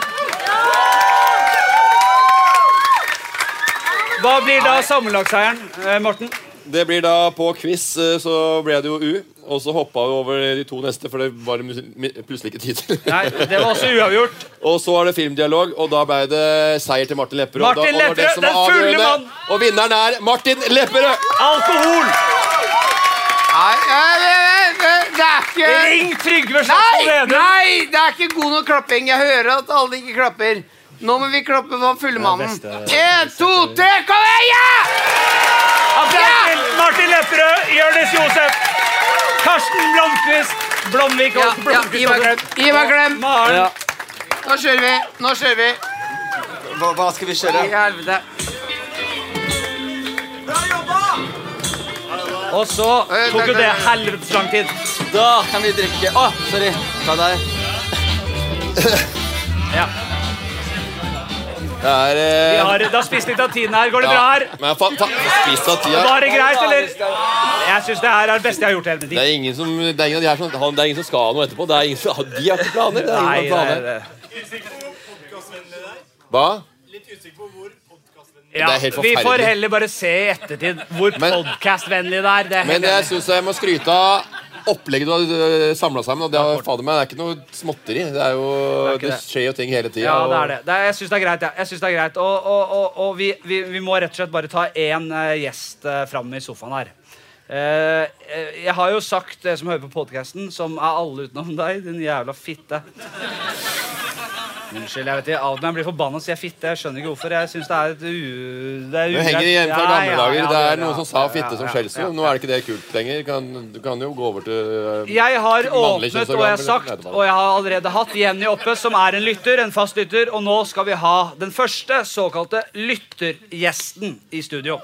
Speaker 2: Hva blir da sammenlagtseieren, eh, Morten?
Speaker 6: Det blir da på quiz, eh, så ble det jo U. Og så hoppa vi over de to neste, for det var mus- mi- plutselig ikke tid til.
Speaker 2: Nei, det var også uavgjort.
Speaker 6: Og så er det filmdialog, og da ble det seier til Martin Lepperød.
Speaker 2: Martin
Speaker 6: Da- og det var det
Speaker 2: Lepperød,
Speaker 6: som var
Speaker 2: den fulle
Speaker 6: avgjørende.
Speaker 2: mann!
Speaker 6: Og vinneren er Martin Lepperød!
Speaker 2: Alkohol!
Speaker 12: Nei, nei, nei, nei, det er ikke
Speaker 2: Ring Trygve
Speaker 12: Nei,
Speaker 2: Slagsvold Vedum!
Speaker 12: nei, det er ikke god nok klapping. Jeg hører at alle ikke klapper. Nå må vi klappe for fullmannen. Én, to, tre, kom igjen! Ja!
Speaker 2: Applaus til Martin Lepperød, Jonis Josef, Karsten Blomkvist, Blomvik
Speaker 12: Ja,
Speaker 2: og
Speaker 12: ja,
Speaker 2: Blomkvist.
Speaker 12: gi meg
Speaker 2: og
Speaker 12: klem. Gi meg klem.
Speaker 2: Maren.
Speaker 12: Nå kjører vi. Nå kjører vi.
Speaker 11: Hva, hva skal vi
Speaker 12: I
Speaker 11: kjøre?
Speaker 12: helvete.
Speaker 2: Og så tok jo det helvetes lang tid.
Speaker 11: Da kan vi drikke. Å, sorry. Ta deg.
Speaker 6: Det er
Speaker 2: Vi
Speaker 6: eh,
Speaker 2: har, det har spist litt av tiden her. Går det bra her?
Speaker 6: Men fa fa spist av tida.
Speaker 2: Var det greit, eller? Jeg syns det her er det beste jeg har gjort i hele mitt
Speaker 6: Det
Speaker 2: liv.
Speaker 6: er ingen som, det er ingen, av de her som, han, det er ingen som skal noe etterpå. Det er ingen som, de har ikke planer. Det er ingen
Speaker 2: Nei,
Speaker 6: som har planer.
Speaker 2: det er-
Speaker 6: Hva?
Speaker 2: ja,
Speaker 6: Det er helt
Speaker 2: vi får
Speaker 6: forferdelig.
Speaker 2: heller bare se i ettertid hvor
Speaker 6: Men-
Speaker 2: podkastvennlig det er. Det er
Speaker 6: Men
Speaker 2: helt
Speaker 6: jeg
Speaker 2: enig.
Speaker 6: syns jeg må skryte av opplegget du har samla sammen. Og det, har- fader meg, det er ikke noe småtteri. Det, er jo,
Speaker 2: Det er ikke
Speaker 6: det
Speaker 2: det.
Speaker 6: skjer jo ting hele tida.
Speaker 2: ja, det er det. det er, jeg syns det er greit. Ja. Jeg synes det er greit. Og, og, og, og vi, vi, vi må rett og slett bare ta én eh, gjest eh, fram i sofaen her. Eh, eh, jeg har jo sagt det som hører på podkasten, som er alle utenom deg, din jævla fitte. Unnskyld, jeg vet ikke. Av meg blir forbanna så jeg fitte. Jeg skjønner ikke hvorfor. Jeg synes det er et u... Det
Speaker 6: Du henger igjen fra
Speaker 2: Ja, ja,
Speaker 6: gamle dager.
Speaker 2: ja,
Speaker 6: Det
Speaker 2: ja,
Speaker 6: er noen
Speaker 2: ja,
Speaker 6: som sa
Speaker 2: ja,
Speaker 6: fitte som
Speaker 2: ja, ja.
Speaker 6: skjellsord. Nå er det ikke det kult lenger. Kan, du kan jo gå over til eh,
Speaker 2: Mm. Jeg har åpnet og
Speaker 6: mannlig kjønnsorgan,
Speaker 2: jeg har
Speaker 6: eller
Speaker 2: sagt,
Speaker 6: nedemann.
Speaker 2: og jeg har allerede hatt Jenny oppe, som er en lytter, en fast lytter, og nå skal vi ha den første såkalte lyttergjesten i studio.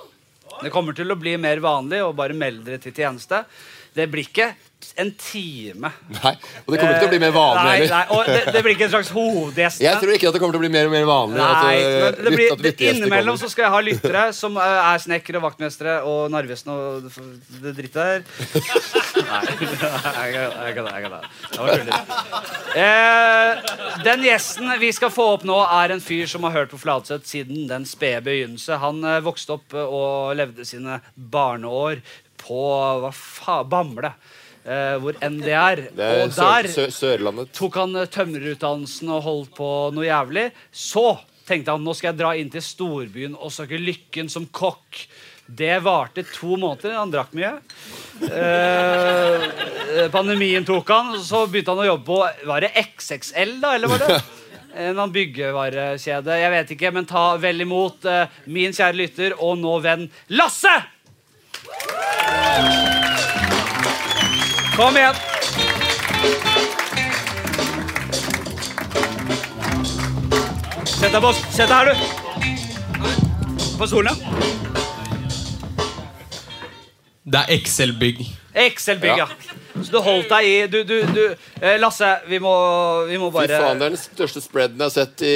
Speaker 2: Det kommer til å bli mer vanlig og bare meld dere til tjeneste. Det blir ikke en time. Eh,
Speaker 6: Nei, og det kommer ikke til å bli mer vanlig
Speaker 2: Nei, nei,
Speaker 6: heller.
Speaker 2: og det, det blir ikke en slags hovedgjest.
Speaker 6: Jeg tror ikke at det kommer til å bli mer og mer vanlig.
Speaker 2: Nei,
Speaker 6: at,
Speaker 2: men det
Speaker 6: eh, lytt- at
Speaker 2: blir,
Speaker 6: lyttegjester
Speaker 2: innimellom
Speaker 6: kommer.
Speaker 2: så skal jeg ha lyttere som eh, er snekkere og vaktmestere og Narvesen og det f- det drittet der. Nei, jeg kødder, jeg kødder, jeg kødder. Det var tullete. Eh, den gjesten vi skal få opp nå, er en fyr som har hørt på Fladseth siden den spede begynnelse. Han eh, vokste opp eh, og levde sine barneår på hva fa, Bamble, eh, hvor NDR
Speaker 6: Det er
Speaker 2: Og
Speaker 6: Sør-
Speaker 2: der
Speaker 6: Sø- Sørlandet.
Speaker 2: tok han eh, tømmerutdannelsen og holdt på noe jævlig. Så tenkte han nå skal jeg dra inn til storbyen og søke lykken som kokk. Det varte to måneder. Han drakk mye. Eh, pandemien tok han, og så begynte han å jobbe på Var det XXL, da? eller var det? En annen byggevarekjede. Jeg vet ikke, men ta vel imot eh, min kjære lytter og nå venn Lasse! Kom igjen. Sett deg på Sett deg her, du. På stolen, ja.
Speaker 13: Det er Excel-bygg.
Speaker 2: Excel-bygg, ja. Så du holdt deg i du, du, du. Eh, Lasse, vi må, vi må
Speaker 6: Fy
Speaker 2: bare
Speaker 6: faen, det er den største spreaden jeg har sett i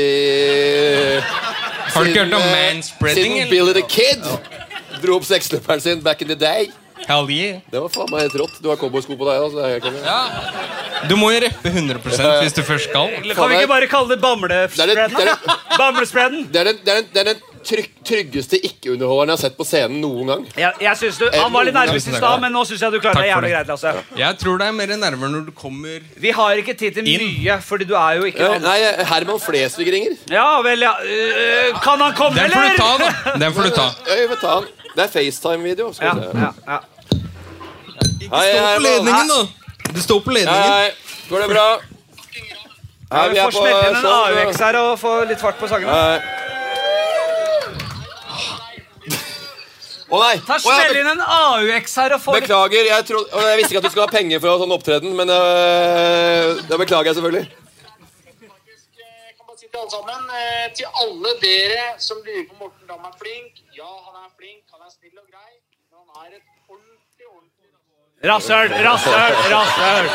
Speaker 13: Har du ikke
Speaker 6: siden,
Speaker 13: hørt om
Speaker 6: eh,
Speaker 13: manspreading,
Speaker 6: Siden
Speaker 13: eller?
Speaker 6: Billy the Kid dro opp sexslipperen sin back in the day.
Speaker 13: Hell yeah.
Speaker 6: Det var faen meg helt rått. Du har cowboysko på deg òg, så det er helt konge.
Speaker 13: Du må jo rappe 100 hvis du først skal.
Speaker 6: Kan vi ikke
Speaker 2: bare kalle det bamlespreaden? Bamlespreaden.
Speaker 6: Det er den, det er den, det er den tryg, tryggeste ikke-underholderen jeg har sett på scenen noen gang.
Speaker 2: Jeg, jeg synes du, Han var litt nervøs i stad, men nå syns jeg du klarer deg
Speaker 13: Takk for
Speaker 2: jævlig
Speaker 13: det.
Speaker 2: greit. Lasse
Speaker 13: Jeg tror det er mer nerver når du kommer
Speaker 2: Vi har ikke tid til mye, fordi du er jo ikke
Speaker 13: Eh, nei,
Speaker 6: Herman Flesvig ringer.
Speaker 2: Ja vel, ja. Eh, kan han komme,
Speaker 13: Den
Speaker 2: eller?
Speaker 13: får du ta, da. Den får du ta.
Speaker 6: Ja, jeg får ta den. Det er FaceTime-video. skal vi se. Hei,
Speaker 13: Stå
Speaker 6: hei,
Speaker 13: på ledningen,
Speaker 6: hei.
Speaker 13: da! Du står på ledningen.
Speaker 6: Hei, hei. Går det bra?
Speaker 2: Ja,
Speaker 6: Hei,
Speaker 2: vi får smelle inn en AUX her og få litt fart på sangene.
Speaker 6: Å nei!
Speaker 2: Ta
Speaker 6: Å, ja,
Speaker 2: Smell inn en AUX her og få litt
Speaker 6: Beklager. Jeg, trodde, og jeg visste ikke at du skulle ha penger for å ha sånn opptreden, men øh, det beklager jeg selvfølgelig.
Speaker 14: til alle sammen. Eh, Til alle dere som lurer på Morten Dam er flink. Ja, han er flink, han er snill og grei. Men han er et ordentlig, ordentlig
Speaker 2: Rasshøl, rasshøl, rasshøl!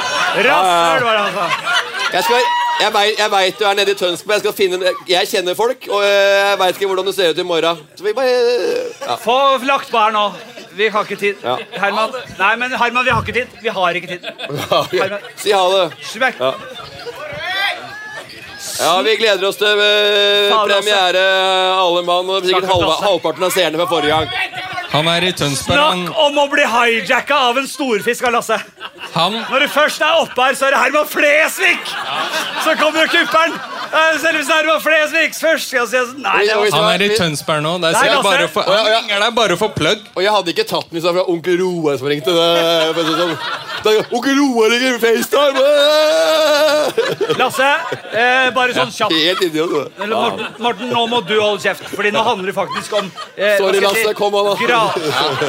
Speaker 2: Rasshøl, var det altså. han sa.
Speaker 6: Jeg, skal- jeg, vei- jeg veit du er nede i Tønsberg. Jeg, skal finne, jeg kjenner folk, og øh, jeg veit ikke hvordan du ser ut i morgen. Så vi bare øh, ja.
Speaker 2: Få lagt på her nå. Vi har ikke tid.
Speaker 6: Ja.
Speaker 2: Herman, nei, men Herman, vi har ikke tid. Vi har ikke tid. Herman.
Speaker 6: Si ha det.
Speaker 2: Smekk.
Speaker 6: Ja. ja, vi gleder oss til øh,
Speaker 13: Faen, altså.
Speaker 6: premiere, eh, alle mann. Og sikkert
Speaker 13: Stakkars
Speaker 6: halva,
Speaker 13: Lasse.
Speaker 6: halvparten av seerne fra forrige gang.
Speaker 13: Han er i Tønsberg. Han,
Speaker 2: Snakk om å bli hijacka av en storfisk av Lasse. Når du først er oppe her, så er det Herman Flesvig! Så kommer jo kupperen. Det Eh, er Selveste Herman Flesvig først. Skal jeg si sånn, Nei, det var
Speaker 13: han er altså. i Tønsberg nå. Det er
Speaker 6: Nei,
Speaker 13: sikkert
Speaker 6: Lasse.
Speaker 13: bare for,
Speaker 6: Å, ja,
Speaker 13: han
Speaker 6: ja.
Speaker 13: ringer deg bare for plugg.
Speaker 6: Og jeg hadde ikke tatt den hvis det var fra onkel Roar som ringte. Det, for å si det sånn. Da, onkel Roar ringer FaceTime!
Speaker 2: Lasse, eh, bare sånn kjapt.
Speaker 6: Helt idiot. du.
Speaker 2: Eller, Morten, Morten, nå må du holde kjeft, Fordi nå handler det faktisk om eh, hva skal
Speaker 6: Sorry,
Speaker 2: jeg si?
Speaker 6: Lasse. Kom an, da.
Speaker 2: Gra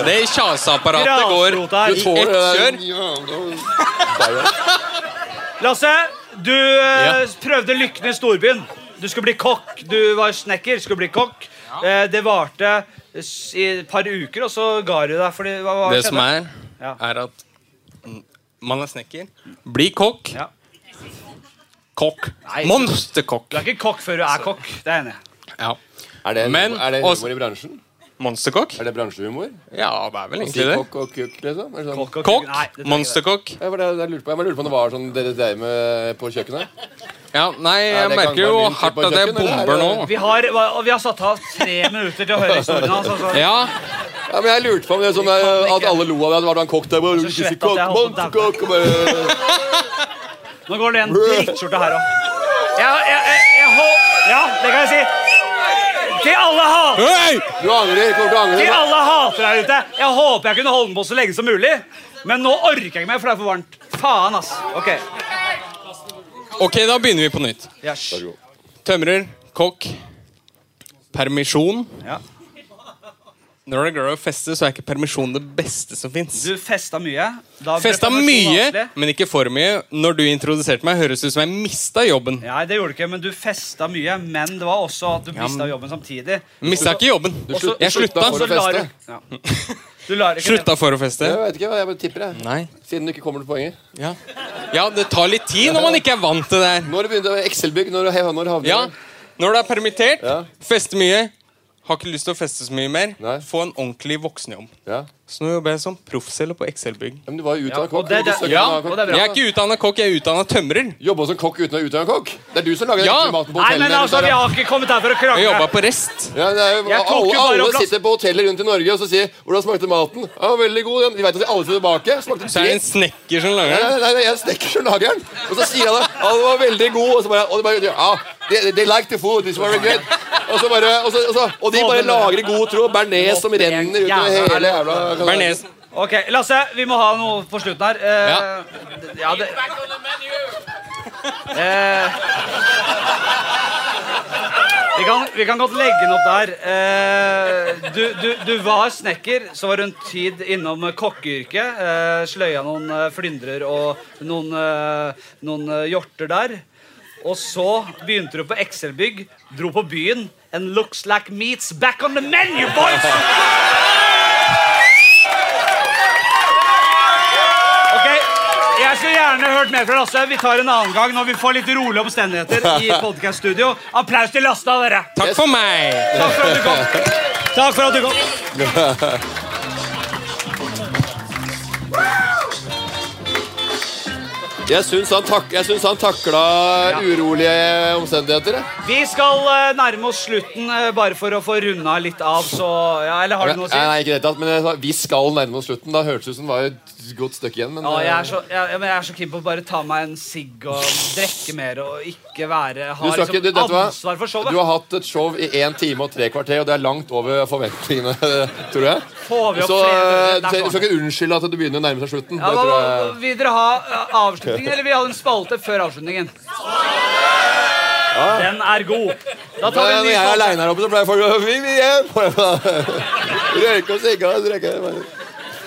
Speaker 13: Det kjaseapparatet går
Speaker 2: Grasrota her.
Speaker 13: i ett kjør.
Speaker 2: Lasse, du eh, prøvde lykken i storbyen. Du skulle bli kokk. Du var snekker, skulle bli kokk. Eh, det varte s- i et par uker, og så ga du deg. Fordi, hva, hva
Speaker 13: Det som
Speaker 2: skjedde?
Speaker 13: er, er at mm, man er snekker. Bli kokk. Kokk. Monsterkokk.
Speaker 2: Du er ikke kokk før du er kokk. Det er enig.
Speaker 13: Ja.
Speaker 6: Er det,
Speaker 13: Men
Speaker 6: er det humor
Speaker 13: også-
Speaker 6: i bransjen?
Speaker 13: Monsterkokk?
Speaker 6: Er det bransjehumor?
Speaker 13: Ja, det er vel
Speaker 6: Å si
Speaker 13: egentlig det.
Speaker 6: Kokk og kukk, liksom? Er det sånn?
Speaker 13: og kukk? Kokk? Nei, det tror jeg ikke Monsterkokk?
Speaker 6: Jeg, var det- jeg, lurte på- jeg bare lurte på om det var sånn dere dreiv med på kjøkkenet?
Speaker 13: Ja, nei,
Speaker 6: Er
Speaker 13: jeg
Speaker 6: det
Speaker 13: merker jo
Speaker 6: gangbar mynt
Speaker 13: hardt
Speaker 6: på
Speaker 13: at jeg
Speaker 6: kjøkken, eller?
Speaker 13: bomber nå.
Speaker 2: Vi har, og vi har satt av tre minutter til å høre historien hans. Altså.
Speaker 13: Ja.
Speaker 6: men Jeg lurte på om det er sånn eh, at alle lo av det. At det var en kokk der bare,
Speaker 2: Så svett at jeg
Speaker 6: kokk,
Speaker 2: holdt på å
Speaker 6: monsterkokk, og bare
Speaker 2: Nå går det en drittskjorte her òg. Ja, jeg, jeg, jeg, hå- ja, det kan jeg si. Til alle hat
Speaker 6: Du angrer. Kommer til å angre.
Speaker 2: Til alle hater der ute. Jeg håper jeg kunne holde den på så lenge som mulig. Men nå orker jeg ikke mer, for det er for varmt. Faen, ass. Ok.
Speaker 13: Ok, da begynner vi på nytt.
Speaker 2: Yes.
Speaker 13: Tømrer. Kokk. Permisjon.
Speaker 2: Ja.
Speaker 13: Når det er glad i å feste, så er ikke permisjon det beste som fins.
Speaker 2: Du festa mye. Da ble
Speaker 13: Festa
Speaker 2: permisjon
Speaker 13: mye,
Speaker 2: vanskelig.
Speaker 13: men ikke for mye. Når du introduserte meg, høres det ut som jeg mista jobben.
Speaker 2: Nei, det gjorde du ikke, men du festa mye. Men det var også at du
Speaker 13: Ja,
Speaker 2: mista
Speaker 13: men-
Speaker 2: jobben samtidig.
Speaker 13: Mista ikke jobben. Du
Speaker 2: Også-
Speaker 13: slutt- jeg slutta
Speaker 2: også
Speaker 13: for å
Speaker 2: lar
Speaker 6: feste.
Speaker 2: du- Ja. Du lar ikke
Speaker 13: Slutta for å feste.
Speaker 6: Jeg vet ikke, jeg bare tipper jeg.
Speaker 13: Nei.
Speaker 6: Siden du ikke kommer til poenget.
Speaker 13: Ja. ja, det tar litt tid når man ikke er vant til det her.
Speaker 6: Når begynte Excel-bygg? Når, når havner
Speaker 13: ja. Når du er permittert, feste mye, har ikke lyst til å feste så mye mer, få en ordentlig voksenjobb. Så nå jobber jeg som proffselger på Excel-bygg.
Speaker 6: Men du var jo
Speaker 13: Ja,
Speaker 6: utdannet kokk.
Speaker 13: og det er
Speaker 6: Du
Speaker 13: det-
Speaker 6: søker en
Speaker 13: ja,
Speaker 6: annen kokk.
Speaker 13: og det er bra. Jeg er ikke utdanna kokk, jeg er utdanna tømrer.
Speaker 6: Jobba som kokk uten å være utdanna kokk? Det er du som lager
Speaker 13: Ja.
Speaker 6: den ekle maten på
Speaker 13: Nei,
Speaker 6: hotellene.
Speaker 13: men
Speaker 6: rundt
Speaker 13: altså,
Speaker 6: her,
Speaker 13: vi
Speaker 6: ja.
Speaker 13: har
Speaker 2: ikke kommet her for å krangle.
Speaker 13: Jeg jobba på Rest.
Speaker 6: Ja, det er, jo-
Speaker 13: Jeg tok jo
Speaker 6: alle
Speaker 13: bare
Speaker 6: alle
Speaker 13: opp plass.
Speaker 6: sitter på hoteller rundt i Norge og så sier 'Hvordan smakte maten?' Ja, 'Veldig god.' den.» De vet at alle sitter tilbake. Smakte
Speaker 13: Så er det en
Speaker 6: dritt.
Speaker 13: snekker som lager
Speaker 6: Nei, nei,
Speaker 13: den.
Speaker 6: nei, jeg er snekker som lager den. Og så sier han det. Ja, det var veldig god. Og så bare, og de bare ja, they, they like the food. This was very good. Og, så bare, og, så, og, så, og de bare lager i god tro. Bearnés som renner utover hele jævla
Speaker 2: Ok, Lasse, vi må ha noe på slutten her. Eh, d- ja, det, eh, vi, kan, vi kan godt legge den opp der. Eh, du, du, du var snekker, så var du en tid innom kokkeyrket. Eh, sløya noen eh, flyndrer og noen, eh, noen eh, hjorter der. Og så begynte du på Excel-bygg, dro på byen. And looks like meats back on the menu, boys! Ok, Jeg skulle gjerne hørt mer fra Lasse. Vi tar en annen gang når vi får litt rolige omstendigheter. i podcaststudio. Applaus til Lasse, da, dere.
Speaker 13: Takk for meg.
Speaker 2: Takk for at du kom. Takk for at du kom.
Speaker 6: Jeg syns han, tak, jeg syns han takla urolige omstendigheter. jeg.
Speaker 2: Vi skal eh, nærme oss slutten, eh, bare for å få runda litt av. Så, ja, eller har du noe å si?
Speaker 6: Nei, nei, ikke i det hele tatt, men jeg sa, vi skal nærme oss slutten. Da hørtes det ut som det var et godt stykke igjen. Men,
Speaker 2: Ja, jeg er så, jeg, jeg- men jeg er så keen på å bare ta meg en sigg og drikke mer og ikke være
Speaker 6: Du
Speaker 2: Ha liksom
Speaker 6: skal ikke, du, vet du, hva?
Speaker 2: ansvar for showet.
Speaker 6: du har hatt et show i én time og tre kvarter, og det er langt over forventningene, tror jeg.
Speaker 2: Får vi opp
Speaker 6: Så
Speaker 2: flere dører? Der
Speaker 6: eh, du
Speaker 2: kom
Speaker 6: skal ikke unnskylde at du begynner å nærme seg slutten.
Speaker 2: Ja,
Speaker 6: Det
Speaker 2: hva,
Speaker 6: tror
Speaker 2: hva,
Speaker 6: jeg...
Speaker 2: vil dere ha eh, avslutning, eller vil dere ha en spalte før avslutningen? Den er god. Da tar vi en
Speaker 6: Når
Speaker 2: ny
Speaker 6: jeg er
Speaker 2: spalte.
Speaker 6: aleine her oppe, så pleier folk å vi vil hjem! Røyke og sigge og drikke.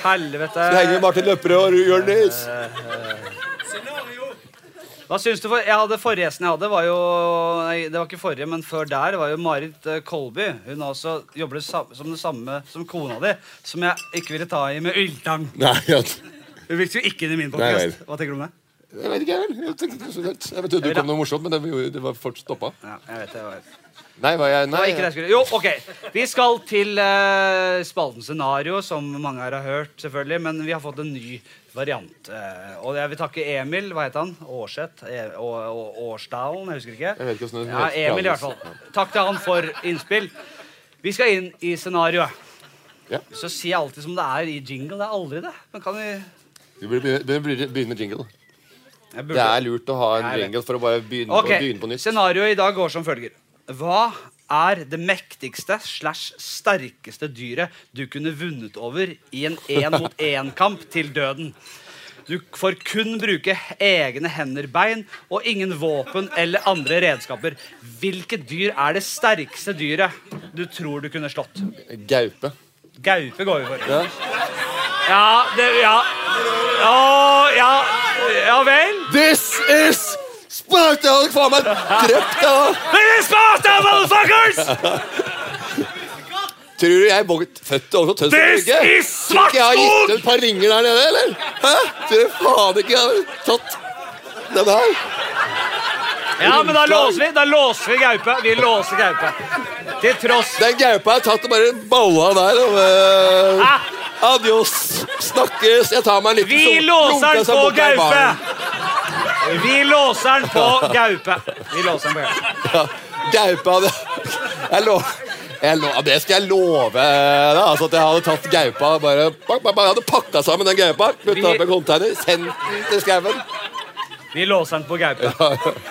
Speaker 2: Helvete.
Speaker 6: Så henger vi Martin Løpperød og Jørn Nils.
Speaker 2: Hva syns du for, jeg hadde Forrige gjesten jeg hadde, var jo nei, Det var ikke forrige, men før der det var jo Marit eh, Kolby. Hun har også jobber det sa- som det samme som kona di, som jeg ikke ville ta i med yltang.
Speaker 6: Nei, ja.
Speaker 2: Hun virket jo ikke inn i min
Speaker 6: Nei
Speaker 2: podkast. Hva tenker du om det?
Speaker 6: Jeg vet ikke, jeg vel. Jeg tenkte- Jeg trodde det kom noe morsomt, men det, gjorde- det var fort stoppa.
Speaker 2: Ja, jeg vet det, jeg vet.
Speaker 6: Nei, var jeg
Speaker 2: Det var
Speaker 6: Nei.
Speaker 2: ikke det jeg skulle. Jo, ok. Vi skal til eh, spalten scenario, som mange her har hørt, selvfølgelig. Men vi har fått en ny variant. eh, og jeg vil takke Emil, hva heter han? Aarseth? Eh, og, og Årsdalen? Jeg husker ikke.
Speaker 6: Jeg vet ikke hvordan det
Speaker 2: Ja,
Speaker 6: heter.
Speaker 2: Emil i hvert fall. Takk til han for innspill. Vi skal inn i scenarioet.
Speaker 6: Ja.
Speaker 2: Så sier jeg alltid som det er i jingle. Det er aldri det. Men kan vi
Speaker 6: Du burde begynne- du burde begynne med jingle.
Speaker 2: Jeg burde-
Speaker 6: Det er lurt å ha en
Speaker 2: Jeg vet.
Speaker 6: jingle for å bare begynne,
Speaker 2: Ok,
Speaker 6: på, begynne på nytt.
Speaker 2: Scenarioet i dag går som følger. Hva er det mektigste slash sterkeste dyret du kunne vunnet over i en én-mot-én-kamp til døden? Du får kun bruke egne hender, bein og ingen våpen eller andre redskaper. Hvilket dyr er det sterkeste dyret du tror du kunne slått?
Speaker 6: Gaupe.
Speaker 2: Gaupe går vi for.
Speaker 6: Ja.
Speaker 2: Ja, det, ja. Å, ja. Ja vel?
Speaker 6: This is Sparta! Hadde faen meg drept deg da!
Speaker 2: This is Sparta, motherfuckers!
Speaker 6: Tror du jeg bogget født over Tønsberg?
Speaker 2: This
Speaker 6: Brygge?
Speaker 2: is
Speaker 6: Tror du ikke Jeg har gitt ut et par ringer der nede, eller? Hæ? Tror du faen ikke jeg har tatt den her?
Speaker 2: Ja, men da låser vi da låser vi gaupe. Vi låser gaupe. Til tross
Speaker 6: Den gaupa jeg har tatt og bare balla der. Og, eh, adios. Snakkes. Jeg tar meg en liten
Speaker 2: Ah! Vi
Speaker 6: sol-
Speaker 2: låser den
Speaker 6: lunka seg
Speaker 2: på
Speaker 6: bort der i
Speaker 2: gaupe!
Speaker 6: baren.
Speaker 2: Vi låser den på gaupe. Vi låser den på gaupe.
Speaker 6: Ja, Gaupa det. Jeg lov, jeg lov, det skal jeg love deg. Altså at jeg hadde tatt gaupa bare, bak, bak, bak, Jeg hadde pakka sammen den gaupa, putta opp i en container, sendt den til skauen.
Speaker 2: Vi låser den på gaupe.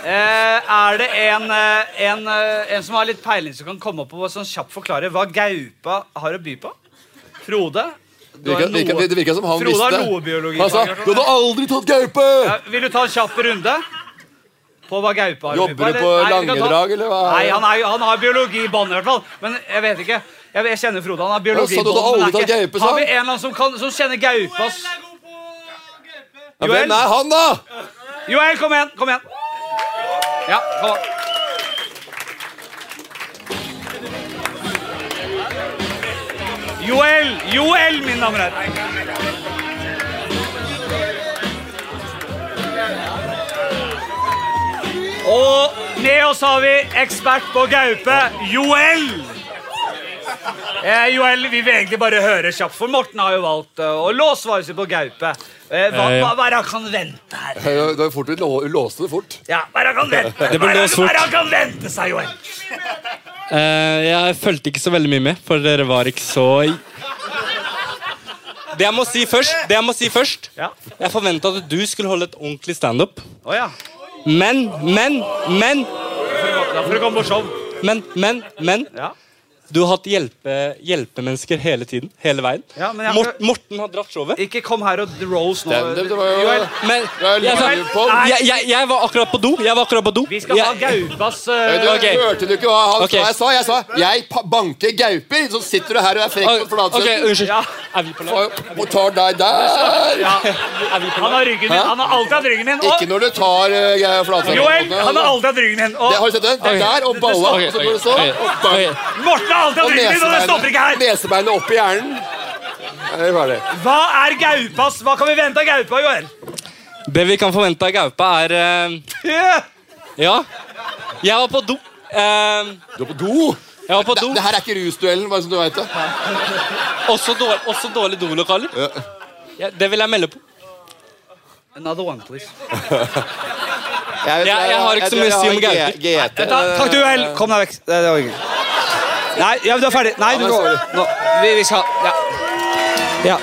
Speaker 2: Eh, er det en, eh, en, eh, en som har litt peiling, som kan komme opp og sånn kjapt forklare hva gaupa har å by på? Frode?
Speaker 6: Det virka- virka- det virka som han
Speaker 2: Frode har
Speaker 6: visste.
Speaker 2: noe biologi.
Speaker 6: Han sa,
Speaker 2: fag eller noe.
Speaker 6: 'Du hadde aldri tatt gaupe!'
Speaker 2: Ja, vil du ta en kjapp runde? på hva gaupe har i
Speaker 6: Jobber
Speaker 2: pupa,
Speaker 6: du
Speaker 2: eller?
Speaker 6: på
Speaker 2: Nei, vi kan ta-
Speaker 6: Langedrag, eller hva?
Speaker 2: Nei, han, er, jo- han har biologi i bånn i hvert fall. Men jeg vet ikke. Jeg, jeg kjenner Frode. Han har biologi
Speaker 6: Å, sa
Speaker 2: i
Speaker 6: du
Speaker 2: bånn. men det er
Speaker 6: det alle
Speaker 2: ikke-
Speaker 6: tar gaupesang?
Speaker 2: Har vi en eller annen som, kan, som kjenner gaupas
Speaker 6: Ja, hvem er han, da?
Speaker 2: Joel, kom igjen! Kom igjen. Ja, kom an. Joel! Joel, mine damer og herrer. Og med oss har vi ekspert på gaupe, Joel. Eh, Joel, vi vil egentlig bare høre kjapt, for Morten har jo valgt eh, å låse svaret sitt på gaupe. Eh, hva,
Speaker 6: Eh,
Speaker 2: hva, hva er det han kan vente?
Speaker 6: Det var fort vi lå, låste det fort.
Speaker 2: Ja, hva er det han kan vente?
Speaker 15: Det ble
Speaker 2: Hva er
Speaker 15: låst fort.
Speaker 2: Hva er det han kan vente seg, Joel?
Speaker 15: Eh, jeg fulgte ikke så veldig mye med, for dere var ikke så
Speaker 13: Det jeg må si først, det jeg må si først
Speaker 2: Ja.
Speaker 13: Jeg forventa at du skulle holde et ordentlig standup.
Speaker 2: Oh, ja.
Speaker 13: Men, men, men
Speaker 2: Da får du komme på show.
Speaker 13: Men, men, men Du har hatt hjelpe, hjelpemennesker hele tiden. Hele veien.
Speaker 2: Ja, men jeg-
Speaker 13: Mort, Morten har dratt showet.
Speaker 2: Ikke kom her og rose nå.
Speaker 13: Standup, det var jo-
Speaker 2: Joel,
Speaker 13: Men jeg,
Speaker 2: Joel,
Speaker 13: sa-
Speaker 2: nei.
Speaker 13: jeg, jeg, jeg var akkurat på do. Jeg var akkurat på do.
Speaker 2: Vi skal ha gaupas eh,
Speaker 6: Du, Hørte du ikke hva han
Speaker 13: Ok.
Speaker 6: sa? Jeg sa jeg sa, jeg pa- banker gauper. Så sitter du her og er frekk på flatsen.
Speaker 13: Ah, Ok, unnskyld. Er vi på
Speaker 6: lag? Og tar deg der.
Speaker 2: Ja. Han har ryggen min.
Speaker 6: Hæ?
Speaker 2: Han har alltid hatt ryggen min.
Speaker 6: Ikke når du tar uh, flatsen.
Speaker 2: Joel, han har alltid hatt ryggen min. og-
Speaker 6: Det- har du sett den? Det er der, og balla, og så går det sånn, og bang.
Speaker 2: Morten har alltid hatt ryggen min, og det stopper ikke her.
Speaker 6: Nesebeinet opp i hjernen. Er det ferdig?
Speaker 2: Hva er gaupas? Hva kan vi vente av gaupa, Joel?
Speaker 13: Det vi kan forvente av gaupe, er eh, Ja. Jeg var på do. eh,
Speaker 6: du var på do?
Speaker 13: Jeg var på do.
Speaker 6: Det, det her er ikke rusduellen, bare som du veit det.
Speaker 13: Også, dårlig, også dårlige dolokaler. Ja, det vil jeg melde på.
Speaker 2: Another one, please.
Speaker 13: Jeg, jeg, har ikke så mye å si om gauper.
Speaker 2: Takk, du, Joel. Kom deg vekk. Det var ikke. Nei, ja, du er ferdig. Nei, du går. Nå, vi, vi skal Ja. ja.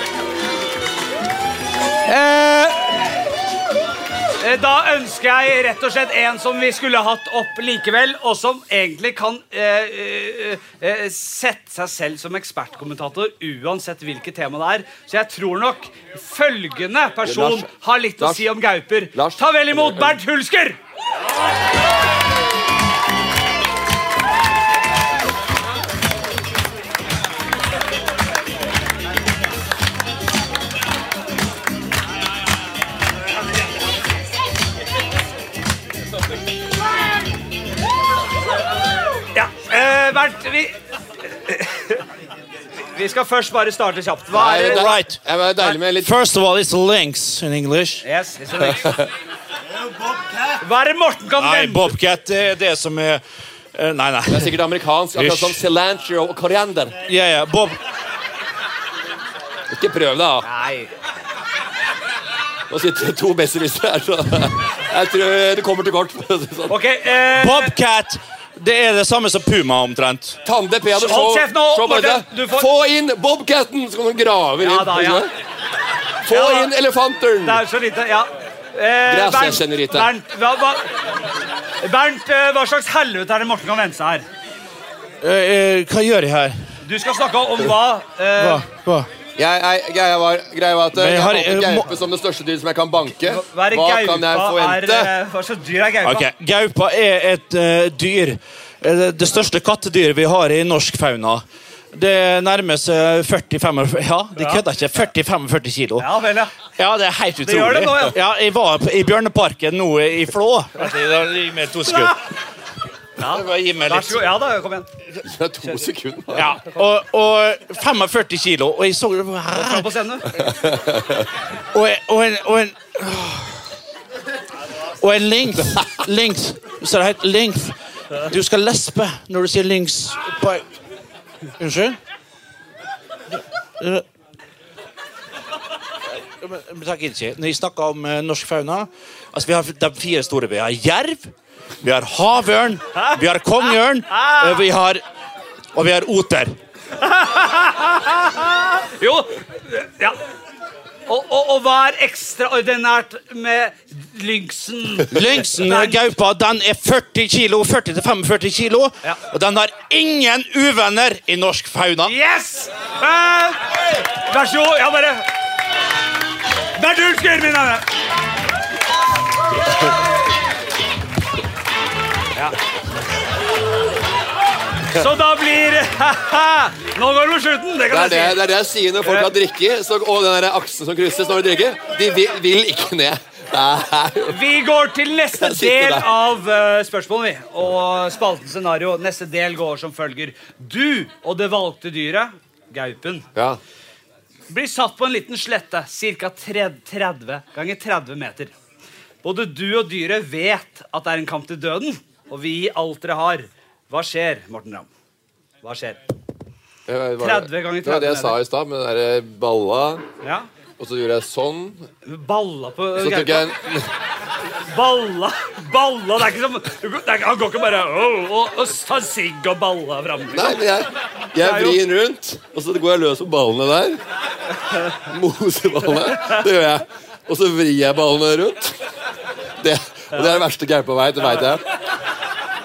Speaker 2: Eh, eh, da ønsker jeg rett og slett en som vi skulle hatt opp likevel, og som egentlig kan eh, eh, eh, sette seg selv som ekspertkommentator uansett hvilket tema det er. Så jeg tror nok følgende person
Speaker 13: Lars-
Speaker 2: har litt å
Speaker 13: Lars-
Speaker 2: si om gauper. Ta vel imot Bernt Hulsker! Ja, eh, Bernt, vi Vi skal først bare starte kjapt. Hva er det?
Speaker 15: Right. First of all, it's links in English.
Speaker 2: Yes, it's links. Hva er det Morten kan
Speaker 15: Nei, Bobcat det er det som er eh, Nei, nei. Det er sikkert amerikansk.
Speaker 6: akkurat som
Speaker 15: cilantro og koriander. Ja, ja, Bob...
Speaker 6: Ikke prøv deg, da.
Speaker 2: Nei.
Speaker 6: Nå sitter det to besserwissere her, så jeg tror det kommer til kort. for å si det sånn.
Speaker 2: eh,
Speaker 15: Bobcat det er det samme som puma, omtrent.
Speaker 6: Tande Peder,
Speaker 15: Hold kjeft nå,
Speaker 6: se bare
Speaker 15: Morten,
Speaker 6: det.
Speaker 15: du får-
Speaker 6: Få inn Bobcatten, så kan du grave inn.
Speaker 2: Ja da, ja.
Speaker 6: Få inn elefanteren.
Speaker 2: Det er så lite, ja. Eh,
Speaker 6: Gracias,
Speaker 2: Bernt,
Speaker 6: senorita.
Speaker 2: Bernt, hva, hva, Bernt, eh, hva slags helvete er det Morten kan vente seg her?
Speaker 15: Eh, eh, hva gjør jeg her?
Speaker 2: Du skal snakke om hva eh,
Speaker 15: Hva? Hva?
Speaker 6: Jeg, jeg, greia var, greia var at
Speaker 15: Men
Speaker 6: jeg,
Speaker 15: har-
Speaker 6: valgte
Speaker 15: eh, må-
Speaker 6: gaupe som det største dyret som jeg kan banke.
Speaker 2: Hva er det
Speaker 6: kan jeg
Speaker 2: gaupa er
Speaker 6: forvente?
Speaker 2: eh, Hva slags dyr er gaupa?
Speaker 15: Ok, Gaupa er et eh, dyr. eh, det- det største kattedyret vi har i norsk fauna. Det nærmer seg 40-45 Ja, de kødder ikke. 40-45 kilo.
Speaker 2: Ja vel, ja.
Speaker 15: Ja, det er helt
Speaker 2: Det
Speaker 15: utrolig.
Speaker 2: gjør det nå, ja.
Speaker 15: jeg var på- i Bjørneparken nå i Flå. Vent litt, da, Gi meg to sekunder.
Speaker 2: Ja.
Speaker 15: Gi meg
Speaker 2: Vær så god.
Speaker 15: litt.
Speaker 2: Ja da, kom igjen.
Speaker 6: Det er to sekunder.
Speaker 15: Ja, og, og 45 kilo, og jeg så
Speaker 2: Fram på scenen, du.
Speaker 15: Og en, og en, og en Og en length. Length. Så det heter length. Du skal lespe når du sier lynx. På... Unnskyld? Eh, men Takk, Ilsi. Når jeg snakker om eh, norsk fauna altså Vi har de fire store. Vi har jerv, vi har havørn, vi har kongeørn, eh, vi har Og vi har oter.
Speaker 2: jo, ja. Og, og, og hva er ekstraordinært med lynksen?
Speaker 15: Lyngsen og gaupa den er 40 kilo, 40-45 kilo, og den har ingen uvenner i norsk fauna.
Speaker 2: Yes! Eh, vær så god. Ja, bare Bernt Hulsker, mine damer. Så da blir Nå går det mot slutten! Det
Speaker 6: Det
Speaker 2: kan jeg si.
Speaker 6: er det, det er det jeg sier når folk har drikke, så, og den der aksen som krysses når de drikker. De vil, vil ikke ned. Nei.
Speaker 2: Vi går til neste
Speaker 6: Jeg sitter
Speaker 2: del
Speaker 6: der.
Speaker 2: av eh, spørsmålet, vi. Og spalten scenario. Neste del går som følger. Du og det valgte dyret, gaupen, blir satt på en liten slette ca. 30 ganger 30 meter. Både du og dyret vet at det er en kamp til døden, og vi gir alt dere har. Hva skjer, Morten Ramm? Hva skjer?
Speaker 6: Det var-
Speaker 2: 30 ganger 30
Speaker 6: Det var det jeg sa
Speaker 2: meter.
Speaker 6: i stad, med den derre balla.
Speaker 2: Ja.
Speaker 6: Og så gjorde jeg sånn.
Speaker 2: Balla på
Speaker 6: Så tok jeg en
Speaker 2: Balla, balla Det er ikke som du kan- det er, ikke- Han går ikke bare «Åh», og, og tar sigg og balla fram.
Speaker 6: Nei, men jeg, jeg vrir den rundt, og så går jeg løs på ballene der. Moseballene. Det gjør jeg. Og så vrir jeg ballene rundt. Det, og det er det verste gaupa veit. Det veit jeg.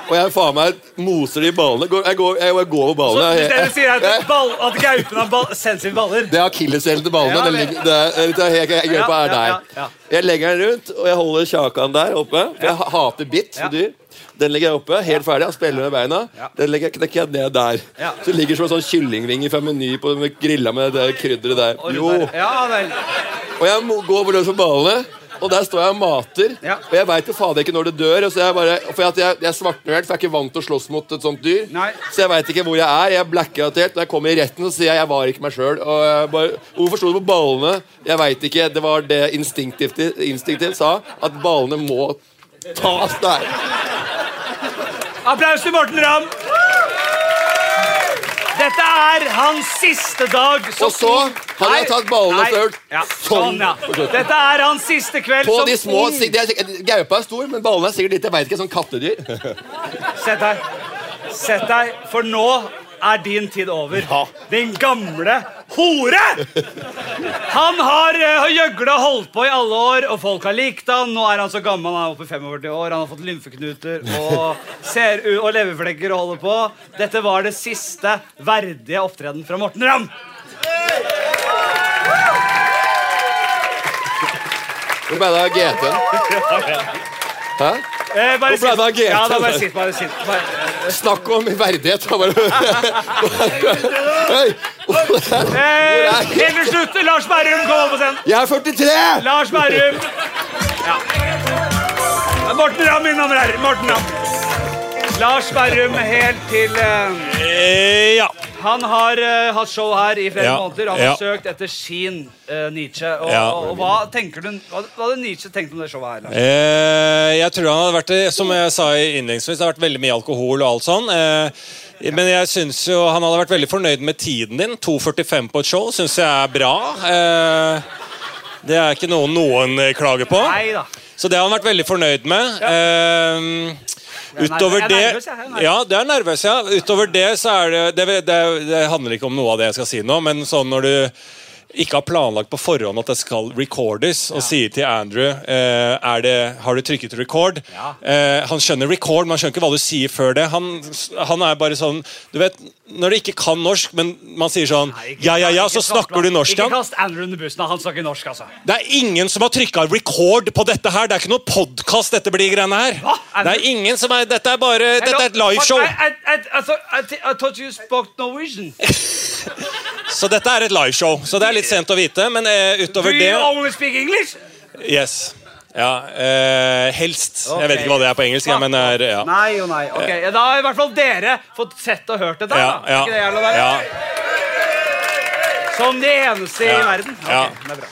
Speaker 6: Og jeg faen meg moser de ballene. Går- Jeg går, jeg går
Speaker 2: Så
Speaker 6: over ballene.
Speaker 2: hvis dere
Speaker 6: Jeg-
Speaker 2: sier at, ball, at gaupen har ball, sensitive baller
Speaker 6: Det er akilleshælen til ballene. Den ligger, det er, det er, helt- jeg, jeg,
Speaker 2: Ja,
Speaker 6: er
Speaker 2: ja,
Speaker 6: der.
Speaker 2: ja, ja.
Speaker 6: Jeg legger den rundt, og jeg holder kjakan der oppe. For jeg hater bitt med dyr. Den legger jeg oppe, helt ferdig. Han spiller med beina. Den legger jeg knekker jeg ned der.
Speaker 2: Ja.
Speaker 6: Så det ligger som en sånn kyllingvinge fra Meny på med grilla med det der krydderet der. Jo.
Speaker 2: Ja vel.
Speaker 6: Og jeg må- går løs på ballene. Og der står jeg og mater. Og jeg veit jo fader ikke når det dør. og Så jeg bare, for at jeg, jeg er svartnølt, for jeg er ikke vant til å slåss mot et sånt dyr. Så jeg veit ikke hvor jeg er. Jeg blacker out helt. Når jeg kommer i retten, så sier jeg jeg var ikke meg sjøl. Hvorfor sto det på ballene? Jeg veit ikke. Det var det instinktivt, instinktivt sa, at ballene må tas der.
Speaker 2: Applaus til Morten Ramm. Dette er hans siste dag som
Speaker 6: Og så hadde jeg tatt ballene
Speaker 2: Nei.
Speaker 6: selv.
Speaker 2: Ja, sånn, ja. Dette er hans siste kveld
Speaker 6: På
Speaker 2: som
Speaker 6: de små
Speaker 2: ung.
Speaker 6: si- det er- Gaupa er stor, men ballene er sikkert litt Jeg veit ikke. Sånn kattedyr.
Speaker 2: Sett deg. Sett deg, for nå er din tid over. Din gamle hore! Han har eh, gjøgla og holdt på i alle år, og folk har likt han. Nå er han så gammel, han er oppe i 45 år, han har fått lymfeknuter og, ser, u- og leverflekker og holder på. Dette var det siste verdige opptreden fra Morten Ramm.
Speaker 6: Hvor ble det av GT-en? Hæ?
Speaker 2: Eh, bare
Speaker 6: Hvor ble det av
Speaker 2: sitt.
Speaker 6: GT-en?
Speaker 2: Ja, da bare sitt, bare sitt. Bare.
Speaker 6: Snakk om verdighet. da bare- Hei,
Speaker 2: Eh, helt til slutt, Lars Berrum, kom opp på scenen.
Speaker 6: Jeg er 43!
Speaker 2: Lars Berrum. Ja. Det er Morten Ramm innom her. Morten Ramm. Lars Berrum helt til eh, Han har eh, hatt show her i flere
Speaker 3: Ja,
Speaker 2: måneder. Han
Speaker 3: ja.
Speaker 2: har søkt etter sin eh, Nietzsche. Og,
Speaker 3: Ja.
Speaker 2: og, hva tenker du Hva hva hadde Nietzsche tenkt om det showet her? Lars?
Speaker 3: Eh, jeg tror han hadde vært det, som jeg sa i innledningsvis, det har vært veldig mye alkohol og alt sånn. Eh, men jeg synes jo han hadde vært veldig fornøyd med tiden din. 2.45 på et show syns jeg er bra. Eh, det er ikke noe noen eh, klager på.
Speaker 2: Neida.
Speaker 3: Så det har han vært veldig fornøyd med. Eh,
Speaker 2: Jeg er
Speaker 3: Utover
Speaker 2: nervøs,
Speaker 3: det
Speaker 2: jeg er nervøs, jeg er nervøs.
Speaker 3: Ja, det er nervøs, ja. Utover det så er det det, det det handler ikke om noe av det jeg skal si nå, men sånn når du ikke har planlagt på forhånd at det skal recordes, og sier til Andrew eh, er det, Har du trykket record? Eh, han skjønner record, men han skjønner ikke hva du sier før det. Han, han er bare sånn Du vet, når du ikke kan norsk, men man sier sånn Ja, ja, ja, så
Speaker 2: Ikke svart,
Speaker 3: snakker du
Speaker 2: mann.
Speaker 3: norsk,
Speaker 2: Ikke
Speaker 3: ja.
Speaker 2: kast Andrew under bussen. Han snakker norsk, altså.
Speaker 3: Det er ingen som har trykka record på dette her. Det er ikke noe podkast, dette blir greiene her. Det er ingen som er Dette er bare Dette er et liveshow.
Speaker 2: Ah, I, I, I, I, thought- I, thi- I thought you spoke Norwegian.
Speaker 3: Så dette er et liveshow. Så det er litt sent å vite, men eh,
Speaker 2: Do
Speaker 3: utover det
Speaker 2: you only speak English?
Speaker 3: Yes. Ja, eh, helst. Jeg vet ikke hva det er på engelsk, jeg, men det er, ja.
Speaker 2: Nei og nei. ok. Ja, Da har i hvert fall dere fått sett og hørt det
Speaker 3: Eh.
Speaker 2: der.
Speaker 3: Ja,
Speaker 2: da. Er
Speaker 3: ja,
Speaker 2: ikke det jævla der?
Speaker 3: ja.
Speaker 2: Som de eneste i
Speaker 3: Ja,
Speaker 2: verden. Ok,
Speaker 3: ja.
Speaker 2: det er bra.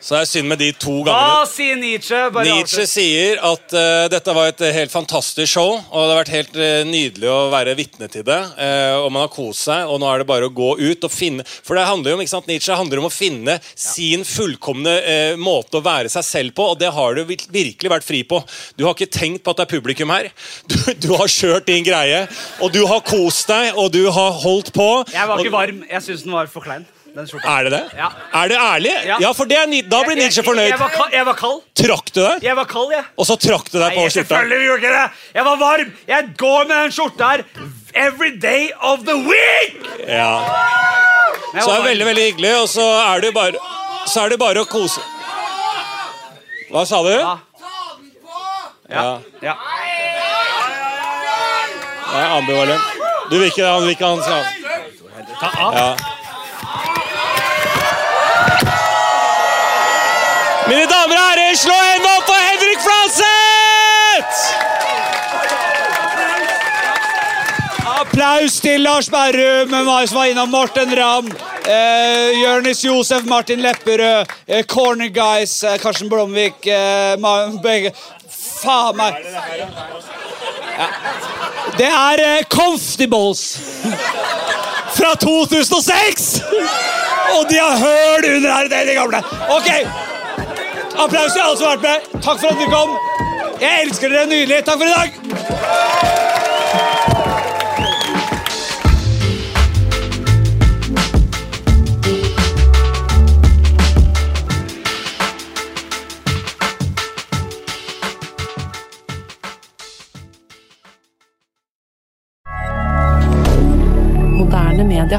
Speaker 3: Så det er synd med de to
Speaker 2: Hva
Speaker 3: gangene.
Speaker 2: sier Nietzsche? Bare
Speaker 3: Nietzsche
Speaker 2: avslutt.
Speaker 3: sier at eh, dette var et eh, helt fantastisk show, og det har vært helt eh, nydelig å være vitne til det. eh, og man har kost seg, og nå er det bare å gå ut og finne For det handler jo om, ikke sant, Nietzsche handler om å finne sin fullkomne eh, måte å være seg selv på, og det har du vir- virkelig vært fri på. Du har ikke tenkt på at det er publikum her. Du, du har kjørt din greie, og du har kost deg, og du har holdt på.
Speaker 2: Jeg var ikke
Speaker 3: og,
Speaker 2: varm. Jeg syns den var for klein. Den skjorta.
Speaker 3: Er det det?
Speaker 2: Ja.
Speaker 3: Er det ærlig?
Speaker 2: Ja.
Speaker 3: Ja, for det er, ni- da blir Nietzsche
Speaker 2: Jeg,
Speaker 3: fornøyd.
Speaker 2: jeg, var kald, jeg var kald.
Speaker 3: Trakk du deg?
Speaker 2: Jeg var kald, jeg.
Speaker 3: Og så trakk du deg
Speaker 2: Nei,
Speaker 3: på
Speaker 2: jeg-
Speaker 3: skjorta?
Speaker 2: selvfølgelig gjorde ikke det. Jeg var varm. Jeg går med den skjorta her every day of the week!
Speaker 3: Ja.
Speaker 2: Men
Speaker 3: Så
Speaker 2: jeg var
Speaker 3: det er
Speaker 2: varm.
Speaker 3: veldig, veldig hyggelig, og så er det jo bare, så er det bare å kose Hva sa du? Ja.
Speaker 2: Ja.
Speaker 3: Det er ambivalent. Du vil ikke han vil ikke han skal
Speaker 16: Ta av.
Speaker 3: Ja. Mine damer og herrer, slå en opp for Henrik Flanseth!
Speaker 2: Applaus til Lars Berrum, som var innom Morten Ramm, eh, Jørnis Josef, Martin Lepperød, eh, Corner Guys, eh, Karsten Blomvik eh, ma- begge. Faen meg! Ja. Det er eh, Comftables fra 2006! Og de har høl under her, det er de gamle. Ok, Applaus til alle som har vært med. Takk for at dere kom. Jeg elsker dere nydelig. Takk for i dag.
Speaker 7: Moderne media.